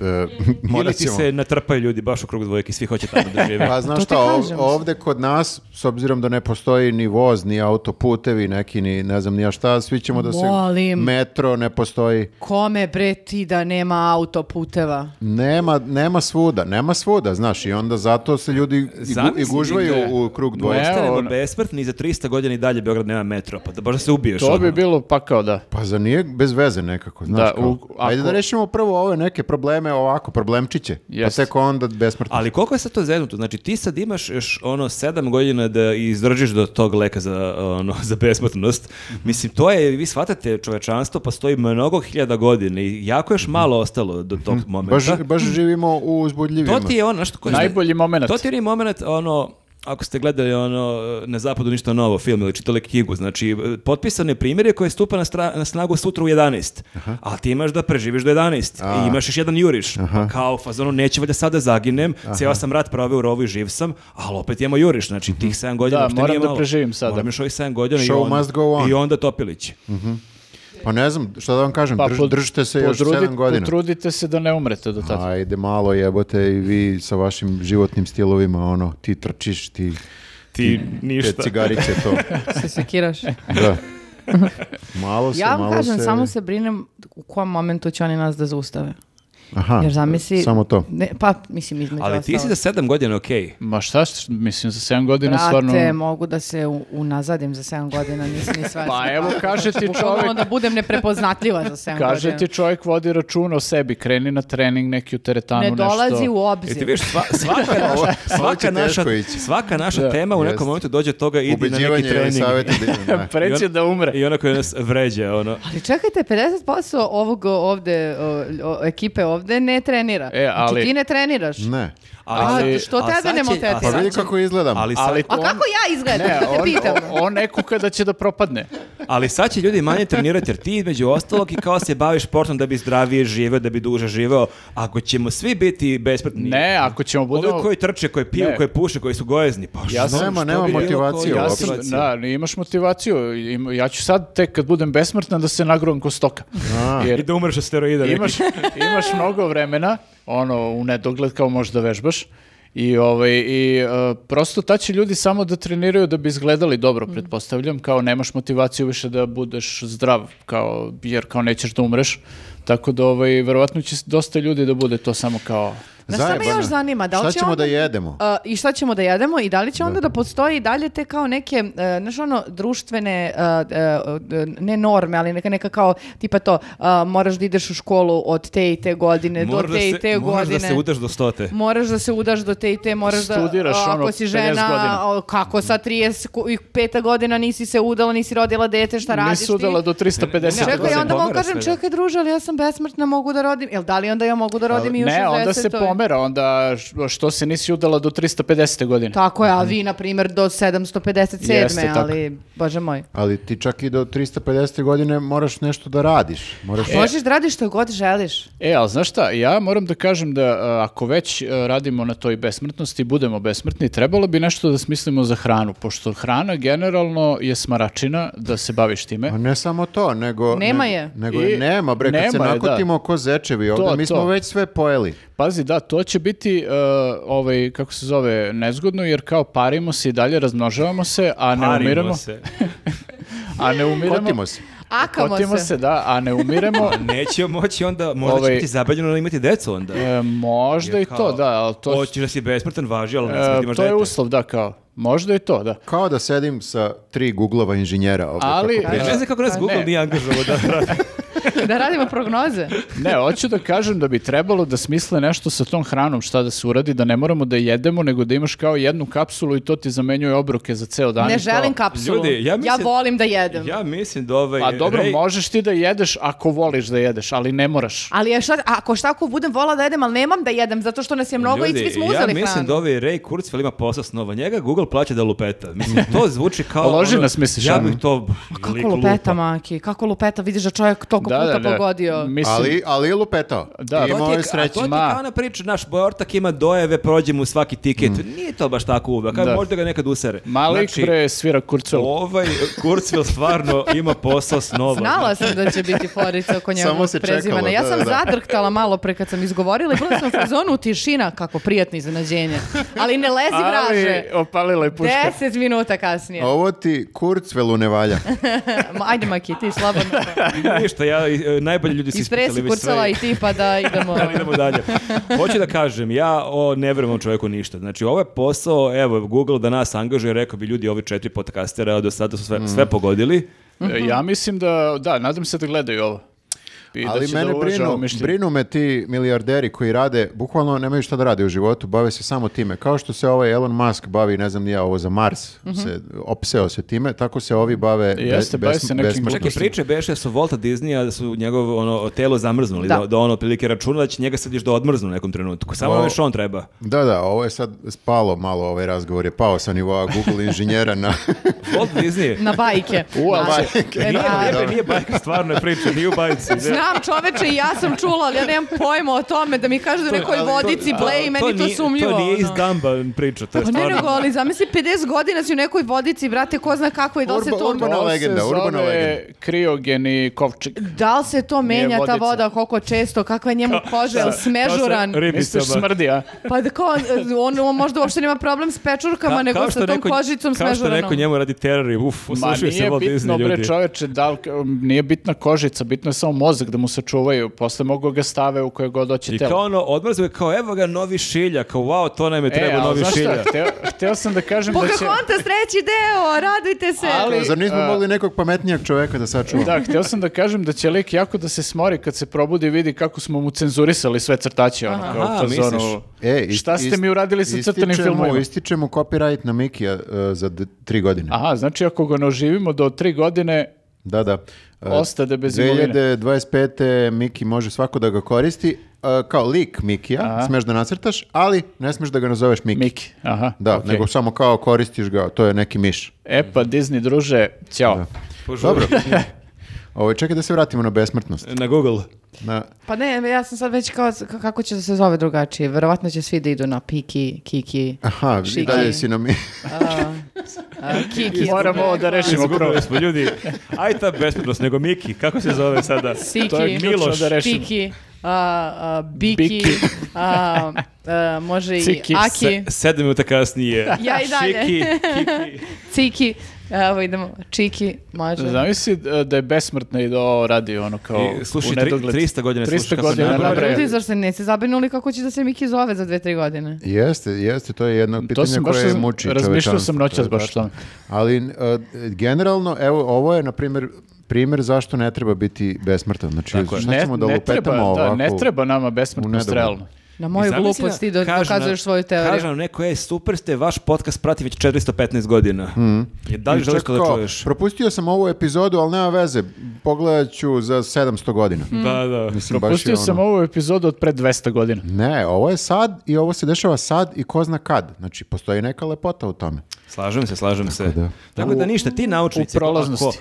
B: E, <laughs> morat
D: Ili ti
B: ćemo.
D: se natrpaju ljudi baš u krug dvojke, svi hoće tamo
A: <laughs>
D: da žive.
B: Pa znaš
C: E, To ti
B: šta, ov-
C: kažem.
B: ovde kod nas, s obzirom da ne postoji ni voz, ni autoputevi, neki, ni ne znam ni ja šta, svi ćemo da se...
C: Molim.
B: Metro ne postoji.
C: Kome bre ti da nema autoputeva?
B: Nema, nema svuda, nema svuda, znaš, i onda zato se ljudi i, gu-
D: Zamisli,
B: i gužvaju
D: Viktor,
B: u krug
A: Ne,
B: dvoje.
D: Ostanemo
A: ono-
D: besmrtni i za 300 godina i dalje Beograd nema metro, pa da baš da se ubiješ.
A: To bi
D: ono.
A: bilo pakao da.
B: Pa za nije bez veze nekako, znaš
A: Da,
B: kao.
A: u-
B: Ajde
A: ako-
B: da rešimo prvo ove neke probleme ovako, problemčiće, pa
A: Jeste.
B: tek onda besmrtno.
D: Ali koliko je sad to zeznuto? Znači ti sad imaš još ono sedam godina da izdržiš do tog leka za, ono, <laughs> za besmrtnost. Mislim, to je, vi shvatate, čovečanstvo postoji mnogo hiljada godina i jako je još malo ostalo do tog momenta.
B: Baš, baš živimo u uzbudljivima.
D: to ti je ono što... ko-
A: Najbolji moment.
D: To ti je onaj moment, ono, ako ste gledali ono na zapadu ništa novo film ili čitali knjigu, znači potpisane primjere koje stupa na, stra- na snagu sutra u 11, a ti imaš da preživiš do 11 i imaš još jedan juriš, pa kao fazonu neće valjda sada zaginem, cijela sam rat proveo u rovu i živ sam, ali opet imamo juriš, znači tih 7 godina
A: Mhm. Da,
D: uopšte
A: moram
D: nije
A: da
D: malo.
A: preživim sada.
D: Moram još ovih 7 godina i
B: Show
D: onda,
B: must go on.
D: i onda Topilić.
B: Pa ne znam, šta da vam kažem,
A: Pa
B: drž-
A: pod-
B: držite se još
A: podrudi-
B: 7 godina.
A: Potrudite se da ne umrete do tada.
B: Ajde malo jebote i vi sa vašim životnim stilovima, ono, ti trčiš, ti,
D: Ti
B: te
D: ništa.
B: cigarice to.
C: <laughs>
D: <laughs>
C: Se sekiraš?
B: Da. Malo se,
C: ja vam
B: malo
C: kažem,
B: se...
C: samo se brinem u kom momentu će oni nas da zaustave.
B: Aha,
C: Jer zamisli...
B: samo to.
C: Ne, pa, mislim, između
D: Ali ti si za sedam godina okej.
A: Ma šta, s- mislim, za 7 godina
C: Brate,
A: stvarno...
C: mogu da se u- unazadim za 7 godina, nisam ni sve.
A: Pa evo, kaže ti čovjek,
C: da budem neprepoznatljiva za 7 godina.
A: kaže ti čovjek vodi račun o sebi, kreni na trening neki u teretanu,
C: Ne
A: nešto.
C: dolazi u
D: Jer
C: obzir.
D: ti vidiš,
B: <laughs>
D: sva- svaka naša, svaka naša,
B: teško ići.
D: svaka naša tema u
B: jest.
D: nekom momentu dođe od toga idi na neki
B: Ubeđivanje je
D: trening. <laughs> Pa
B: savjet. da-
D: I on-
A: Preći da umre.
D: I onako nas vređa, ono.
C: Ali čekajte, 50% ovog ovde, o, o, ekipe ovde ne trenira.
A: E, ali-
C: Znači ti ne treniraš.
B: Ne.
A: Ali-
C: A što
D: a
C: tebe
D: sad
C: ne
D: će-
C: motetira?
D: a
B: Pa
D: sad
B: vidi
D: će-
B: kako izgledam.
D: Ali, sad,
A: Ali
C: A
A: on-
C: kako <laughs> ja izgledam?
A: Ne,
C: Ne, te
A: on,
C: pitam.
A: on, on ne kuka da će da propadne.
D: ali sad će ljudi manje trenirati jer ti između ostalog i kao se baviš sportom da bi zdravije živeo, da bi duže živeo. Ako ćemo svi biti besplatni,
A: Ne, ako ćemo
D: ovi
A: budemo...
D: koji trče, koji piju,
A: Ne.
D: koji puše, koji su gojezni, pa
A: Ja
D: što-
A: sam-
B: Nema-
D: što
B: nema
D: bi bilo
B: motivacije
D: koji-
A: Ja
B: uopšte.
A: sam, da, imaš motivaciju. Im- Ja ću sad tek kad budem besmrtna da se nagrovam ko stoka. <laughs>
D: I
A: Jer
D: da umreš od steroida. neki.
A: imaš, imaš mnogo vremena, ono, u nedogled kao možeš da vežbaš. I, ovaj, i e, prosto ta će ljudi samo da treniraju da bi izgledali
C: Mm.
A: dobro, pretpostavljam, kao nemaš motivaciju više da budeš zdrav, kao, jer kao nećeš da umreš. Tako da, ovaj, verovatno će dosta ljudi da bude to samo kao...
C: Znaš šta me
B: Zajebano.
C: još zanima? Da li
B: Šta
C: će
B: ćemo
C: onda-
B: da jedemo?
C: A, I šta ćemo da jedemo i da li će onda da postoji i dalje te kao neke, e, znaš ono, društvene, e, e, e, ne norme, ali neka, neka kao, tipa to, a, moraš da ideš u školu od te i te godine
D: Moraš
C: do
D: da
C: te
D: se-
C: i te
D: Moraš
C: godine.
D: da se udaš do stote.
C: Moraš da se udaš do te i te, moraš
A: Studiraš,
C: da, a, ako
A: ono,
C: si
A: 50
C: žena,
A: godina.
C: o, kako sa 35 godina nisi se udala, nisi rodila dete, šta Pa radiš
A: Nisu udala
C: ti?
A: do 350
D: Ne,
C: Čekaj,
A: godina.
C: onda mogu
D: pomera
C: kažem,
D: sve, da.
C: čekaj druže, ali ja sam besmrtna, mogu da rodim. Jel da li onda ja mogu da rodim i u 60
A: Ne, onda se pomera, onda š- što se nisi udala do 350. godine.
C: Tako je, a vi, na primjer, do 757.
A: Jeste, tako.
C: ali, bože moj.
B: Ali ti čak i do 350. godine moraš nešto da radiš. Moraš...
C: Možeš da radiš što god želiš.
A: E, ali znaš šta, ja moram da kažem da a, ako već a, radimo na toj besmrtnosti, budemo besmrtni, trebalo bi nešto da smislimo za hranu, pošto hrana generalno je smaračina, da se baviš time.
B: A Pa ne samo to, nego...
C: Nema
B: nego-
C: je.
B: Nego
A: I-
B: je nema, bre, kad se
A: nema je, da.
B: nakutimo ko zečevi ovdje,
A: To,
B: mi smo
A: to.
B: već sve pojeli.
A: Pazi, da, to će biti, e, ovaj, kako se zove, nezgodno, jer kao parimo se i dalje, razmnožavamo se, a ne
D: Parimo
A: umiremo.
D: se.
A: A ne umiremo.
B: Kotimo se.
C: Akamo
A: Kotimo
C: se.
A: se, da, a ne umiremo.
D: Pa neće moći onda, možda
A: Ovaj-
D: će biti zabranjeno imati decu onda.
A: E, možda i
D: Jer kao,
A: to, da, ali to,
D: Hoćeš da si besmrtan, važi, ali ne smiješ da
A: e,
D: imaš
A: to je
D: dete.
A: uslov, da, kao. Možda i to, da.
B: Kao da sedim sa tri Googlova inženjera ovdje.
A: Ali-
B: kako
D: Ja
B: pričam.
D: ne znam kako nas
A: A,
D: Google
A: Pa ne.
D: nije angažovao
A: <laughs>
D: da radi.
C: <laughs> Da radimo prognoze.
A: Ne, hoću da kažem da bi trebalo da smisle nešto sa tom hranom, šta da se uradi, da ne moramo da jedemo, nego da imaš kao jednu kapsulu i to ti zamenjuje obroke za ceo dan.
C: ne
A: i Pa to.
C: želim kapsulu.
D: Ljudi, ja mislim-
C: volim da jedem.
D: Ja mislim da ovaj...
A: Pa dobro,
D: Ray-
A: možeš ti da jedeš ako voliš da jedeš, ali ne moraš.
C: Ali ja šta, ako šta ako budem vola da jedem, ali nemam da jedem, zato što nas je mnogo
D: Ljudi,
C: i svi smo
D: ja
C: uzeli
D: mislim
C: hranu.
D: da ovaj Ray Kurzweil ima posao snova. Njega Google plaća da lupeta. Mislim,
A: <laughs>
D: to zvuči kao...
A: Loži
D: ono,
A: nas, misliš,
D: Ja
A: ono?
D: bih to...
C: Kako lupeta, Maki, kako lupeta, vidiš da čovjek toliko puta pogodio.
A: Mislim,
B: Ali, ali je lupetao.
A: Da.
B: I Imao je
D: sreće.
B: sreće.
D: To ti je
A: Ma.
D: kao ona priča, naš bojortak ima dojeve, prođe mu svaki tiket. Nije to baš tako uvek,
A: Mm. Da.
D: da. možda ga nekad usere.
A: malik
D: Znači,
A: bre svira kurcel.
D: Ovaj Kurzweil stvarno ima posao snova.
C: Znala sam da će biti forica oko
B: Samo
C: njegovog
B: se čekalo,
C: prezimena. ja
B: da,
C: sam
B: da, da.
C: zadrhtala malo pre kad sam izgovorila i bila sam u fazonu tišina, kako prijatno iznenađenje. Ali ne lezi vraže.
A: ali opalila je puška.
C: Deset minuta kasnije.
B: Ovo ti kurcvelu ne
A: <laughs>
B: valja.
C: Ma, Ajde, Maki, ti slobodno.
D: Ništa, ja, e, najbolji ljudi su ispitali
C: Ispresi
D: vi
C: kurcala
D: sve.
C: i ti pa da idemo.
D: <laughs> Ali idemo dalje. Hoću da kažem, ja o, ne vjerujem čovjeku ništa. Znači, ovo je posao, evo, Google da nas angažuje, rekao bi ljudi, ovi četiri podcastera do sada su sve, sve pogodili.
A: E, Ja mislim da, da, nadam se da gledaju ovo. I da
B: Ali
A: će
B: mene
A: da uvaže ovo
B: brinu,
A: mišljenje.
B: brinu me ti milijarderi koji rade, bukvalno nemaju šta da rade u životu, bave se samo time. Kao što se ovaj Elon Musk bavi, ne znam ni ja, ovo za Mars,
C: Mhm.
B: se, opseo se time, tako se ovi bave be-
A: Jeste, bave se nekim
B: besmrtnošću.
D: Čak i Pa priče beše da su Volta Disneya, da su njegov ono, telo zamrznuli,
C: Da.
D: da, da ono otprilike računa da će njega sad još da odmrznu u nekom trenutku. Samo
B: O.
D: još on treba.
B: Da, da, ovo je sad spalo malo, ovaj razgovor je pao sa nivoa Google inženjera
A: <laughs>
B: na...
D: Walt
C: <laughs>
D: Disney.
C: Na bajke.
A: U, ali-
C: Znači,
B: bajke.
C: e,
D: Nije,
C: da.
D: nije, bre, nije bajka, stvarno je priča, nije u bajci. ne.
C: Znam čoveče i ja sam čula, ali ja nemam pojma o tome da mi kažu da u nekoj vodici Blej, meni to
D: nije-
C: sumljivo.
D: To nije iz
C: ono.
D: Dumba priča, to je
C: Pa ne nego,
D: stvarno...
C: ali zamisli 50 godina si u nekoj vodici, brate, ko zna kako i da li se
B: Urba-
C: to...
B: urbana
A: Ovo se
B: legenda,
A: zove
B: urbana legenda.
A: kriogeni kovčeg.
C: Da li se to menja ta
A: vodica.
C: voda, koliko često, kakva je njemu koža, jel smežuran?
A: Misliš
D: ono,
A: smrdi, a?
C: Pa da kao, on, on možda uopšte nema problem s pečurkama, nego sa tom kožicom
D: Kao što
C: smežuranom.
D: neko njemu radi teror i uf,
A: Ma
D: uslušio se
A: nije
D: Walt
A: bitno,
D: Disney
A: bre
D: ljudi.
A: čoveče, da li, um, nije bitna kožica, bitno je samo mozak mozak da mu sačuvaju, posle mogu ga stave u koje god hoće
D: I
A: telo.
D: kao ono, odmrzuje kao evo ga novi šilja, kao wow, to nam je treba
A: E, ali
D: novi
A: znaš šta,
D: šilja.
A: <laughs> hteo, hteo sam da kažem
C: Pa
A: da će...
C: Pocahontas, treći deo, radujte se.
A: Ali-
B: Zar nismo
A: a-
B: mogli nekog pametnijeg čoveka da sačuvamo?
A: Da, hteo sam da kažem da će lik jako da se smori kad se probudi i vidi kako smo mu cenzurisali sve crtaće. Ono, kao
D: Aha,
A: u fazonu,
D: misliš?
B: E, ist-
A: šta ste
B: ist-
A: mi uradili sa crtanim
B: ističemo-
A: filmovima?
B: Ističemo copyright na Mikija e, za d- tri godine.
A: Aha, znači ako ga ne oživimo do tri godine,
B: Da, da. E,
A: Ostade bez imovine.
B: 2025. Miki može svako da ga koristi. e, kao lik Mikija, smeš da nacrtaš, ali ne smeš da ga nazoveš Miki.
A: Miki. Aha,
B: Da,
A: okej.
B: nego samo kao koristiš ga, to je neki miš.
A: E pa, Disney, druže, ćao.
B: Dobro. Ovo, Ovaj, čekaj da se vratimo na besmrtnost.
D: Na Google.
B: Na,
C: Pa ne, ja sam sad već kao, k- kako će da se zove drugačije. Verovatno će svi da idu na Piki, Kiki,
B: aha, i
C: Šiki.
B: dalje si na mi...
C: a, <laughs> Kiki.
A: Moramo ovo da rešimo prvo.
D: Izgubili smo ljudi. Aj ta besprednost, nego Miki, kako se zove sada?
C: Siki.
A: To je ključno
D: Miloš.
A: da rešimo.
C: Piki, a, a, Biki,
A: Biki.
C: a, a, može i
A: Ciki.
C: Aki,
D: Se- sedam minuta kasnije.
C: <laughs> Ja i dalje.
D: Šiki, kiki.
C: Ciki, evo idemo, Čiki, može.
A: Zamisli e, da je besmrtna i da ovo radi ono kao
D: I slušaj,
A: u
D: tri-
A: nedogled.
D: 300 godina
A: 300
D: slušaš kako
A: godina,
D: se
A: da,
D: nabraja.
A: bre.
C: Ljudi, zašto se niste zabrinuli kako će da se Miki zove za dve, tri godine?
B: Jeste, jeste, to je jedno
A: To
B: pitanje
A: sam baš
B: koje
A: sam-
B: muči
A: razmišljao sam
B: čovečanstvo, to
A: noćas
B: je
A: baš o
B: tačno.
A: tome.
B: Ali e, generalno, evo, ovo je, na primjer, primjer zašto ne treba biti besmrtan. Znači, šta
A: Ne,
B: ćemo da
A: ne
B: lupetamo
A: treba, da,
B: ovako?
A: ne treba nama
B: u
A: besmrtnost
B: nedogled?
A: realno.
C: Na moju
D: Zamisli
C: glupost ti do-
D: kaže nam-
C: dokazuješ svoju
D: Kaže
C: teoriju.
D: nam neko, je super ste, vaš podcast prati već 415 godina.
A: Mm.
D: Je, da li
B: I
D: želiš
B: čak
D: to da
B: kao,
D: čuješ?
B: Propustio sam ovu epizodu, ali nema veze. Pogledat ću za 700 godina.
D: Da, da.
B: Mislim, baš je
A: Hmm. Propustio sam
B: ono-
A: ovu epizodu od pre 200 godina.
B: Ne, ovo je sad i ovo se dešava sad i ko zna kad. Znači, postoji neka lepota u tome.
D: Slažem se, slažem se.
B: da.
D: Tako da ništa, ti naučnici,
A: u prolaznosti.
D: ako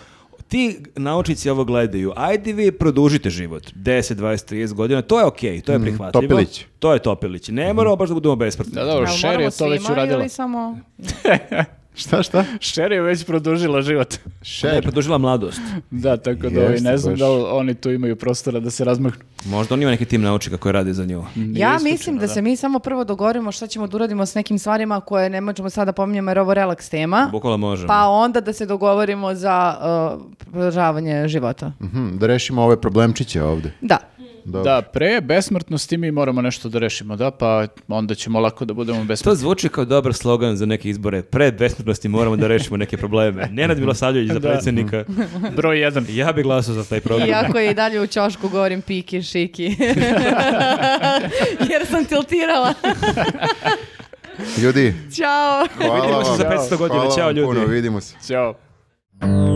D: ti naučnici ovo gledaju, ajde vi produžite život, 10, 20, 30 godina, to je okej, to je prihvatljivo.
B: Mm, topilić. Mhm.
D: To je topilić. Ne moramo baš da budemo besmrtni.
A: Da, dobro,
C: Ali
A: Sherry
C: moramo
A: je to već
C: svima
A: uradila.
C: Ili samo...
B: <laughs> Šta, šta?
A: Sherry je već produžila život.
D: Ona je
B: Šer.
D: produžila mladost.
A: <laughs> Da, tako da ovaj,
B: Jeste
A: ne znam
B: baš.
A: da li oni tu imaju prostora da se razmahnu.
D: Možda on ima neki tim naučnika koji radi za nju.
A: Mhm.
C: ja
A: isključeno,
C: mislim da,
A: da.
C: se mi samo prvo dogovorimo šta ćemo da uradimo s nekim stvarima koje ne možemo sada pominjamo jer ovo je relaks tema.
D: Bukvalno možemo.
C: Pa onda da se dogovorimo za uh, produžavanje života.
B: Mhm, da rešimo ove problemčiće ovde.
C: Da.
B: Dobro.
A: Da, pre besmrtnosti mi moramo nešto da rešimo, da, pa onda ćemo lako da budemo besmrtni.
D: To zvuči kao dobar slogan za neke izbore. Pre besmrtnosti moramo da rešimo neke probleme. Nenad Milosavljević
A: Da.
D: za
A: Mhm.
D: predsjednika.
A: Broj jedan.
D: Ja bih glasao za taj program.
C: Iako je i dalje u čošku govorim piki,
A: <laughs>
C: šiki. <laughs> Jer sam tiltirala.
B: Ljudi,
C: Ćao.
A: <laughs>
B: hvala
D: Vidimo se
B: vam.
D: za 500 godina.
B: Hvala
D: Ćao,
B: vam
D: ljudi.
B: puno, vidimo se.
A: Ćao.